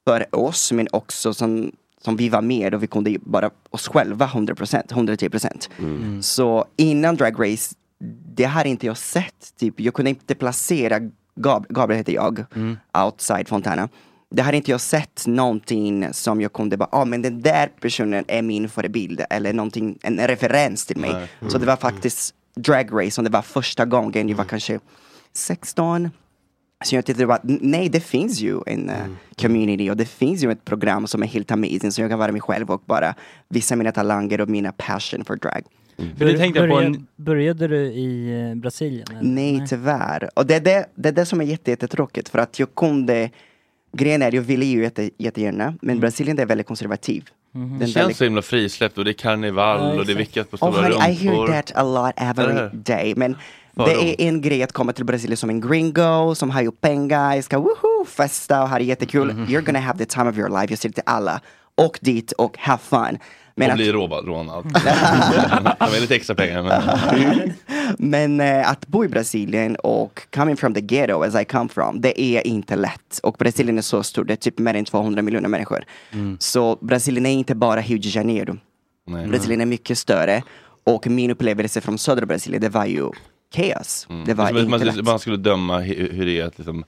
[SPEAKER 22] för oss, men också som, som vi var med och vi kunde ju bara oss själva 100%, 110%.
[SPEAKER 10] Mm.
[SPEAKER 22] Så innan Drag Race, det här inte jag sett. Typ. Jag kunde inte placera, Gab- Gabriel heter jag,
[SPEAKER 10] Mm.
[SPEAKER 22] outside Fontana. Det här inte jag sett någonting som jag kunde bara, ja ah, men den där personen är min förebild eller någonting, en referens till mig.
[SPEAKER 10] Nej.
[SPEAKER 22] Så
[SPEAKER 10] Mm.
[SPEAKER 22] det var faktiskt Drag Race som det var första gången, jag var kanske 16, Så jag tyckte det var, nej det finns ju en eh, community och det finns ju ett program som är helt amazing så jag kan vara mig själv och bara visa mina talanger och mina passion för drag.
[SPEAKER 7] Mm.
[SPEAKER 6] För det tänkte jag på
[SPEAKER 7] Började,
[SPEAKER 6] en-
[SPEAKER 7] började du i eh, Brasilien? eller?
[SPEAKER 22] Nej, tyvärr. Och det är det, det, är det som är jätte, jättetråkigt för att jag kunde Grejen är, jag ville ju jätte, jättegärna,
[SPEAKER 6] Mm.
[SPEAKER 22] men Brasilien är väldigt konservativ. Den
[SPEAKER 1] Det
[SPEAKER 22] väldigt-
[SPEAKER 1] känns så himla frisläppt och det är karneval
[SPEAKER 22] Ja,
[SPEAKER 1] och det är
[SPEAKER 22] exakt.
[SPEAKER 1] vickat på stora
[SPEAKER 22] Oh, honey, I hear
[SPEAKER 1] rumpor.
[SPEAKER 22] that a lot
[SPEAKER 1] Eller
[SPEAKER 22] every
[SPEAKER 1] hur?
[SPEAKER 22] day. Men
[SPEAKER 1] Fördom.
[SPEAKER 22] det är en grej att komma till Brasilien som en gringo, som har ju pengar, ska woohoo, festa och ha det jättekul.
[SPEAKER 1] Mm.
[SPEAKER 22] You're gonna have the time of your life. Jag säger till alla, åk dit och have fun. Men
[SPEAKER 1] och
[SPEAKER 22] att-
[SPEAKER 1] blir råba- rånad. De är lite extra pengar.
[SPEAKER 22] *laughs*
[SPEAKER 1] Men...
[SPEAKER 22] *laughs* Men eh, att bo i Brasilien och coming from the ghetto as I come from, det är inte lätt. Och Brasilien är så stort, det är typ mer än 200 miljoner människor. Så Brasilien är inte bara Rio de Janeiro.
[SPEAKER 1] Nej.
[SPEAKER 22] Mm. Brasilien är mycket större. Och min upplevelse från södra Brasilien, det var ju kaos.
[SPEAKER 1] Mm.
[SPEAKER 22] Det var
[SPEAKER 1] som att
[SPEAKER 22] inte
[SPEAKER 1] man,
[SPEAKER 22] lätt.
[SPEAKER 1] man skulle döma hu- hur det är att liksom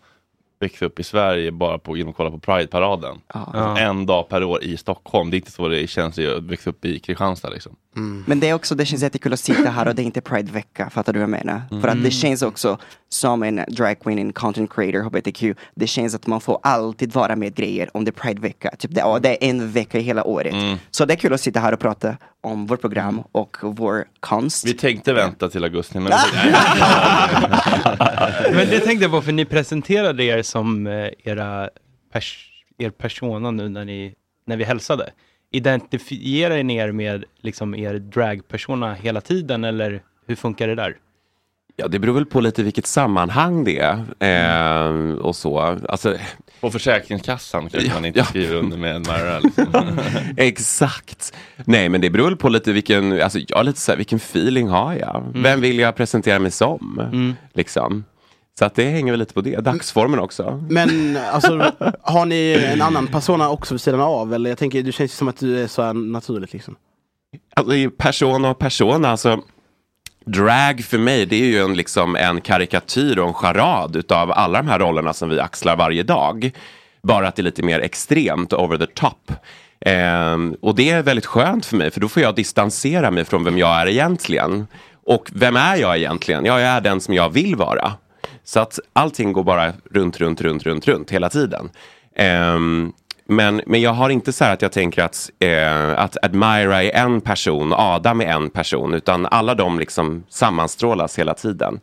[SPEAKER 1] växa upp i Sverige bara på, genom att kolla på Pride-paraden. Alltså En dag per år i Stockholm. Det är inte så det känns ju att växa upp i Kristianstad. Liksom.
[SPEAKER 22] Mm. Men det är också, det känns jättekul att sitta här och det är inte Pride-vecka, fattar du vad jag menar? För att
[SPEAKER 1] Mm.
[SPEAKER 22] det känns också som en drag queen, en content creator, hbtq, det känns att man får alltid vara med grejer om det är Pride-vecka. Typ det, ja, det är en vecka i hela året.
[SPEAKER 1] Mm.
[SPEAKER 22] Så det är kul att sitta här och prata om vårt program och vår konst.
[SPEAKER 1] Vi tänkte vänta till augusti. Men...
[SPEAKER 6] Men det tänkte jag på, för ni presenterade er som eh, era pers er persona nu när, ni, när vi hälsade. Identifierar ni er med liksom, er dragpersona hela tiden, eller hur funkar det där?
[SPEAKER 11] Ja, det beror väl på lite vilket sammanhang det är. Eh, och så. Alltså,
[SPEAKER 1] På Försäkringskassan kanske man inte skriver under med en liksom. Mara.
[SPEAKER 11] *laughs* Exakt. Nej, men det beror väl på lite vilken, alltså jag är lite så här, vilken feeling har jag?
[SPEAKER 1] Mm.
[SPEAKER 11] Vem vill jag presentera mig som? Liksom. Så att det hänger väl lite på det. Dagsformen också.
[SPEAKER 13] Men alltså, har ni en annan persona också vid sidan av? Eller jag tänker, du känns ju som att du är så här naturligt liksom.
[SPEAKER 11] Alltså, det är ju persona och persona, alltså. Drag för mig, det är ju en, liksom, en karikatyr och en charad utav alla de här rollerna som vi axlar varje dag. Bara att det är lite mer extremt, over the top. Ehm, och det är väldigt skönt för mig, för då får jag distansera mig från vem jag är egentligen. Och vem är jag egentligen? Ja, jag är den som jag vill vara. Så att allting går bara runt, runt, runt, runt, runt hela tiden. Ehm, men, men jag har inte så här att jag tänker att, eh, att Admira är en person, Adam är en person, utan alla de liksom sammanstrålas hela tiden.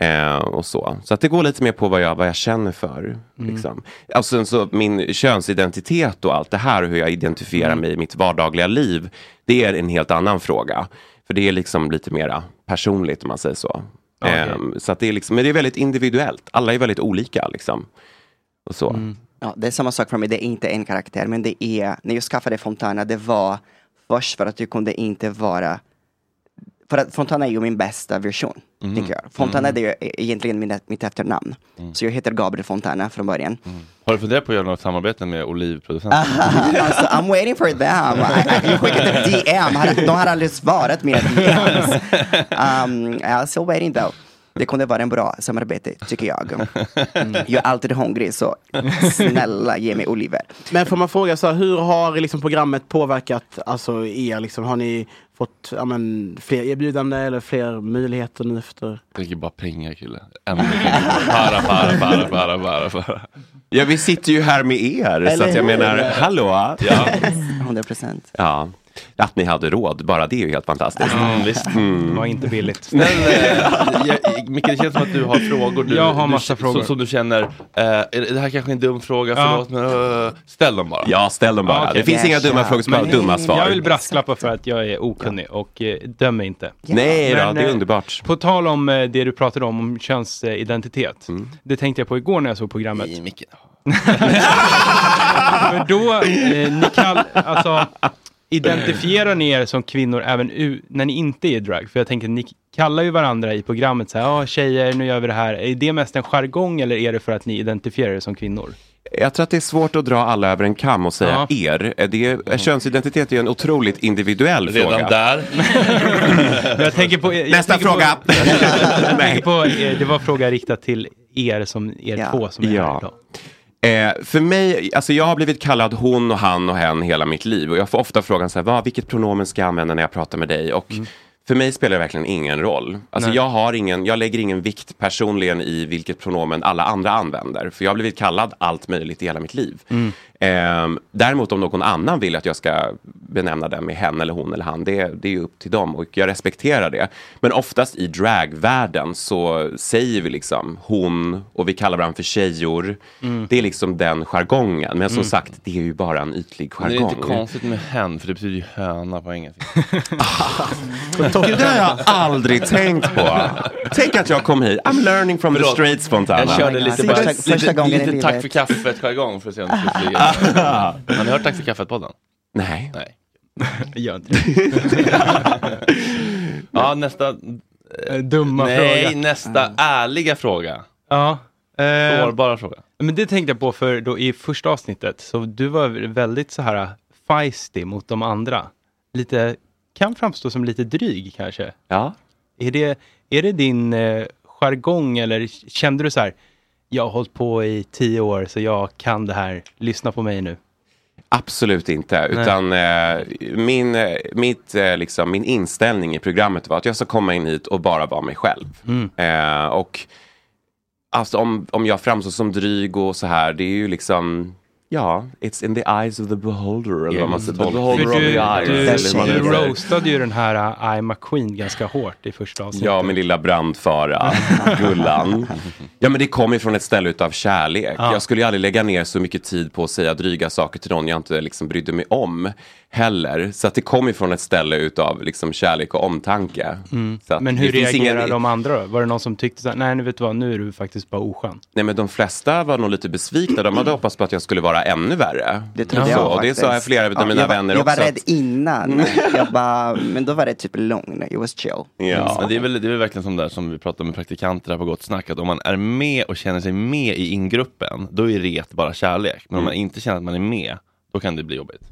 [SPEAKER 11] Eh, och så så att det går lite mer på vad jag, vad jag känner för.
[SPEAKER 1] Mm.
[SPEAKER 11] Liksom. Och sen så min könsidentitet och allt det här, hur jag identifierar mig i mitt vardagliga liv, det är en helt annan fråga. För det är liksom lite mera personligt om man säger så. Eh, så att det är liksom, men det är väldigt individuellt, alla är väldigt olika. Liksom. Och så.
[SPEAKER 6] Mm.
[SPEAKER 1] *laughs*
[SPEAKER 22] Ja, det är samma sak för mig, det är inte en karaktär, men det är, när jag skaffade Fontana, det var först för att jag kunde inte vara för att Fontana är ju min bästa version,
[SPEAKER 1] Mhm.
[SPEAKER 22] tänker jag. Fontana
[SPEAKER 1] Mm.
[SPEAKER 22] det är ju egentligen min, mitt efternamn. Så jag heter Gabriel Fontana från början.
[SPEAKER 1] *laughs* Har du funderat på att göra något samarbete med olivproducenter?
[SPEAKER 22] *laughs* alltså, I'm waiting for them. *laughs* I- I- Jag skickade ett DM, Har- de har aldrig svarat
[SPEAKER 1] *laughs*
[SPEAKER 22] mina DMs. Um, I'm still waiting though. Det kunde vara en bra samarbete,
[SPEAKER 1] *laughs*
[SPEAKER 22] tycker jag. Jag är alltid hungrig, så snälla ge mig oliver.
[SPEAKER 13] Men får man fråga, så här, hur har liksom programmet påverkat alltså, er? Liksom, har ni fått ja, men, fler erbjudanden eller fler möjligheter nu efter?
[SPEAKER 1] Jag tänker bara pengar kille. Ändå pengar. Para, para, para, para, para, para.
[SPEAKER 11] Ja, vi sitter ju här med er, så
[SPEAKER 1] Eller
[SPEAKER 11] att jag
[SPEAKER 1] hur?
[SPEAKER 11] menar, hallå! Ja.
[SPEAKER 22] 100 procent.
[SPEAKER 11] ja. Att ni hade råd, bara det är ju helt fantastiskt.
[SPEAKER 6] Mm, visst. Det var inte billigt.
[SPEAKER 1] Men, eh, jag, Micke, det känns som att du har frågor. Du,
[SPEAKER 6] Jag har
[SPEAKER 1] du,
[SPEAKER 6] massa frågor.
[SPEAKER 1] Som, som du känner, eh, är det det här kanske är en dum fråga,
[SPEAKER 6] Ja.
[SPEAKER 1] förlåt, men eh, ställ dem bara.
[SPEAKER 11] Ja, ställ dem
[SPEAKER 6] Ja, okej. Men Jag vill brasklappa för att jag är okunnig och eh, dömer inte.
[SPEAKER 11] Nej då, det är
[SPEAKER 6] eh,
[SPEAKER 11] underbart.
[SPEAKER 6] På tal om eh, det du pratade om, om könsidentitet.
[SPEAKER 11] Mm.
[SPEAKER 6] Det tänkte jag på igår när jag såg programmet. Nej, *laughs*
[SPEAKER 1] Micke.
[SPEAKER 6] För då, eh, ni kall, alltså, identifierar ni er som kvinnor även u- när ni inte är i drag? För jag tänker, ni kallar ju varandra i programmet så här, ja tjejer, nu gör vi det här. Är det mest en jargong eller är det för att ni identifierar er som kvinnor?
[SPEAKER 11] Jag tror att det är svårt att dra alla över en kam och säga er. Det är,
[SPEAKER 6] Mm.
[SPEAKER 11] Könsidentitet är ju en otroligt individuell
[SPEAKER 1] Redan
[SPEAKER 11] fråga.
[SPEAKER 1] där.
[SPEAKER 6] jag tänker på, jag
[SPEAKER 11] Nästa
[SPEAKER 6] tänker
[SPEAKER 11] fråga.
[SPEAKER 6] På, *laughs* jag tänker på, eh, det var en fråga riktad till er, som, er två som är här idag.
[SPEAKER 11] Eh, för mig, alltså jag har blivit kallad hon
[SPEAKER 6] Mm.
[SPEAKER 11] och han och hen hela mitt liv. Och jag får ofta frågan så här, vad, vilket pronomen ska jag använda när jag pratar med dig? Och För mig spelar det verkligen ingen roll. Alltså
[SPEAKER 1] Nej.
[SPEAKER 11] jag, har ingen, jag lägger ingen vikt personligen i vilket pronomen alla andra använder. För jag har blivit kallad allt möjligt i hela mitt liv.
[SPEAKER 1] Mm.
[SPEAKER 11] Ehm, däremot om någon annan vill att jag ska benämna den med hen eller hon eller han, det, det är ju upp till dem och jag respekterar det. Men oftast i dragvärlden så säger vi liksom hon och vi kallar varandra för tjejor.
[SPEAKER 1] Mm.
[SPEAKER 11] Det är liksom den jargongen. Men som
[SPEAKER 1] Mm.
[SPEAKER 11] sagt, det är ju bara en ytlig
[SPEAKER 1] Men
[SPEAKER 11] jargong.
[SPEAKER 1] det är inte konstigt med hen, för det betyder ju höna
[SPEAKER 6] *laughs*
[SPEAKER 1] på engelska.
[SPEAKER 11] Gud, det har
[SPEAKER 1] *laughs*
[SPEAKER 11] jag aldrig tänkt på. Tänk att jag kom hit. I'm learning from the
[SPEAKER 1] Förlåt.
[SPEAKER 11] streets Fontana.
[SPEAKER 1] Jag körde lite, bara, lite, lite, tack för
[SPEAKER 11] kaffet.
[SPEAKER 1] kaffet-jargong för att se om det skulle flyga.
[SPEAKER 11] *laughs*
[SPEAKER 1] Har ni hört Tack för kaffet-podden?
[SPEAKER 11] Nej.
[SPEAKER 6] *laughs*
[SPEAKER 1] Nej.
[SPEAKER 6] Gör inte
[SPEAKER 1] *laughs* ja, nästa...
[SPEAKER 6] Dumma
[SPEAKER 1] Nej,
[SPEAKER 6] fråga. Mm.
[SPEAKER 1] nästa ärliga fråga.
[SPEAKER 6] Ja. Eh,
[SPEAKER 1] Sårbara fråga.
[SPEAKER 6] Men det tänkte jag på för då i första avsnittet, så du var väldigt så här eh, feisty mot de andra. Lite, kan framstå som lite dryg kanske.
[SPEAKER 11] Ja.
[SPEAKER 6] Är det, är det din eh, jargong eller kände du så här, jag har hållit på i tio år så jag kan det här, lyssna på mig nu.
[SPEAKER 11] Absolut inte. Utan eh, min, eh, mitt, eh, liksom, min inställning i programmet var att jag ska komma in hit och bara vara mig själv.
[SPEAKER 6] Mm.
[SPEAKER 11] Eh, och alltså, om, om jag framstår som dryg och så här, det är ju liksom Ja, it's in the eyes of the beholder eller vad man
[SPEAKER 6] Mm. För
[SPEAKER 11] säger. The beholder of the eyes. eller vad
[SPEAKER 6] du,
[SPEAKER 11] det
[SPEAKER 6] du, du
[SPEAKER 11] heter.
[SPEAKER 6] roastade ju den här uh, I'm a Queen ganska hårt i första avsnittet.
[SPEAKER 11] Ja, min lilla brandfara,
[SPEAKER 6] *laughs*
[SPEAKER 11] Gullan. Ja, men det kommer från ett ställe utav kärlek.
[SPEAKER 6] Ja.
[SPEAKER 11] Jag skulle ju aldrig lägga ner så mycket tid på att säga dryga saker till någon jag inte liksom brydde mig om heller. Så att det kommer från ett ställe utav liksom kärlek och omtanke.
[SPEAKER 6] Mm.
[SPEAKER 11] Så att
[SPEAKER 6] Men
[SPEAKER 11] det
[SPEAKER 6] hur
[SPEAKER 11] finns ingen-
[SPEAKER 6] reagerar de andra då? Var det någon som tyckte så här, nej nu vet du vad, nu är du faktiskt bara oskön.
[SPEAKER 11] Nej men de flesta var nog lite besvikna.
[SPEAKER 6] Mm.
[SPEAKER 11] De hade hoppats på att jag skulle vara ännu värre. Det
[SPEAKER 22] trodde jag
[SPEAKER 11] Och det
[SPEAKER 22] faktiskt.
[SPEAKER 11] sa jag flera av
[SPEAKER 22] Ja,
[SPEAKER 11] mina
[SPEAKER 22] jag var,
[SPEAKER 11] vänner
[SPEAKER 22] jag
[SPEAKER 11] också. Mm.
[SPEAKER 22] Jag var rädd
[SPEAKER 11] att-
[SPEAKER 22] innan. jag bara, men då var det typ lugn. It was chill.
[SPEAKER 1] Ja. Mm, Men det, är väl, det är väl verkligen som där som vi pratade med praktikanter här på Gott Snack, att om man är med och känner sig med i ingruppen, då är ret bara kärlek. Men om man inte känner att man är med, då kan det bli jobbigt.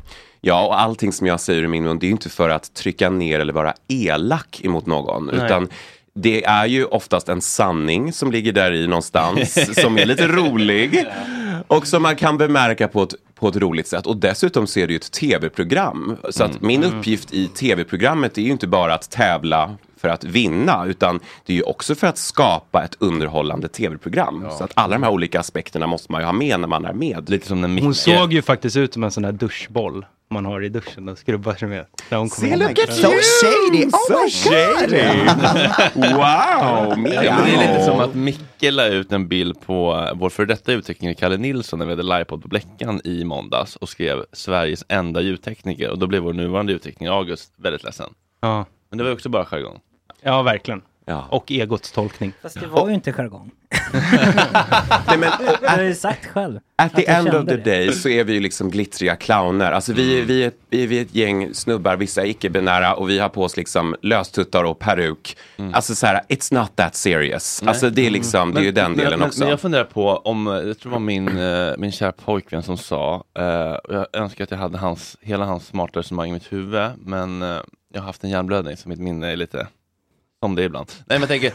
[SPEAKER 11] Ja, och allting som jag säger i min mun, det är ju inte för att trycka ner eller vara elak emot någon.
[SPEAKER 1] Nej.
[SPEAKER 11] Utan det är ju oftast en sanning som ligger där i
[SPEAKER 1] *laughs*
[SPEAKER 11] någonstans, som är lite rolig. Och som man kan bemärka på ett, på ett roligt sätt. Och dessutom så är det ju ett tv-program. Så att
[SPEAKER 1] Mm.
[SPEAKER 11] min
[SPEAKER 1] Mm.
[SPEAKER 11] uppgift i tv-programmet är ju inte bara att tävla för att vinna, utan det är ju också för att skapa ett underhållande tv-program. Så att alla de här olika aspekterna måste man ju ha med när man är med.
[SPEAKER 1] Lite som när
[SPEAKER 6] Hon såg ju faktiskt ut som en sån där duschboll man har i duschen och skrubbar sig med. När hon kom
[SPEAKER 22] See,
[SPEAKER 6] in.
[SPEAKER 22] look at So you!
[SPEAKER 6] *laughs*
[SPEAKER 22] shady. Oh So my God. shady. Wow, meow.
[SPEAKER 1] ja, men Det är lite som att Micke la ut en bild på eh, vår före detta ljudtekniker Kalle Nilsson när vi hade livepodd på Bleckan i måndags och skrev Sveriges enda ljudtekniker och då blev vår nuvarande ljudtekniker August väldigt ledsen.
[SPEAKER 6] Ja.
[SPEAKER 1] Men det var ju också bara jargong.
[SPEAKER 6] ja, verkligen.
[SPEAKER 11] Ja.
[SPEAKER 6] Och egots tolkning.
[SPEAKER 7] Fast det var ju inte
[SPEAKER 13] *laughs*
[SPEAKER 7] jargong.
[SPEAKER 11] Nej, men,
[SPEAKER 7] jag har ju sagt själv.
[SPEAKER 11] At
[SPEAKER 7] att
[SPEAKER 11] the
[SPEAKER 7] jag
[SPEAKER 11] end of
[SPEAKER 7] kände
[SPEAKER 11] the
[SPEAKER 7] det.
[SPEAKER 11] day så är vi ju liksom glittriga clowner. Alltså vi,
[SPEAKER 1] Mm.
[SPEAKER 11] vi, är, vi, vi är ett gäng snubbar, vissa är icke-binära och vi har på oss liksom löstuttar och peruk. Alltså så här, it's not that serious. Alltså det är liksom, det är ju
[SPEAKER 1] Mm. Men-
[SPEAKER 11] den
[SPEAKER 1] men-
[SPEAKER 11] delen
[SPEAKER 1] men,
[SPEAKER 11] också.
[SPEAKER 1] Men jag funderar på om, eh, jag tror det var min, eh, min kära pojkvän som sa, eh, och jag önskar att jag hade hans, hela hans smarta resonemang i mitt huvud, men eh, jag har haft en hjärnblödning så mitt minne är lite som det är ibland. Nej men jag tänker,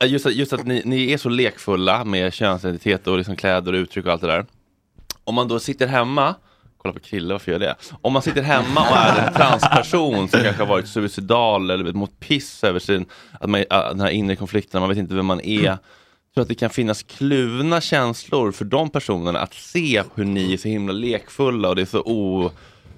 [SPEAKER 1] eh, just att, just att ni, ni är så lekfulla med könsidentitet och liksom kläder och uttryck och allt det där. Om man då sitter hemma Kolla på Krille, varför gör jag det? Om man sitter hemma och är en transperson som kanske har varit suicidal eller mot piss över sin, att man, att den här inre konflikten, man vet inte vem man är. Jag tror att det kan finnas kluvna känslor för de personerna att se hur ni är så himla lekfulla och det är så o,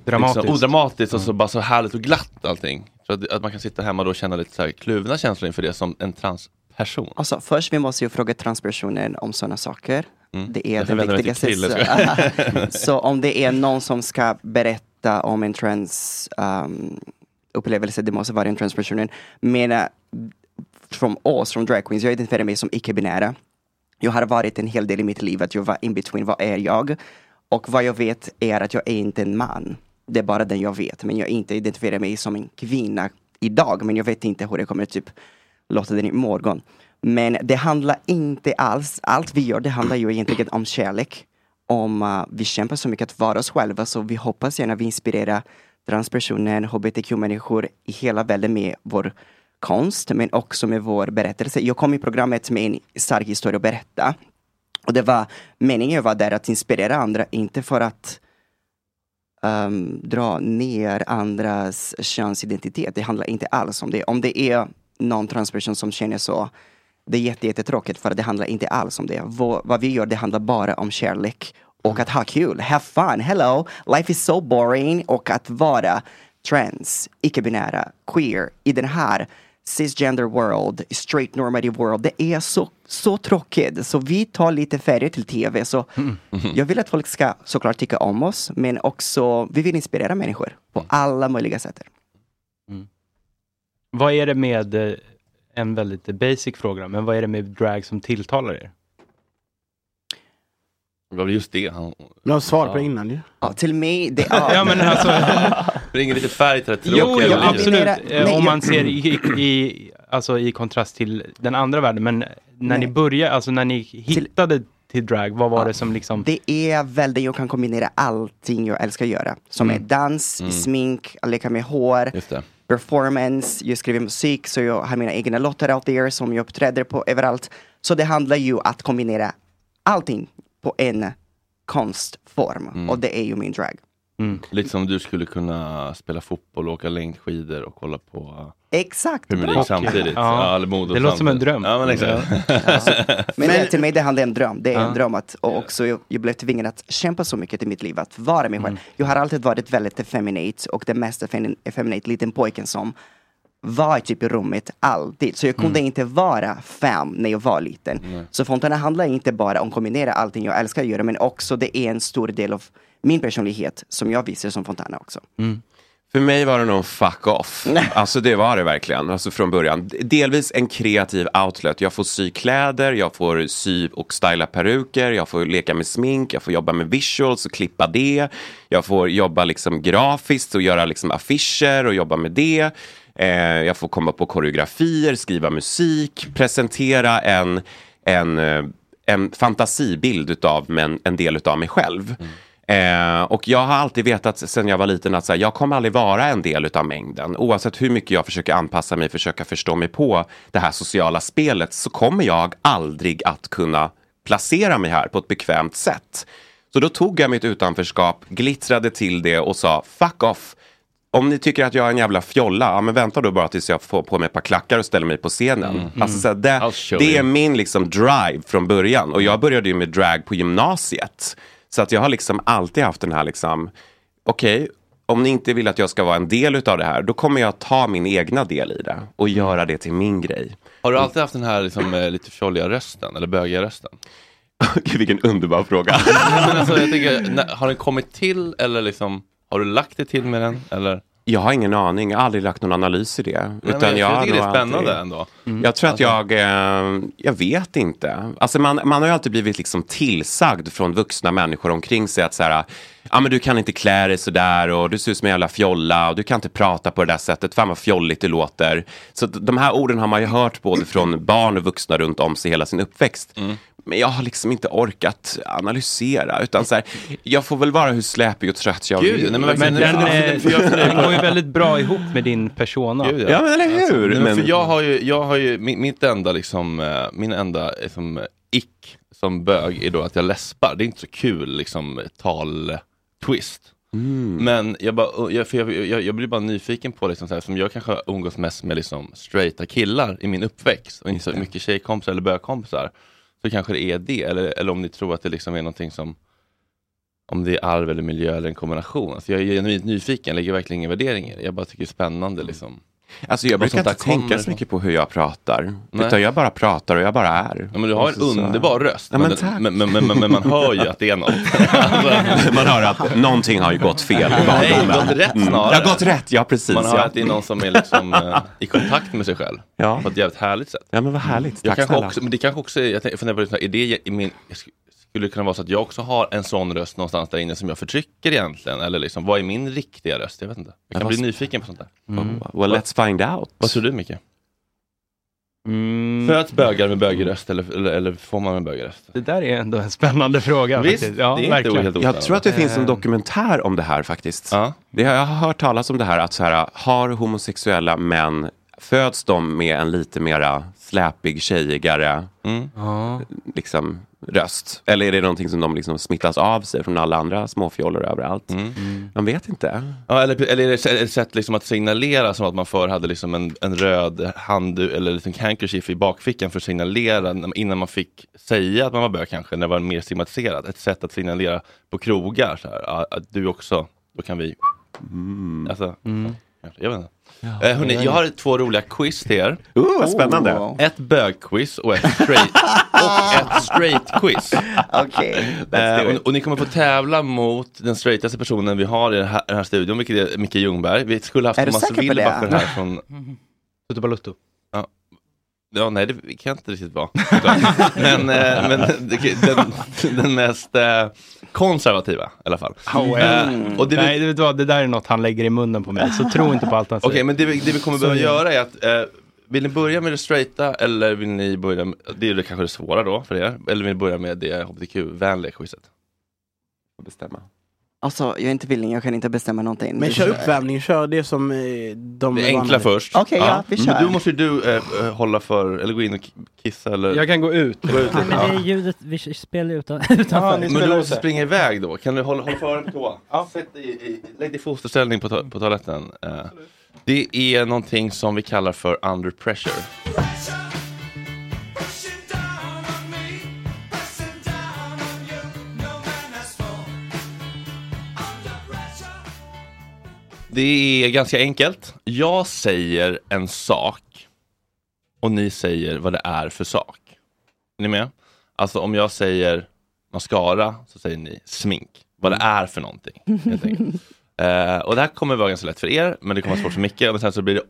[SPEAKER 6] Dramatiskt.
[SPEAKER 1] Liksom, odramatiskt och så bara så härligt och glatt allting. Så att, att man kan sitta hemma då och känna lite så här kluvna känslor inför det som en transperson.
[SPEAKER 22] Alltså först vi måste ju fråga transpersonen om sådana saker.
[SPEAKER 1] Mm.
[SPEAKER 22] Det är
[SPEAKER 1] Jag
[SPEAKER 22] den
[SPEAKER 1] förväntar mig
[SPEAKER 11] typ
[SPEAKER 22] viktigaste.
[SPEAKER 1] inte Krille,
[SPEAKER 22] Så,
[SPEAKER 11] *laughs*
[SPEAKER 1] tror
[SPEAKER 22] *laughs* så om det är någon som ska berätta om en trans um, upplevelse, det måste vara en transpersonen. Men eh, från oss, från drag queens, jag identifierar mig som icke-binära. Jag har varit en hel del i mitt liv att jag var in between, vad är jag? Och vad jag vet är att jag är inte en man. Det är bara den jag vet, men jag inte identifierar mig som en kvinna idag, men jag vet inte hur det kommer typ låta den imorgon. Men det handlar inte alls, allt vi gör det handlar ju egentligen om kärlek. Om eh, vi kämpar så mycket att vara oss själva så vi hoppas gärna vi inspirerar transpersoner, hbtq-människor i hela världen med vår konst men också med vår berättelse. Jag kom i programmet med en stark historia att berätta. Och det var meningen jag var där att inspirera andra, inte för att ehm, dra ner andras könsidentitet. Det handlar inte alls om det. Om det är någon transperson som känner så, det är jätte, jättetråkigt för det handlar inte alls om det. Vå- vad vi gör, det handlar bara om kärlek och att ha kul. Have fun, hello, life is so boring. Och att vara trans, icke-binära, queer i den här cisgender world, straight normative world. Det är så, så tråkigt. Så vi tar lite färger till tv. Så Mm-hmm. jag vill att folk ska såklart tycka om oss, men också, vi vill inspirera människor
[SPEAKER 1] Mm.
[SPEAKER 22] på alla möjliga sätt.
[SPEAKER 6] Vad är det med, eh, en väldigt basic fråga, men vad är det med drag som tilltalar er?
[SPEAKER 1] Det var väl just det han...
[SPEAKER 13] Du har svar på det innan ju.
[SPEAKER 22] Ja, till mig, det
[SPEAKER 6] Ja, men alltså-
[SPEAKER 22] *laughs*
[SPEAKER 1] Bring lite färg till det tråkiga
[SPEAKER 6] Jo, jo
[SPEAKER 1] livet.
[SPEAKER 6] absolut. Eh, Om man ser i, i, alltså i kontrast till den andra världen. Men när ni
[SPEAKER 22] Nej.
[SPEAKER 6] började, alltså när ni hittade till, drag, vad var det som liksom...
[SPEAKER 22] Det är väl det jag kan kombinera allting jag älskar att göra. Som
[SPEAKER 1] Mm.
[SPEAKER 22] är dans, smink, att leka med hår, performance, jag skriver musik, så jag har mina egna låtar out there som jag uppträder på överallt. Så det handlar ju att kombinera allting på en konstform.
[SPEAKER 1] Mm.
[SPEAKER 22] Och det är ju min drag.
[SPEAKER 1] Lite som du skulle kunna spela fotboll, åka längdskidor och kolla på
[SPEAKER 22] Exakt,
[SPEAKER 1] Premier
[SPEAKER 22] bra.
[SPEAKER 1] League samtidigt.
[SPEAKER 6] Ja.
[SPEAKER 1] Ja. eller Modo
[SPEAKER 6] Det låter som en
[SPEAKER 1] samtidigt.
[SPEAKER 6] dröm.
[SPEAKER 1] Ja, men exakt.
[SPEAKER 22] Men, det, till mig det handlar om en dröm. Det är
[SPEAKER 1] Ja.
[SPEAKER 22] en dröm att, och också jag, jag blev tvungen att kämpa så mycket i mitt liv, att vara mig själv. Jag har alltid varit väldigt effeminate och den mest effemin- effeminate liten pojken som var typ i rummet alltid. Så jag kunde inte vara fem när jag var liten. Så Fontana handlar inte bara om att kombinera allting jag älskar att göra, men också det är en stor del av min personlighet som jag visar som Fontana också.
[SPEAKER 11] Mm. För mig var det nog en fuck off. Alltså det var det verkligen, alltså från början. Delvis en kreativ outlet. Jag får sy kläder, jag får sy och styla peruker, jag får leka med smink, jag får jobba med visuals och klippa det. Jag får jobba liksom grafiskt och göra liksom affischer och jobba med det. Eh, jag får komma på koreografier, skriva musik, presentera en, en, eh, en fantasibild utav men, en del utav mig själv. Eh, och jag har alltid vetat sen jag var liten att så här, jag kommer aldrig vara en del utav mängden. Oavsett hur mycket jag försöker anpassa mig, försöka förstå mig på det här sociala spelet så kommer jag aldrig att kunna placera mig här på ett bekvämt sätt. Så då tog jag mitt utanförskap, glittrade till det och sa fuck off. Om ni tycker att jag är en jävla fjolla, ja, men vänta då bara tills jag får på mig ett par klackar och ställer mig på scenen. Alltså, så här, det, det är min liksom drive från början. Och jag började ju med drag på gymnasiet. Så att jag har liksom alltid haft den här liksom, okej, om ni inte vill att jag ska vara en del utav det här, då kommer jag ta min egna del i det och göra det till min grej.
[SPEAKER 1] *laughs* Har du alltid haft den här liksom, eh, lite fjolliga rösten, eller bögiga rösten?
[SPEAKER 11] *laughs* Gud, vilken underbar
[SPEAKER 1] *laughs*
[SPEAKER 11] fråga.
[SPEAKER 1] Nej, men alltså, jag tänker, när, har den kommit till eller liksom, har du lagt det till med den? Eller?
[SPEAKER 11] Jag har ingen aning, jag har aldrig lagt någon analys i det.
[SPEAKER 1] men
[SPEAKER 11] utan
[SPEAKER 1] jag
[SPEAKER 11] jag har
[SPEAKER 1] tycker det är
[SPEAKER 11] nog
[SPEAKER 1] spännande
[SPEAKER 11] alltid-
[SPEAKER 1] ändå.
[SPEAKER 11] Jag tror att jag, eh, jag vet inte. Alltså man, man har ju alltid blivit liksom tillsagd från vuxna människor omkring sig att så här, ah, men du kan inte klä dig sådär och du ser ut som en jävla fjolla och du kan inte prata på det där sättet, fan vad fjolligt det låter. Så att de här orden har man ju hört både från barn och vuxna runt om sig hela sin uppväxt.
[SPEAKER 1] Mm.
[SPEAKER 11] Men jag har liksom inte orkat analysera. Utan så här, jag får väl vara hur släpig och trött jag
[SPEAKER 1] Gud,
[SPEAKER 11] vill.
[SPEAKER 1] nej, men
[SPEAKER 6] Men den, eh, den går ju väldigt bra ihop med din persona.
[SPEAKER 1] Gud, Alltså, nej, men för jag har ju, jag har ju mi- mitt enda liksom, eh, min enda liksom, eh, ick som bög är då att jag läspar. Det är inte så kul liksom tal-twist. Men jag, bara, jag, för jag, jag, jag blir bara nyfiken på, liksom, så här, som jag kanske har umgås mest med liksom, straighta killar i min uppväxt och inte så mycket tjejkompisar eller bögkompisar. Så kanske det är det, eller, eller om ni tror att det liksom är någonting som om det är arv eller miljö eller en kombination. Alltså jag är genuint nyfiken, lägger verkligen ingen värdering i det. Jag bara tycker det är spännande. Liksom.
[SPEAKER 11] Mm. Alltså jag
[SPEAKER 1] Vad
[SPEAKER 11] brukar
[SPEAKER 1] sånt där
[SPEAKER 11] inte tänka
[SPEAKER 1] kommer
[SPEAKER 11] så
[SPEAKER 1] ifrån.
[SPEAKER 11] mycket på hur jag pratar.
[SPEAKER 1] Nej.
[SPEAKER 11] Utan jag bara pratar och jag bara är.
[SPEAKER 1] Ja, men du har en
[SPEAKER 11] Och så- så-
[SPEAKER 1] underbar röst.
[SPEAKER 11] Ja,
[SPEAKER 1] men,
[SPEAKER 11] men, tack.
[SPEAKER 1] men, men, men, men, men man hör ju att
[SPEAKER 11] *laughs*
[SPEAKER 1] det är något. Alltså,
[SPEAKER 11] man hör att någonting har ju gått fel i
[SPEAKER 1] Nej,
[SPEAKER 11] barndomen.
[SPEAKER 1] gått rätt
[SPEAKER 11] Mm.
[SPEAKER 1] snarare.
[SPEAKER 11] Det har gått rätt, ja precis.
[SPEAKER 1] Man hör
[SPEAKER 11] ja.
[SPEAKER 1] att det är någon som är liksom, eh, i kontakt med sig själv.
[SPEAKER 11] Ja.
[SPEAKER 1] På ett jävligt härligt sätt.
[SPEAKER 11] Ja men vad härligt,
[SPEAKER 1] Jag
[SPEAKER 11] tack
[SPEAKER 1] kanske
[SPEAKER 11] snälla.
[SPEAKER 1] också, men det kanske också är, jag tänker- jag funderar på det, så här, är det i min, jag sk- skulle det kunna vara så att jag också har en sån röst någonstans där inne som jag förtrycker egentligen? Eller liksom, vad är min riktiga röst? Jag vet inte. Jag kan
[SPEAKER 11] Ja,
[SPEAKER 1] bli
[SPEAKER 11] vad-
[SPEAKER 1] nyfiken på sånt där.
[SPEAKER 11] Mm. Well let's find out.
[SPEAKER 1] Vad tror du Micke?
[SPEAKER 11] Mm.
[SPEAKER 1] Föds bögar med bögeröst eller, eller, eller får man en bögeröst?
[SPEAKER 6] Det där är ändå en spännande fråga.
[SPEAKER 1] Visst,
[SPEAKER 6] faktiskt.
[SPEAKER 1] det är inte helt
[SPEAKER 11] Jag tror att det finns en
[SPEAKER 6] Eh,
[SPEAKER 11] dokumentär om det här faktiskt. Det har, jag har hört talas om det här att så här, har homosexuella män, föds de med en lite mera släpig, tjejigare
[SPEAKER 1] Mm.
[SPEAKER 11] liksom, röst? Eller är det någonting som de liksom smittas av sig från alla andra småfjollor överallt?
[SPEAKER 1] Mm.
[SPEAKER 11] Man vet inte.
[SPEAKER 1] Ja, eller, eller är det ett sätt liksom att signalera som att man förr hade liksom en, en röd handduk eller en liten handkerchief i bakfickan för att signalera när- innan man fick säga att man var bög kanske, när det var mer stigmatiserat. Ett sätt att signalera på krogar, så här, ja, att du också, då kan vi...
[SPEAKER 11] Mm.
[SPEAKER 1] Alltså, Jag vet inte.
[SPEAKER 18] Ja.
[SPEAKER 1] eh, hörni, jag har två roliga quiz till er.
[SPEAKER 11] Oh, vad spännande. Oh.
[SPEAKER 1] Ett bögquiz och ett
[SPEAKER 11] *laughs*
[SPEAKER 1] straight, och ett straight quiz.
[SPEAKER 22] Okej.
[SPEAKER 1] Eh, och, och ni kommer få tävla mot den straightaste personen vi har i den här, den här studion, vilket är Micke Ljungberg. Vi skulle haft
[SPEAKER 22] Är du
[SPEAKER 1] Thomas
[SPEAKER 22] säker på det?
[SPEAKER 1] Wilbacher här från...
[SPEAKER 6] Mm. Tutu Balutto.
[SPEAKER 1] Ja. ja, nej det kan inte riktigt vara. *laughs* men eh, men det- den, den mest eh, konservativa i alla fall. Eh, och det vi
[SPEAKER 6] Nej, vet du vad, det där är något han lägger i munnen på mig, så tro inte på allt han
[SPEAKER 1] Okej,
[SPEAKER 6] säger.
[SPEAKER 1] men det vi, det vi kommer behöva göra är att eh, vill ni börja med det straighta eller vill ni börja med, det är det kanske det svåra då för er, eller vill ni börja med det hbtq-vänliga quizet?
[SPEAKER 11] Bestämma.
[SPEAKER 22] Alltså, jag är inte villig, jag kan inte bestämma någonting.
[SPEAKER 13] Men kör uppvärmningen, kör det som eh, de...
[SPEAKER 1] Det enkla först.
[SPEAKER 22] Okej, ja, vi
[SPEAKER 1] Mm.
[SPEAKER 22] kör.
[SPEAKER 1] Då måste ju du eh, hålla för, eller gå in och k- kissa eller?
[SPEAKER 6] Jag kan gå ut.
[SPEAKER 1] Gå ut.
[SPEAKER 7] Nej, men det är
[SPEAKER 1] ja.
[SPEAKER 7] ljudet, vi spelar ju utan, *laughs* utanför.
[SPEAKER 1] Men du måste springa iväg då, kan du hålla, hålla för den på toa? Sätt dig i, i, lägg dig i fosterställning på, to- på toaletten. Eh, det är någonting som vi kallar för under pressure. Det är ganska enkelt. Jag säger en sak och ni säger vad det är för sak. Är ni med? Alltså om jag säger mascara så säger ni smink. Vad det är för någonting.
[SPEAKER 18] *laughs*
[SPEAKER 1] Helt enkelt. Eh, och det här kommer vara ganska lätt för er, men det kommer vara svårt för Micke. Men sen så blir det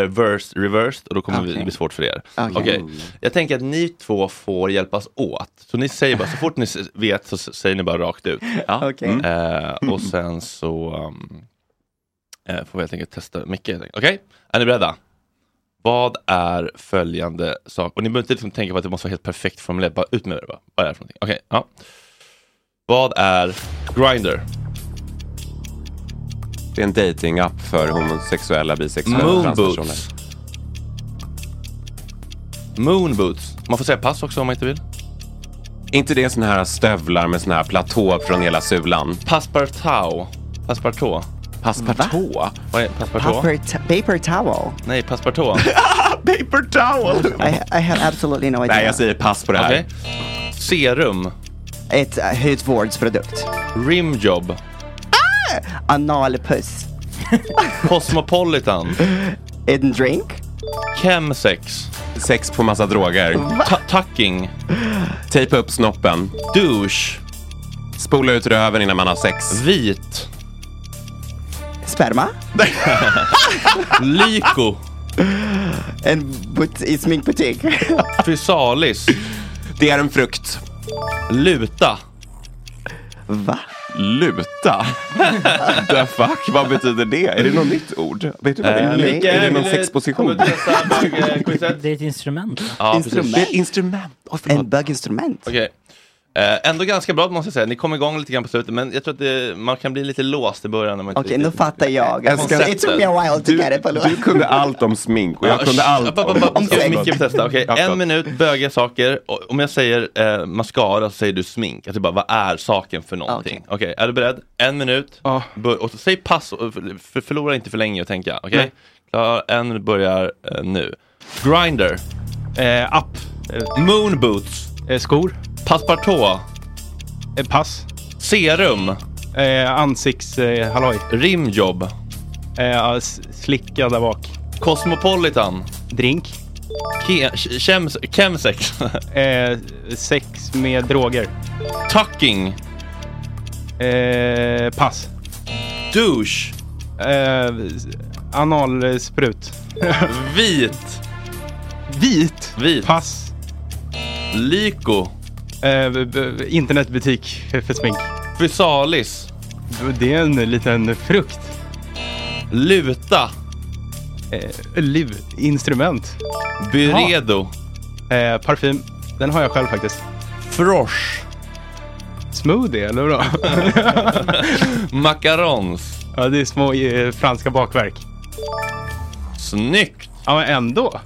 [SPEAKER 1] eh, versed, reversed och då kommer det
[SPEAKER 18] Okej.
[SPEAKER 1] bli svårt för er.
[SPEAKER 18] Okej.
[SPEAKER 1] Okej. Jag tänker att ni två får hjälpas åt. Så ni säger bara, så fort ni s- vet så s- säger ni bara rakt ut.
[SPEAKER 22] Okej.
[SPEAKER 1] Eh, och sen så um, eh, får vi helt enkelt testa Micke. helt enkelt. Okej, är ni beredda? Vad är följande sak? Och ni behöver inte liksom tänka på att det måste vara helt perfekt formulerat. Bara ut med det bara. Vad är det för någonting? Okej, ja. Vad är Grindr?
[SPEAKER 11] Det är en dating-app för homosexuella, bisexuella och transpersoner.
[SPEAKER 1] Moonboots. Moonboots. Man får säga pass också om man inte vill.
[SPEAKER 11] inte det såna här stövlar med såna här platå från hela sulan?
[SPEAKER 1] Passepartout. Passepartout.
[SPEAKER 11] Passepartout?
[SPEAKER 1] Vad är passepartout?
[SPEAKER 22] Paper, t- paper towel.
[SPEAKER 11] *laughs*
[SPEAKER 1] Nej, passepartout.
[SPEAKER 22] Paper towel! I, I have absolutely no idea.
[SPEAKER 11] Nej, jag säger pass på det här.
[SPEAKER 1] Okej. Serum.
[SPEAKER 22] Ett uh, hudvårdsprodukt.
[SPEAKER 1] Rimjob.
[SPEAKER 22] Ah!
[SPEAKER 11] *laughs*
[SPEAKER 22] Analpuss.
[SPEAKER 1] Cosmopolitan.
[SPEAKER 22] En drink.
[SPEAKER 1] Chemsex.
[SPEAKER 11] Sex på massa droger.
[SPEAKER 1] Ta- tucking.
[SPEAKER 11] Tejpa upp snoppen.
[SPEAKER 1] Douche.
[SPEAKER 11] Spola ut röven innan man har sex.
[SPEAKER 1] Vit.
[SPEAKER 22] Sperma.
[SPEAKER 1] *laughs* Lyko.
[SPEAKER 22] En but- i sminkbutik.
[SPEAKER 1] Fysalis.
[SPEAKER 11] Det är en frukt.
[SPEAKER 1] Luta.
[SPEAKER 22] Va?
[SPEAKER 11] Luta? *laughs* The fuck, vad betyder det? Är det något nytt ord? Vet du vad det
[SPEAKER 1] Eh,
[SPEAKER 11] är?
[SPEAKER 1] Micke,
[SPEAKER 11] är det
[SPEAKER 1] vill
[SPEAKER 11] någon
[SPEAKER 1] du
[SPEAKER 11] sexposition?
[SPEAKER 7] Det är ett instrument. va?
[SPEAKER 1] Ja, precis.
[SPEAKER 22] instrument.
[SPEAKER 1] Det är
[SPEAKER 11] ett instrument.
[SPEAKER 22] en böginstrument.
[SPEAKER 1] Okej. Eh, ändå ganska bra måste jag säga. Ni kom igång lite grann på slutet, men jag tror att det, man kan bli lite låst i början. när man inte
[SPEAKER 22] Okej, nu
[SPEAKER 1] riktigt-
[SPEAKER 22] fattar jag.
[SPEAKER 1] Jag ska-
[SPEAKER 22] It took me a while to get it, förlåt.
[SPEAKER 11] Du kunde allt om smink och jag
[SPEAKER 1] Ja,
[SPEAKER 11] kunde
[SPEAKER 1] sh-
[SPEAKER 11] allt
[SPEAKER 1] ba- ba- ba-
[SPEAKER 11] om...
[SPEAKER 1] Ska
[SPEAKER 11] om-
[SPEAKER 1] Micke få testa? Okej,
[SPEAKER 11] Ja, förlåt.
[SPEAKER 1] en minut, böga saker. Och Om jag säger eh, mascara så säger du smink. Alltså bara, vad är saken
[SPEAKER 11] Ah,
[SPEAKER 1] för någonting? Okej, är du beredd? En minut. Bör- och så säg pass, och för- för, förlora inte för länge att tänka. Okej?
[SPEAKER 6] Nej.
[SPEAKER 1] Klar, en börjar eh, nu. Grinder.
[SPEAKER 6] Eh, app.
[SPEAKER 1] Moonboots.
[SPEAKER 6] Eh, skor.
[SPEAKER 1] Passepartout.
[SPEAKER 6] Eh, pass.
[SPEAKER 1] Serum.
[SPEAKER 6] Eh, ansikts... Eh, halloj.
[SPEAKER 1] Rimjobb.
[SPEAKER 6] Eh, ja, s- slicka där bak.
[SPEAKER 1] Cosmopolitan.
[SPEAKER 6] Drink.
[SPEAKER 1] Ke- chems- Chemsex. *laughs*
[SPEAKER 6] Eh, sex med droger.
[SPEAKER 1] Tucking.
[SPEAKER 6] Eh, pass.
[SPEAKER 1] Douche.
[SPEAKER 6] Eh, s- analsprut.
[SPEAKER 1] *laughs* Vit.
[SPEAKER 6] Vit.
[SPEAKER 1] Vit.
[SPEAKER 6] Pass.
[SPEAKER 1] Lyko.
[SPEAKER 6] Eh, b- b- internetbutik för smink.
[SPEAKER 1] Fysalis.
[SPEAKER 6] B- Det är en liten frukt.
[SPEAKER 1] Luta.
[SPEAKER 6] Eh, liv. Instrument.
[SPEAKER 1] Byredo.
[SPEAKER 6] Eh, parfym. Den har jag själv faktiskt.
[SPEAKER 1] Frosch.
[SPEAKER 6] Smoothie, eller vadå?
[SPEAKER 1] *laughs* Macarons.
[SPEAKER 6] ja, det är små eh, franska bakverk.
[SPEAKER 1] Snyggt!
[SPEAKER 6] Ja, men ändå.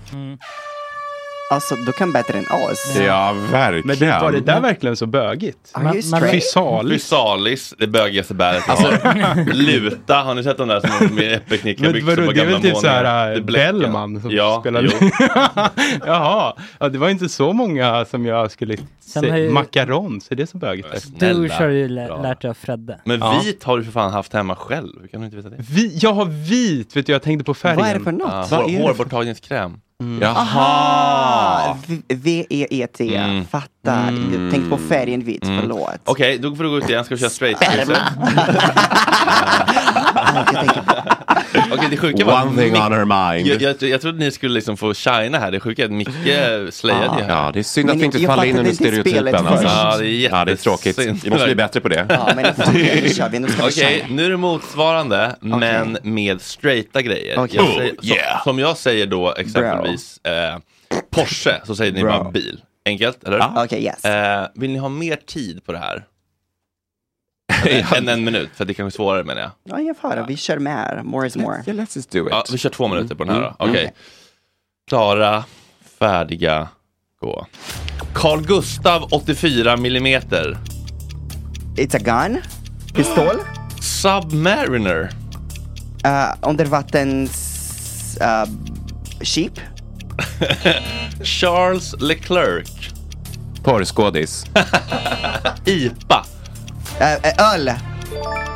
[SPEAKER 22] Alltså, du kan *laughs* bättre än oss.
[SPEAKER 11] Ja, verkligen.
[SPEAKER 6] Men var det där verkligen så bögigt?
[SPEAKER 22] Are you straight?
[SPEAKER 6] Fysalis.
[SPEAKER 1] Fysalis, det bögigaste bäret jag har. Luta, har ni sett de där som är med
[SPEAKER 6] Men
[SPEAKER 1] epiknickarbyxor
[SPEAKER 6] vadå,
[SPEAKER 1] på
[SPEAKER 6] det är
[SPEAKER 1] gamla
[SPEAKER 6] väl typ
[SPEAKER 1] månader?
[SPEAKER 6] såhär
[SPEAKER 1] Det
[SPEAKER 6] äh,
[SPEAKER 1] är bläcken.
[SPEAKER 6] Bellman som
[SPEAKER 1] ja,
[SPEAKER 6] spelade?
[SPEAKER 1] jo.
[SPEAKER 6] *laughs* Jaha, ja, det var inte så många som jag skulle
[SPEAKER 7] har ju-
[SPEAKER 6] säga. Macaron, så det är så bögigt?
[SPEAKER 7] Du har ju lä- lärt dig av
[SPEAKER 1] *laughs*
[SPEAKER 7] Fredde.
[SPEAKER 1] Men
[SPEAKER 6] Ja.
[SPEAKER 1] vit har du för fan haft hemma själv, hur kan du inte veta det?
[SPEAKER 6] Vi, jag har vit, vet du, jag tänkte på färgen.
[SPEAKER 1] Ah, hår, Hårborttagningskräm.
[SPEAKER 11] Mm. Ah.
[SPEAKER 22] Aha! Ah, V- V-E-E-T.
[SPEAKER 11] Mm.
[SPEAKER 22] Fattar. Jag tänkte på färgen vit, förlåt.
[SPEAKER 1] Okej, då får du gå ut igen, ska vi köra straight?
[SPEAKER 11] *laughs*
[SPEAKER 1] Okej, det sjuka var...
[SPEAKER 11] One thing
[SPEAKER 1] Mic-
[SPEAKER 11] on her mind.
[SPEAKER 1] Jag, jag, jag trodde ni skulle liksom få shina här, det sjuka är att Micke slayade
[SPEAKER 11] Ja.
[SPEAKER 1] ju här.
[SPEAKER 11] Ja, det är synd att Men vi inte jag faller in fattade under inte spelet stereotypen, först. alltså.
[SPEAKER 1] Ja, det är,
[SPEAKER 11] Ja, det är tråkigt. Vi måste bli bättre på det. Ja, men nu kör vi, nu *laughs* ska vi
[SPEAKER 1] Okej,
[SPEAKER 11] köra.
[SPEAKER 1] nu är det motsvarande, men med straighta grejer.
[SPEAKER 11] Okej. Oh,
[SPEAKER 1] Jag säger, som, som jag säger då exempelvis eh, Porsche, så säger ni
[SPEAKER 22] Bro.
[SPEAKER 1] bara bil. Enkelt, eller?
[SPEAKER 22] Ja. Okej, yes.
[SPEAKER 1] Eh, vill ni ha mer tid på det här? Än en minut, för det är kanske är svårare menar jag.
[SPEAKER 22] Ja, jag får Vi kör mer. More is more.
[SPEAKER 11] Yeah, let's just do it.
[SPEAKER 1] Ja, vi kör två minuter på den här
[SPEAKER 11] Mm.
[SPEAKER 1] då. Okej.
[SPEAKER 11] Mm.
[SPEAKER 1] Klara, färdiga, gå. Carl Gustav 84 millimeter.
[SPEAKER 22] It's a gun. Pistol.
[SPEAKER 1] Submariner.
[SPEAKER 22] Uh, undervattens... Uh, sheep.
[SPEAKER 1] *laughs* Charles Leclerc. *laughs*
[SPEAKER 11] Porrskådis.
[SPEAKER 1] IPA.
[SPEAKER 22] Uh, uh, öl.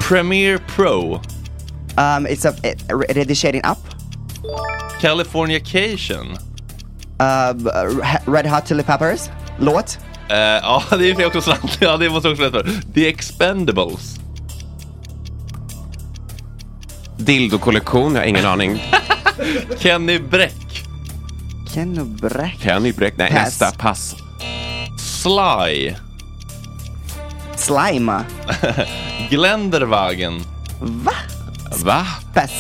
[SPEAKER 1] Premiere Pro.
[SPEAKER 22] Um, it's a uh, redigering app.
[SPEAKER 1] Californication.
[SPEAKER 22] Uh, b- uh, he- red hot chili peppers. Låt.
[SPEAKER 1] Eh, ja, det är också sant. Ja, det måste jag också veta. The Expendables.
[SPEAKER 11] Dildokollektion, jag har ingen aning.
[SPEAKER 1] Kenny Bräck.
[SPEAKER 22] Kenny Bräck.
[SPEAKER 11] Kenny Bräck, nej
[SPEAKER 22] Pass.
[SPEAKER 11] nästa, pass.
[SPEAKER 1] Sly. *laughs*
[SPEAKER 22] Slime.
[SPEAKER 1] Gländervagen.
[SPEAKER 22] Va?
[SPEAKER 11] Va?
[SPEAKER 22] Pass.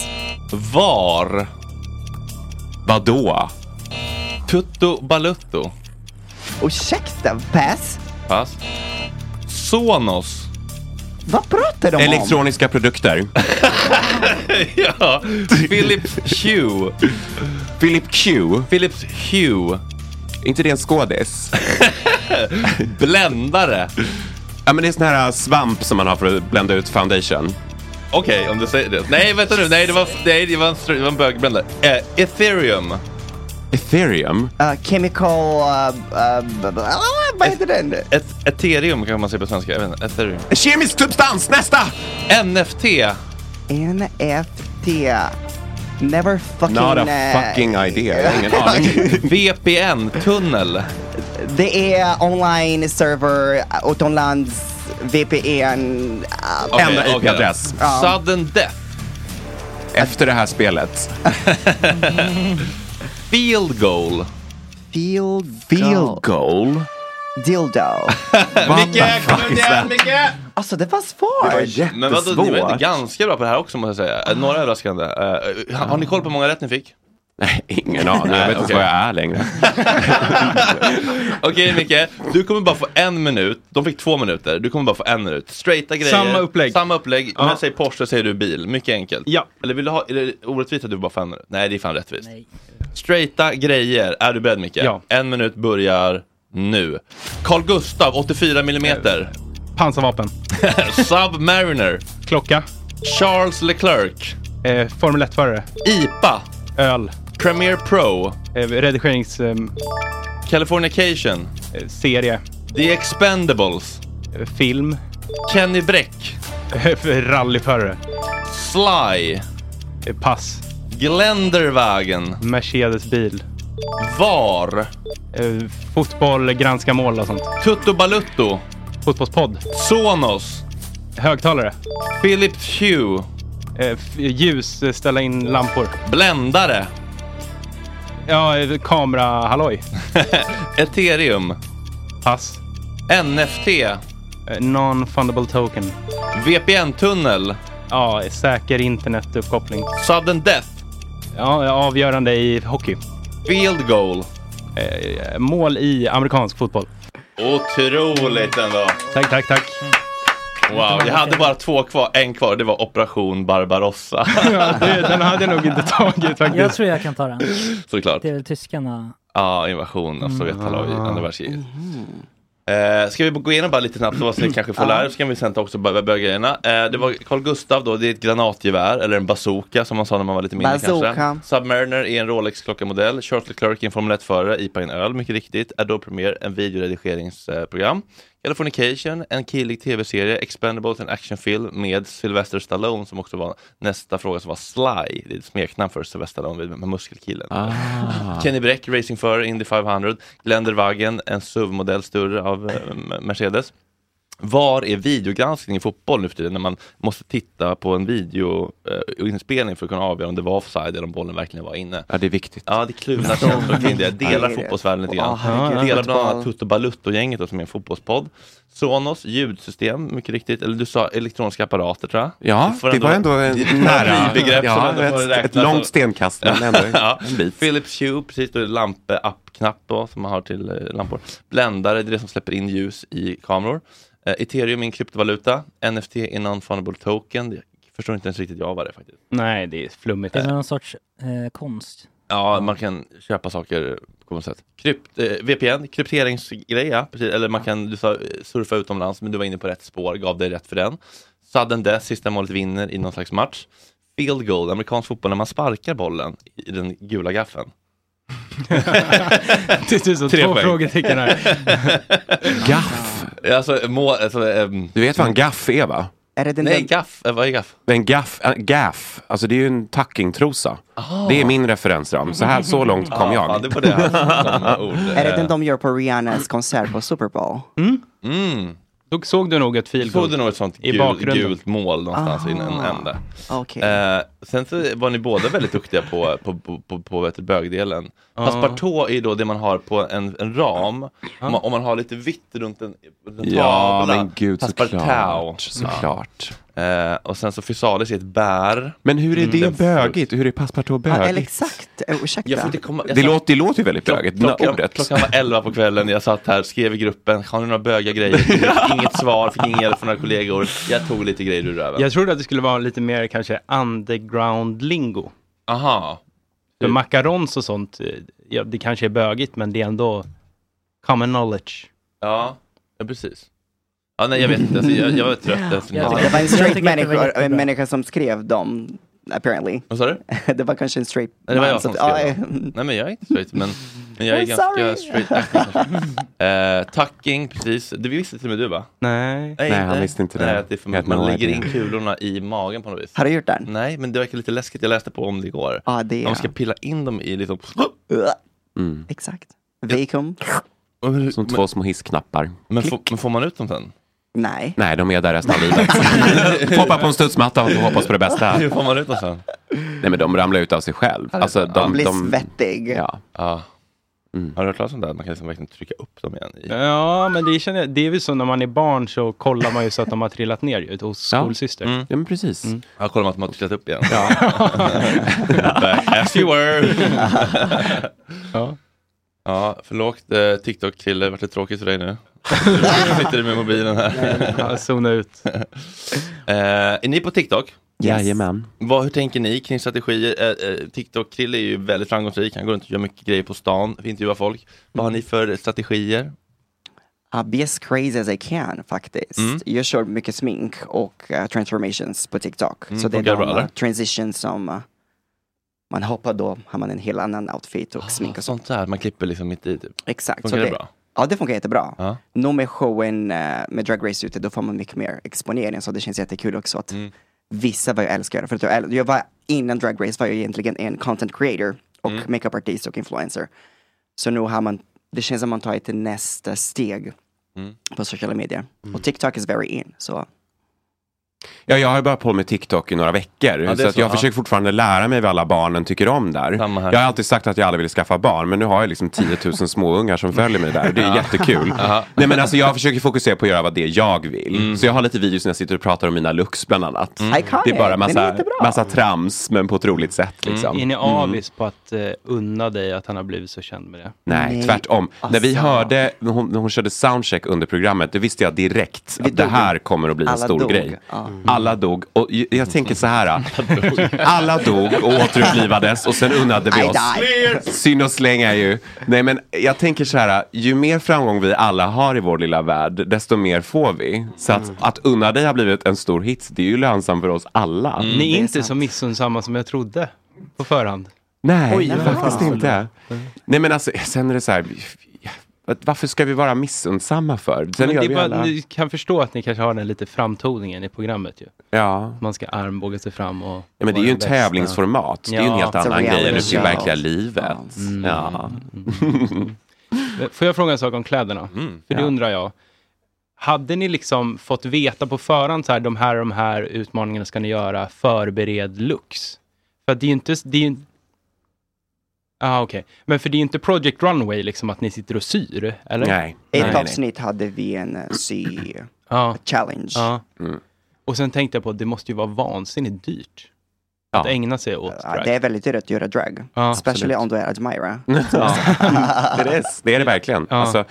[SPEAKER 1] Var.
[SPEAKER 11] Vadå?
[SPEAKER 1] Tutto Balutto.
[SPEAKER 22] Ursäkta, pass.
[SPEAKER 1] Pass. Sonos.
[SPEAKER 22] Vad pratar de om?
[SPEAKER 11] Elektroniska produkter.
[SPEAKER 1] *laughs* ja, Philip Hue.
[SPEAKER 11] Philip Q.
[SPEAKER 1] Philips Hue.
[SPEAKER 11] inte det en skådis?
[SPEAKER 1] *laughs* Bländare.
[SPEAKER 11] Ja, men det är sån här äh, svamp som man har för att blända ut foundation.
[SPEAKER 1] Okej, om du säger det. Nej, vänta nu. Nej, det var, nej, det var en, str- det var en bögbländare. Eh, ethereum. Mm.
[SPEAKER 11] Ethereum?
[SPEAKER 22] Uh, chemical... Uh, uh, b- b- ah, vad heter den?
[SPEAKER 1] Et- ethereum kan man säga på svenska. Jag vet inte. Ethereum.
[SPEAKER 11] Kemisk substans, nästa!
[SPEAKER 1] NFT.
[SPEAKER 22] NFT. Never fucking...
[SPEAKER 11] Not a
[SPEAKER 22] eh,
[SPEAKER 11] fucking idea. Jag har
[SPEAKER 22] *laughs*
[SPEAKER 11] ingen aning.
[SPEAKER 1] VPN-tunnel.
[SPEAKER 22] Det är online server, uh, utomlands, VPN... Uh, Um,
[SPEAKER 11] Okej, Enda IP-adress.
[SPEAKER 22] Ja.
[SPEAKER 1] Sudden death.
[SPEAKER 11] Efter det här spelet.
[SPEAKER 1] *laughs* Field goal.
[SPEAKER 22] Field,
[SPEAKER 11] Field goal?
[SPEAKER 22] Dildo.
[SPEAKER 1] Micke, kom ut igen,
[SPEAKER 8] *laughs*
[SPEAKER 1] Micke!
[SPEAKER 22] Alltså det var svårt.
[SPEAKER 1] Men vadå, ni var inte ganska bra på det här också måste jag säga. Eh, Några överraskande. Eh, har- har ni koll på hur många rätt ni fick?
[SPEAKER 11] Ingen aning, jag
[SPEAKER 1] Nej,
[SPEAKER 11] vet inte
[SPEAKER 1] okej.
[SPEAKER 11] vad jag är längre.
[SPEAKER 1] *laughs* Okej Micke, du kommer bara få en minut. De fick två minuter, du kommer bara få en minut. Straighta grejer.
[SPEAKER 6] Samma upplägg.
[SPEAKER 1] Samma upplägg.
[SPEAKER 6] Ja.
[SPEAKER 1] Men säg Porsche säger du bil. Mycket enkelt. Ja. Eller vill du ha, är det orättvist att du bara får en minut? Nej, det är fan rättvist. Straighta grejer. Är du beredd Micke?
[SPEAKER 6] Ja.
[SPEAKER 1] En minut börjar nu. Carl Gustav, 84 millimeter.
[SPEAKER 6] Pansarvapen.
[SPEAKER 1] *laughs* Submariner.
[SPEAKER 6] Klocka.
[SPEAKER 1] Charles Leclerc.
[SPEAKER 6] Eh, Formel 1-förare.
[SPEAKER 1] IPA.
[SPEAKER 6] Öl.
[SPEAKER 1] Premiere Pro.
[SPEAKER 6] Eh, redigerings... ehm,
[SPEAKER 1] Californication.
[SPEAKER 6] eh, serie.
[SPEAKER 1] The Expendables.
[SPEAKER 6] Eh, film. Eh,
[SPEAKER 1] Kenny Bräck.
[SPEAKER 6] *laughs* Rallyförare.
[SPEAKER 1] Sly.
[SPEAKER 6] Eh, pass.
[SPEAKER 1] Gländervagen.
[SPEAKER 6] Mercedes bil.
[SPEAKER 1] Var.
[SPEAKER 6] Eh, fotboll, granska mål och sånt.
[SPEAKER 1] Tutto Balutto.
[SPEAKER 6] Fotbollspodd.
[SPEAKER 1] Sonos.
[SPEAKER 6] Högtalare.
[SPEAKER 1] Philips Hue.
[SPEAKER 6] Eh, f- ljus, eh, ställa in lampor.
[SPEAKER 1] Bländare.
[SPEAKER 6] Ja, eh, kamera, halloj.
[SPEAKER 1] *laughs* Ethereum.
[SPEAKER 6] Pass.
[SPEAKER 1] NFT.
[SPEAKER 6] Eh, Non-fundable token.
[SPEAKER 1] VPN-tunnel.
[SPEAKER 6] Ja, eh, säker internetuppkoppling.
[SPEAKER 1] Sudden death.
[SPEAKER 6] Ja, eh, avgörande i hockey.
[SPEAKER 1] Field goal.
[SPEAKER 6] Eh, mål i amerikansk fotboll.
[SPEAKER 1] Otroligt ändå.
[SPEAKER 6] Tack, tack, tack.
[SPEAKER 1] Wow, jag hade bara två kvar. En kvar, det var Operation Barbarossa.
[SPEAKER 6] *laughs* Ja, det, den hade jag nog inte tagit faktiskt.
[SPEAKER 7] Jag tror jag kan ta den.
[SPEAKER 1] Såklart.
[SPEAKER 7] Det är väl tyskarna.
[SPEAKER 1] Ja, invasion av
[SPEAKER 25] Mm.
[SPEAKER 1] Sovjetaloj i
[SPEAKER 25] Ah. Mhm.
[SPEAKER 1] andra världskriget. Eh, ska vi gå igenom bara lite snabbt vad vi kanske får
[SPEAKER 25] Ja.
[SPEAKER 1] lära oss, så kan vi sen ta också börja börja grejerna. Eh, det var Carl Gustav då, det är ett granatgevär, eller en bazooka som man sa när man var lite mindre
[SPEAKER 25] Bazooka.
[SPEAKER 1] kanske. Submariner är en Rolex klockamodell, Charles Leclerc är en Formel 1-förare, IPA är en öl, mycket riktigt, Adobe Premiere, en videoredigeringsprogram. Californication, en killig tv-serie, Expendables, en actionfilm med Sylvester Stallone som också var nästa fråga som var Sly, det är ett smeknamn för Sylvester Stallone, med muskelkillen.
[SPEAKER 25] Ah.
[SPEAKER 1] Kenny Breck, racingförare, Indy 500. Glender Wagen, en SUV-modell större av eh, Mercedes. Var är videogranskning i fotboll nu för tiden när man måste titta på en videoinspelning för att kunna avgöra om det var offside eller om bollen verkligen var inne?
[SPEAKER 11] Ja, det är viktigt.
[SPEAKER 1] Ja, det är kluvna känslor kring det.
[SPEAKER 25] Ja, det
[SPEAKER 1] Delar
[SPEAKER 25] är det.
[SPEAKER 1] fotbollsvärlden lite
[SPEAKER 25] Ja,
[SPEAKER 1] grann.
[SPEAKER 25] herregud.
[SPEAKER 1] Delar bland annat
[SPEAKER 25] Fotboll.
[SPEAKER 1] Toto Balutto-gänget då, som är en fotbollspodd. Sonos, ljudsystem, mycket riktigt. Eller du sa elektroniska apparater tror jag.
[SPEAKER 11] Ja,
[SPEAKER 1] Du får
[SPEAKER 11] det var ändå en-
[SPEAKER 1] Det är några
[SPEAKER 11] nära.
[SPEAKER 1] nybegrepp som
[SPEAKER 11] Ja,
[SPEAKER 1] ändå
[SPEAKER 11] ett-
[SPEAKER 1] får
[SPEAKER 11] ett
[SPEAKER 1] räknas
[SPEAKER 11] långt
[SPEAKER 1] som-
[SPEAKER 11] stenkast, men ändå en- en bit.
[SPEAKER 1] Philips Hue, precis, då är det lampe-app-knapp då, som man har till eh, lampor. Bländare, det är det som släpper in ljus i kameror. Eh, Ethereum är en kryptovaluta. NFT är non-fundable token. Det förstår inte ens riktigt jag vad det är faktiskt.
[SPEAKER 6] Nej, det är flummigt.
[SPEAKER 1] Det är
[SPEAKER 7] Någon sorts eh, konst.
[SPEAKER 1] Ja, man kan köpa saker på något sätt. Krypt, eh, VPN, krypteringsgreja, precis, eller man kan du sa, eh, surfa utomlands, men du var inne på rätt spår, gav dig rätt för den. Sudden death, sista målet vinner i någon slags match. Field goal, amerikansk fotboll, när man sparkar bollen i den
[SPEAKER 6] *laughs*
[SPEAKER 1] gula gaffeln.
[SPEAKER 6] Det ser ut som
[SPEAKER 1] Tre
[SPEAKER 6] typ två
[SPEAKER 1] poäng.
[SPEAKER 6] frågetecken *laughs*
[SPEAKER 1] *laughs*
[SPEAKER 6] här.
[SPEAKER 11] Gaff.
[SPEAKER 1] Alltså, må, alltså, ehm,
[SPEAKER 11] Du vet vad en gaff är va?
[SPEAKER 22] Är det den
[SPEAKER 1] Nej,
[SPEAKER 22] där-
[SPEAKER 1] gaff. Eh, Vad är gaff?
[SPEAKER 11] En gaff, äh, gaff, alltså det är ju en tackingtrosa.
[SPEAKER 1] Ah.
[SPEAKER 11] Det är min referensram. Så här, så långt kom
[SPEAKER 1] Ah,
[SPEAKER 11] jag.
[SPEAKER 1] ja, det var det
[SPEAKER 11] *laughs*
[SPEAKER 1] som
[SPEAKER 11] Oh,
[SPEAKER 1] ord.
[SPEAKER 22] Är det den de gör på Rihannas konsert på Super Bowl?
[SPEAKER 1] Mm.
[SPEAKER 6] Då såg du nog ett field
[SPEAKER 1] Såg du nog ett sånt
[SPEAKER 6] i
[SPEAKER 1] gul,
[SPEAKER 6] bakgrunden.
[SPEAKER 1] gult mål någonstans i en en
[SPEAKER 22] Ah.
[SPEAKER 1] ände.
[SPEAKER 22] Okej.
[SPEAKER 1] Eh, sen så var ni båda väldigt duktiga på, på, på, på, på vet, du, bögdelen. Passepartout är ju då det man har på en, en ram, om, man, om man har lite vitt runt en, runt en
[SPEAKER 11] Ja,
[SPEAKER 1] tavla.
[SPEAKER 11] men gud,
[SPEAKER 1] Passepartout.
[SPEAKER 11] såklart, såklart.
[SPEAKER 1] Ja. Eh, och sen så fysalis är ett bär.
[SPEAKER 11] Men hur är
[SPEAKER 1] Mm.
[SPEAKER 11] det bögigt? Hur är passepartout
[SPEAKER 22] Ja, eller
[SPEAKER 11] bögigt?
[SPEAKER 22] exakt. Eh, Ursäkta.
[SPEAKER 1] Jag får inte komma, jag
[SPEAKER 11] Det
[SPEAKER 1] sa-
[SPEAKER 11] låter, det låter ju väldigt bögigt,
[SPEAKER 1] Klockan,
[SPEAKER 11] ordet.
[SPEAKER 1] klockan var 11 på kvällen, jag satt här, skrev i gruppen, har ni några
[SPEAKER 11] *laughs*
[SPEAKER 1] böga grejer? Fick Inget svar, fick ingen hjälp från några kollegor. Jag tog lite grejer ur röven.
[SPEAKER 6] Jag trodde att det skulle vara lite mer kanske underground-lingo.
[SPEAKER 1] Aha.
[SPEAKER 6] För macarons och sånt, eh, ja, det kanske är bögigt, men det är ändå common knowledge.
[SPEAKER 1] Ja, ja precis. Ja, nej, jag vet inte, alltså, jag, jag var trött efter
[SPEAKER 22] Ja,
[SPEAKER 1] den.
[SPEAKER 22] det var en straight
[SPEAKER 7] tycker att det var
[SPEAKER 22] människa, en
[SPEAKER 7] jättebra.
[SPEAKER 22] människa som skrev dem, apparently.
[SPEAKER 11] Oh,
[SPEAKER 1] Vad sa
[SPEAKER 22] *laughs*
[SPEAKER 1] du?
[SPEAKER 22] det var kanske en straight
[SPEAKER 1] Nej, det var jag
[SPEAKER 22] man
[SPEAKER 1] som
[SPEAKER 22] som-
[SPEAKER 1] skrev.
[SPEAKER 22] ja, eh,
[SPEAKER 1] Nej men jag är inte straight,
[SPEAKER 22] *laughs*
[SPEAKER 1] men, men jag är
[SPEAKER 22] I'm
[SPEAKER 1] ganska
[SPEAKER 22] sorry.
[SPEAKER 1] straight acting. *laughs* Eh, Tucking, precis. Det visste till och med du va?
[SPEAKER 6] Nej.
[SPEAKER 11] Nej, han visste inte det.
[SPEAKER 1] Nej, att det är för
[SPEAKER 11] Jag
[SPEAKER 1] att
[SPEAKER 11] hade
[SPEAKER 1] man
[SPEAKER 11] no
[SPEAKER 1] lägger
[SPEAKER 11] idea.
[SPEAKER 1] in kulorna i magen på något vis.
[SPEAKER 22] Har du gjort den?
[SPEAKER 1] Nej, men det verkar lite läskigt. Jag läste på om det igår.
[SPEAKER 22] Ja, det är-
[SPEAKER 1] Man ska pilla in dem i
[SPEAKER 22] *gasps*
[SPEAKER 1] liksom...
[SPEAKER 22] Mm. Exakt. Vacuum?
[SPEAKER 11] Mm. Som två små hissknappar.
[SPEAKER 1] Men, får- men får man ut dem sen?
[SPEAKER 22] Nej.
[SPEAKER 11] Nej, de är där resten av livet.
[SPEAKER 1] *laughs*
[SPEAKER 11] Hoppa på en studsmatta och hoppas på det bästa.
[SPEAKER 1] Hur får man ut dem sen?
[SPEAKER 11] Nej, men de ramlar ut av sig själv. Alltså, de,
[SPEAKER 22] blir
[SPEAKER 11] de,
[SPEAKER 22] svettig. Mm.
[SPEAKER 11] Ja.
[SPEAKER 1] Ja. Har du hört talas om det? här? Man kan liksom verkligen trycka upp dem igen. I...
[SPEAKER 6] Ja, men det, känner jag, det är väl så när man är barn så kollar man ju så att de har trillat ner ju, hos skolsyster.
[SPEAKER 1] Mm.
[SPEAKER 11] Ja, men precis.
[SPEAKER 1] Ja, kolla om att man har trillat upp igen. *laughs* Back as you were.
[SPEAKER 6] Ja.
[SPEAKER 1] ja, förlåt eh, TikTok-kille, vart det tråkigt för
[SPEAKER 6] *laughs*
[SPEAKER 1] dig nu? Nu sitter du med mobilen här.
[SPEAKER 6] Ja, zona ut.
[SPEAKER 1] *laughs* Eh, är ni på TikTok?
[SPEAKER 11] Jajamän.
[SPEAKER 1] Vad, hur tänker ni kring strategier? Eh, eh, TikTok-Krille är ju väldigt framgångsrik, han går runt och gör mycket grejer på stan, intervjuar folk. Vad har ni för strategier?
[SPEAKER 22] Uh, be as crazy as I can faktiskt.
[SPEAKER 1] Mm.
[SPEAKER 22] Jag kör mycket smink och eh, transformations på TikTok.
[SPEAKER 1] Mm,
[SPEAKER 22] så det är
[SPEAKER 1] funkar bra,
[SPEAKER 22] de uh,
[SPEAKER 1] eller?
[SPEAKER 22] transitions som eh, man hoppar då har man en helt annan outfit och smink och så.
[SPEAKER 1] Ah, Sånt där, man klipper liksom mitt i typ.
[SPEAKER 22] Exakt.
[SPEAKER 1] Funkar
[SPEAKER 22] så
[SPEAKER 1] det bra?
[SPEAKER 22] Ja, det funkar jättebra.
[SPEAKER 1] Ja.
[SPEAKER 22] Nu med showen eh, med Drag Race ute, då får man mycket mer exponering så det känns jättekul också att
[SPEAKER 1] Mm.
[SPEAKER 22] vissa vad jag älskar. För att jag, äl- jag var, innan Drag Race var jag egentligen en content creator och
[SPEAKER 1] Mm.
[SPEAKER 22] makeupartist och influencer. Så nu har man, det känns som man tar ett till nästa steg
[SPEAKER 1] Mm.
[SPEAKER 22] på sociala medier. Och TikTok is very in. Så
[SPEAKER 11] Ja, jag har ju bara på med TikTok i några veckor.
[SPEAKER 1] det är
[SPEAKER 11] så att
[SPEAKER 1] så,
[SPEAKER 11] jag
[SPEAKER 1] ja.
[SPEAKER 11] försöker fortfarande lära mig vad alla barnen tycker om där.
[SPEAKER 1] Samma här.
[SPEAKER 11] Jag har alltid sagt att jag aldrig ville skaffa barn, men nu har jag liksom 10 000 småungar som följer mig där. Det är
[SPEAKER 1] Ja.
[SPEAKER 11] jättekul.
[SPEAKER 1] Aha.
[SPEAKER 11] Nej, men alltså jag försöker fokusera på att göra vad det är jag vill. Så jag har lite videos när jag sitter och pratar om mina looks bland annat.
[SPEAKER 22] Mm. Iconic.
[SPEAKER 11] Det är bara
[SPEAKER 22] Den är
[SPEAKER 11] massa,
[SPEAKER 22] jättebra.
[SPEAKER 11] massa trams, men på ett roligt sätt. Liksom.
[SPEAKER 6] Är ni
[SPEAKER 11] Mm.
[SPEAKER 6] avis på att eh, unna dig att han har blivit så känd med det?
[SPEAKER 11] Nej,
[SPEAKER 6] Nej.
[SPEAKER 11] tvärtom. När vi
[SPEAKER 6] Alltså.
[SPEAKER 11] hörde, när hon, när hon körde soundcheck under programmet, då visste jag direkt att det här kommer att bli en
[SPEAKER 6] Alla
[SPEAKER 11] stor
[SPEAKER 6] dog.
[SPEAKER 11] grej.
[SPEAKER 6] Ja.
[SPEAKER 11] Mm. alla dog. Och j-
[SPEAKER 6] Mm.
[SPEAKER 11] jag tänker så
[SPEAKER 6] *laughs*
[SPEAKER 11] här. *laughs* Alla dog och återupplivades och sen unnade vi
[SPEAKER 20] I
[SPEAKER 11] oss.
[SPEAKER 20] died.
[SPEAKER 11] Synd att slänga ju. Nej men jag tänker så här. Ju mer framgång vi alla har i vår lilla värld, desto mer får vi. Så
[SPEAKER 6] Mm.
[SPEAKER 11] att, att unna dig har blivit en stor hit, det är ju lönsamt för oss alla.
[SPEAKER 6] Mm. Ni är inte så missunnsamma som jag trodde på förhand.
[SPEAKER 11] Nej,
[SPEAKER 6] Oj, vad
[SPEAKER 11] faktiskt
[SPEAKER 6] fan.
[SPEAKER 11] inte.
[SPEAKER 6] Mm.
[SPEAKER 11] Nej men alltså, sen är det så här. att Varför ska vi vara missunnsamma för? Sen
[SPEAKER 6] Men
[SPEAKER 11] gör
[SPEAKER 6] det är
[SPEAKER 11] vi
[SPEAKER 6] bara,
[SPEAKER 11] alla...
[SPEAKER 6] Ni kan förstå att ni kanske har den lite framtoningen i programmet ju.
[SPEAKER 11] Ja.
[SPEAKER 6] Man ska armbåga sig fram och...
[SPEAKER 11] Ja, men det är ju en
[SPEAKER 6] vara den bästa.
[SPEAKER 11] tävlingsformat. Det är ju en helt
[SPEAKER 6] Ja.
[SPEAKER 11] annan grej än ute i
[SPEAKER 6] Ja.
[SPEAKER 11] verkliga livet. Ja. *laughs*
[SPEAKER 6] Eh, Får jag fråga en sak om kläderna? För
[SPEAKER 11] ja.
[SPEAKER 6] det undrar jag. Hade ni liksom fått veta på förhand så här, de här de här utmaningarna ska ni göra, förbered looks? För att det är ju inte... Det är ju... Ah, okej. Men för det är ju inte Project Runway liksom att ni sitter och syr, eller?
[SPEAKER 22] Ett
[SPEAKER 6] Nej.
[SPEAKER 22] avsnitt hade vi en eh, sy...
[SPEAKER 6] Ja.
[SPEAKER 22] Challenge.
[SPEAKER 6] Ja.
[SPEAKER 1] Mm.
[SPEAKER 6] Och sen tänkte jag på att det måste ju vara vansinnigt dyrt. Att ägna sig åt
[SPEAKER 22] Ja,
[SPEAKER 6] drag.
[SPEAKER 22] det är väldigt dyrt att göra drag.
[SPEAKER 6] Ja, absolut.
[SPEAKER 22] Especially
[SPEAKER 6] Mm.
[SPEAKER 22] om du är Admira.
[SPEAKER 11] Ja. det, är, det är det verkligen.
[SPEAKER 22] Ja.
[SPEAKER 11] Alltså,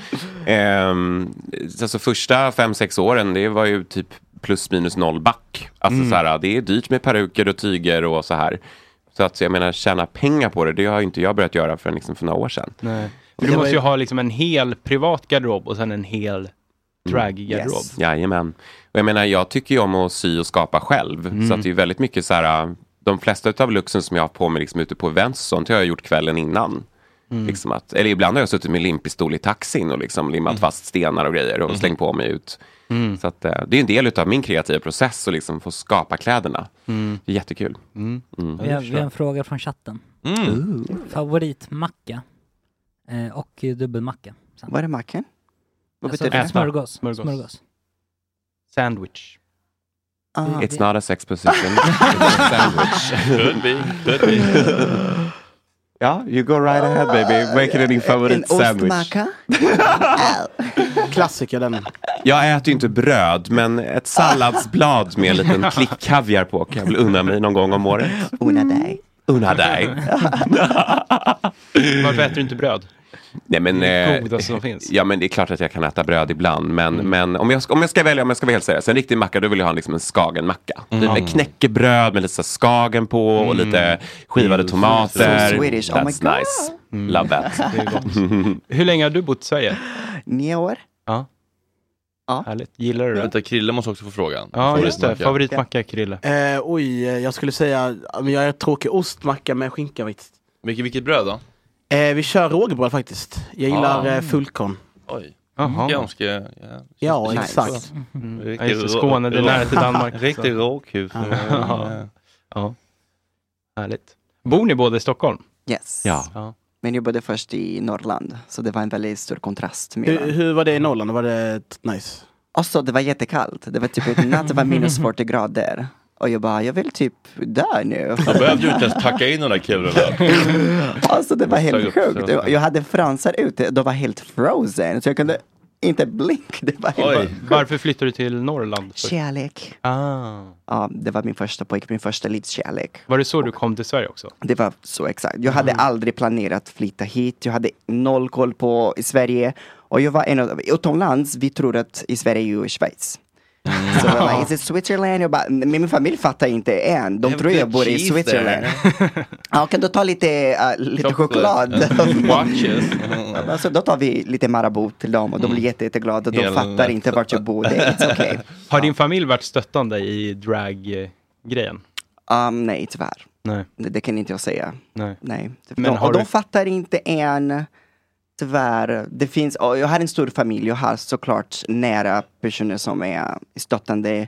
[SPEAKER 11] ehm, alltså första fem, sex åren, det var ju typ plus minus noll back. Alltså
[SPEAKER 1] Mm.
[SPEAKER 11] så här, det är dyrt med peruker och tyger och så här. Så att jag menar, tjäna pengar på det, det har ju inte jag börjat göra förrän liksom för några år sedan.
[SPEAKER 6] Nej.
[SPEAKER 11] Det
[SPEAKER 6] För du
[SPEAKER 11] var
[SPEAKER 6] måste ju
[SPEAKER 11] ju-
[SPEAKER 6] ha liksom en hel privat garderob och sen en hel draggarderob.
[SPEAKER 11] Mm. Jajamän. Och jag menar, jag tycker ju om att sy och skapa själv.
[SPEAKER 6] Mm.
[SPEAKER 11] Så att det är ju väldigt mycket så här, äh, de flesta av luxen som jag har på mig liksom ute på events och sånt, har jag gjort kvällen innan.
[SPEAKER 1] Mm.
[SPEAKER 11] Liksom att, eller ibland har jag suttit med limpistol i taxin och liksom limmat fast stenar och grejer och slängt på mig ut.
[SPEAKER 6] Mm.
[SPEAKER 11] Så att, äh, det är en del av min kreativa process att liksom få skapa kläderna.
[SPEAKER 6] Mm.
[SPEAKER 11] Det är jättekul.
[SPEAKER 6] Mm.
[SPEAKER 11] Mm.
[SPEAKER 7] Vi har, vi har en fråga från chatten.
[SPEAKER 11] Mm.
[SPEAKER 7] Favoritmacka eh, och eh, dubbelmacka. sen.
[SPEAKER 22] Vad är macken? Vad
[SPEAKER 7] Alltså,
[SPEAKER 22] betyder det?
[SPEAKER 7] Smörgås.
[SPEAKER 6] Smörgås.
[SPEAKER 7] Smörgås.
[SPEAKER 6] Sandwich.
[SPEAKER 22] Ah.
[SPEAKER 11] It's not a sex position. It's a
[SPEAKER 6] *laughs*
[SPEAKER 11] sandwich.
[SPEAKER 1] Could be, could be.
[SPEAKER 11] Ja, you go right ahead baby. Make it din favorit sandwich.
[SPEAKER 22] *laughs*
[SPEAKER 13] Klassiker den.
[SPEAKER 11] Jag äter ju inte bröd, men ett salladsblad med en liten klick kaviar på kan jag väl unna mig någon gång om året.
[SPEAKER 22] Unna dig.
[SPEAKER 11] Unna
[SPEAKER 22] *laughs*
[SPEAKER 11] dig.
[SPEAKER 6] Varför äter du inte bröd?
[SPEAKER 11] Nej, men,
[SPEAKER 6] Det är det
[SPEAKER 11] eh,
[SPEAKER 6] godaste som finns.
[SPEAKER 11] Ja, men det är klart att jag kan äta bröd ibland. Men,
[SPEAKER 22] Mm.
[SPEAKER 11] men om, jag, ska- om jag ska välja, om jag ska vara helt seriös, en riktig macka, då vill jag ha en, liksom en skagenmacka. Typ
[SPEAKER 1] Mm.
[SPEAKER 11] Med knäckebröd med lite så här skagen på och lite skivade tomater.
[SPEAKER 22] Mm. So Swedish, oh my
[SPEAKER 11] That's
[SPEAKER 22] God. Mm.
[SPEAKER 11] nice. Love
[SPEAKER 22] *laughs*
[SPEAKER 11] that.
[SPEAKER 6] Det är
[SPEAKER 11] *laughs*
[SPEAKER 6] gott. Hur länge har du bott i Sverige?
[SPEAKER 22] Nio år.
[SPEAKER 6] Ja.
[SPEAKER 22] ja.
[SPEAKER 6] Härligt. Gillar du det?
[SPEAKER 1] Vänta, Krille måste också få frågan.
[SPEAKER 6] Ja, just det. Favoritmacka, Krille.
[SPEAKER 13] Eh, oj, eh, jag skulle säga, ja, men jag är tråkig ostmacka med skinka faktiskt.
[SPEAKER 1] Vilket, vilket bröd då?
[SPEAKER 13] Eh, vi kör rågbröd faktiskt. Jag gillar
[SPEAKER 1] Ah.
[SPEAKER 13] eh, fullkorn.
[SPEAKER 1] Oj. Mm,
[SPEAKER 6] Jaha.
[SPEAKER 1] Ganska... Ja,
[SPEAKER 13] Ja,
[SPEAKER 1] Nice.
[SPEAKER 13] exakt.
[SPEAKER 1] Mm.
[SPEAKER 6] Ja, just det, Skåne, det är nära
[SPEAKER 1] *laughs*
[SPEAKER 6] till Danmark.
[SPEAKER 1] Riktigt råkhus.
[SPEAKER 6] Ja. Ja. ja. Härligt. Bor ni båda i Stockholm?
[SPEAKER 22] Yes. *laughs*
[SPEAKER 6] Ja. Ja.
[SPEAKER 22] Men jag bodde först i Norrland, så det var en väldigt stor kontrast.
[SPEAKER 6] Eh,
[SPEAKER 13] Hur, hur var det i Norrland? Var det t- nice?
[SPEAKER 22] Mm. Alltså det var jättekallt. Det var typ en natt, det
[SPEAKER 6] *laughs*
[SPEAKER 22] var minus 40 grader. Och jag bara, jag vill typ dö nu.
[SPEAKER 1] Jag behövde ju inte ens packa in de där kulorna.
[SPEAKER 22] *laughs* Alltså det var
[SPEAKER 1] Steg
[SPEAKER 22] helt
[SPEAKER 1] upp,
[SPEAKER 22] sjukt.
[SPEAKER 1] så.
[SPEAKER 22] Jag- Jag hade fransar ute, de var helt frozen. Så jag kunde inte blinka. Det var helt
[SPEAKER 6] Var- Varför flyttade du till Norrland? först?
[SPEAKER 22] Kärlek.
[SPEAKER 6] Ah.
[SPEAKER 22] Ja, det var min första pojk, min första livskärlek.
[SPEAKER 6] Var det så du kom till Sverige
[SPEAKER 22] *laughs*
[SPEAKER 6] också?
[SPEAKER 22] Det var så exakt. Jag
[SPEAKER 6] Mm.
[SPEAKER 22] hade aldrig planerat att flytta hit. Jag hade noll koll på i Sverige. Och jag var en av, utomlands, vi tror att i Sverige är ju Schweiz.
[SPEAKER 6] Mm.
[SPEAKER 22] Så jag bara, is it Switzerland? Jag bara, men min familj fattar inte än. De tror jag bor i
[SPEAKER 1] cheese there.
[SPEAKER 22] Switzerland. *laughs* Ja, kan du ta lite, äh, lite choklad?
[SPEAKER 6] *laughs*
[SPEAKER 1] Watches.
[SPEAKER 22] *laughs* alltså, då tar vi lite Marabou till dem och de blir jätte, jätteglada. De
[SPEAKER 6] Mm. Hela
[SPEAKER 22] fattar
[SPEAKER 6] natten.
[SPEAKER 22] inte vart jag bor. Oh, Det är it's
[SPEAKER 6] *laughs*
[SPEAKER 22] okay.
[SPEAKER 6] Har din familj varit stöttande i draggrejen?
[SPEAKER 22] Um, nej, tyvärr.
[SPEAKER 6] Nej.
[SPEAKER 22] Det, det kan inte jag säga.
[SPEAKER 6] Nej.
[SPEAKER 22] Nej.
[SPEAKER 6] Men
[SPEAKER 22] de,
[SPEAKER 6] har
[SPEAKER 22] och de
[SPEAKER 6] du-
[SPEAKER 22] fattar inte än, tyvärr. Det finns, och jag har en stor familj, jag har såklart nära personer som är stöttande.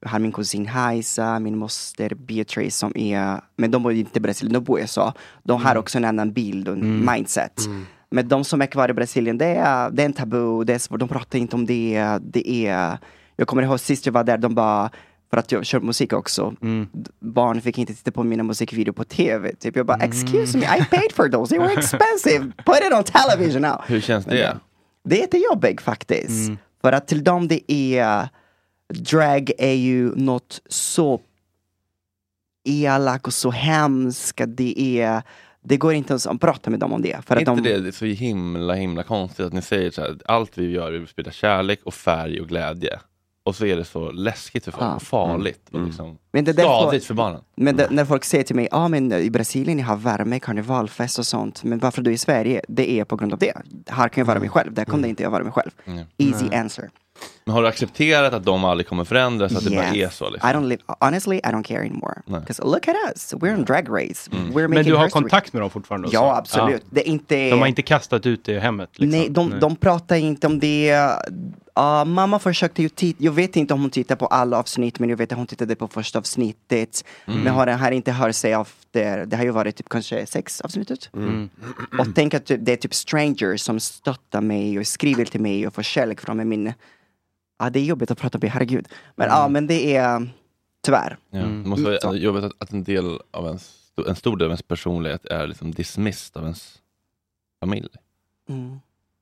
[SPEAKER 22] Jag har min kusin Hajsa, min moster Beatrice som är, men de bor ju inte i Brasilien, de bor i USA. De har också en annan bild och en
[SPEAKER 24] Mm.
[SPEAKER 22] mindset. *laughs* Men de som är kvar i Brasilien, det är, det är en tabu, det är svårt, de pratar inte om det. det är, jag kommer ihåg sist jag var där, de bara, för att jag kör musik också,
[SPEAKER 1] Mm.
[SPEAKER 22] d- barn fick inte titta på mina musikvideor på tv. Typ. Jag
[SPEAKER 1] Mm.
[SPEAKER 22] bara, excuse me, I paid for those, they were expensive, put it on television now.
[SPEAKER 1] Hur Mm. känns det?
[SPEAKER 22] Det är jättejobbigt faktiskt. För att till dem det är, drag är ju något så elak och så hemskt. att Det är, det går inte ens att prata med dem om det. För
[SPEAKER 1] Är
[SPEAKER 22] att
[SPEAKER 1] inte
[SPEAKER 22] de,
[SPEAKER 1] det, det är så himla himla konstigt att ni säger så här, allt vi gör är att sprida kärlek och färg och glädje. och så är det så läskigt för folk,
[SPEAKER 22] Ja. Mm.
[SPEAKER 1] och farligt
[SPEAKER 6] Mm.
[SPEAKER 1] och liksom
[SPEAKER 22] Men det är därför-
[SPEAKER 1] skadligt för barnen. Mm.
[SPEAKER 22] Men det, när folk säger till mig, ja ah, men i Brasilien ni har värme, karnevalfest och sånt, men varför du är i Sverige, det är på grund av det. Här kan jag vara mig själv, där kunde inte jag vara mig själv.
[SPEAKER 1] Mm.
[SPEAKER 22] Easy answer.
[SPEAKER 1] Men har du accepterat att de aldrig kommer förändras, att det bara är så? Liksom?
[SPEAKER 22] I don't live, honestly, I don't care anymore. Because look at us, we're
[SPEAKER 1] Mm.
[SPEAKER 22] on drag race. We're making
[SPEAKER 6] Men du har
[SPEAKER 22] history.
[SPEAKER 6] kontakt med dem fortfarande? och
[SPEAKER 22] Ja,
[SPEAKER 6] så?
[SPEAKER 22] absolut. Det är inte...
[SPEAKER 6] De har inte kastat ut dig i hemmet? Liksom.
[SPEAKER 22] Nej, de, de pratar inte om det. Ah, mamma försökte ju titta, jag vet inte om hon tittar på alla avsnitt men jag vet att hon tittade på första avsnittet.
[SPEAKER 24] Mm.
[SPEAKER 22] Men har, har inte hört sig efter, det har ju varit typ kanske sex avsnittet.
[SPEAKER 24] Mm.
[SPEAKER 22] Och tänk att typ- det är typ strangers som stöttar mig och skriver till mig och får kärlek från mig. Min, ah, det är jobbigt att prata om det, herregud. Men ja, men det är tyvärr.
[SPEAKER 1] Ja. Det måste vara jobbigt att, att en del av ens, en stor del av ens personlighet är liksom dismissed av ens familj.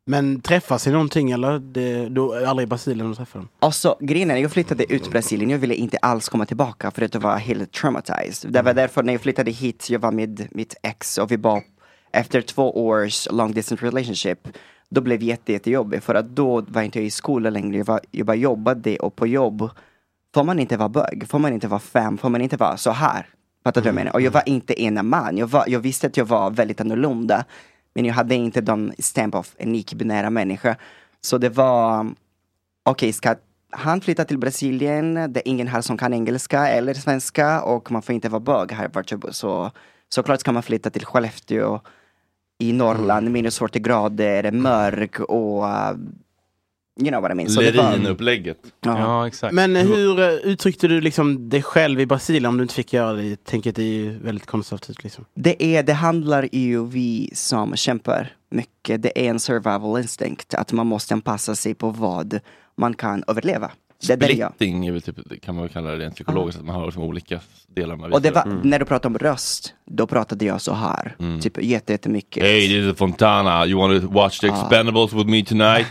[SPEAKER 13] Men träffas i någonting eller? Det, du är aldrig i Brasilien och träffar dem?
[SPEAKER 22] Alltså grejen är, jag flyttade ut till Brasilien, jag ville inte alls komma tillbaka för att jag var helt traumatized. Det var därför när jag flyttade hit, jag var med mitt ex och vi var efter två års long distance relationship, då blev det jätte, jättejobbigt för att då var inte jag i skolan längre, jag, var, jag bara jobbade och på jobb får man inte vara bög, får man inte vara fem, får man inte vara så här. Fattar du vad jag menar? Och jag var inte ena man, jag, var, jag visste att jag var väldigt annorlunda, men jag hade inte den stamp av en icke-binära människa. Så det var okej, ska han flytta till Brasilien, det är ingen här som kan engelska eller svenska och man får inte vara bög här. vart jag bor. Så såklart ska man flytta till Skellefteå i Norrland, minus 40 grader, mörk och uh, you know what I mean. Så det var-
[SPEAKER 1] Lerinupplägget.
[SPEAKER 22] Ja. Ja,
[SPEAKER 6] exakt.
[SPEAKER 13] Men
[SPEAKER 22] Mm.
[SPEAKER 13] hur eh, uttryckte du liksom dig själv i Brasilien om du inte fick göra det? Tänket är ju väldigt konservativt liksom.
[SPEAKER 22] Det, är, det handlar ju vi som kämpar mycket. Det är en survival instinct, att man måste anpassa sig på vad man kan överleva. Det är det jag.
[SPEAKER 1] Splitting är väl typ, det kan man väl kalla det rent psykologiskt, att man har liksom olika delar Mm. man
[SPEAKER 22] Och det
[SPEAKER 1] visar
[SPEAKER 22] var,
[SPEAKER 1] upp.
[SPEAKER 22] när du pratade om röst, då pratade jag så här. Typ jätte, jättemycket.
[SPEAKER 1] Hey, this is Fontana. You want to watch the
[SPEAKER 22] Ah.
[SPEAKER 1] Expendables with me
[SPEAKER 22] *laughs*
[SPEAKER 1] tonight?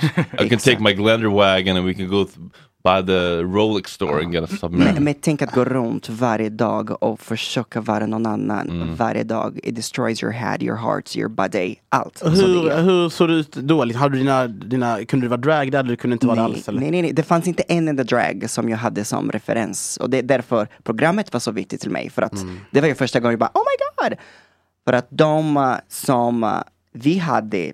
[SPEAKER 1] I can take my Glender wagon and we can go th- by the Rolex store and get a submarine.
[SPEAKER 22] Men, men tänk att gå runt varje dag och försöka vara någon annan varje dag. It destroys your head, your heart, your body, allt.
[SPEAKER 13] Och
[SPEAKER 22] som det är.
[SPEAKER 13] Hur, hur såg det ut då? Liksom, hade du dina, dina, kunde du vara drag där eller du kunde inte vara det
[SPEAKER 22] Nej,
[SPEAKER 13] alls? Eller?
[SPEAKER 22] nej, nej, nej, det fanns inte en enda drag som jag hade som referens. Och det är därför programmet var så viktigt till mig. För att
[SPEAKER 1] Mm.
[SPEAKER 22] det var ju första gången jag bara, oh my god! För att de eh, som eh, vi hade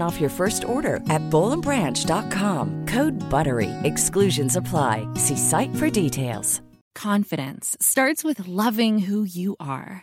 [SPEAKER 26] off your first order at bowlandbranch.com. Code BUTTERY. Exclusions apply. See site for details.
[SPEAKER 27] Confidence starts with loving who you are.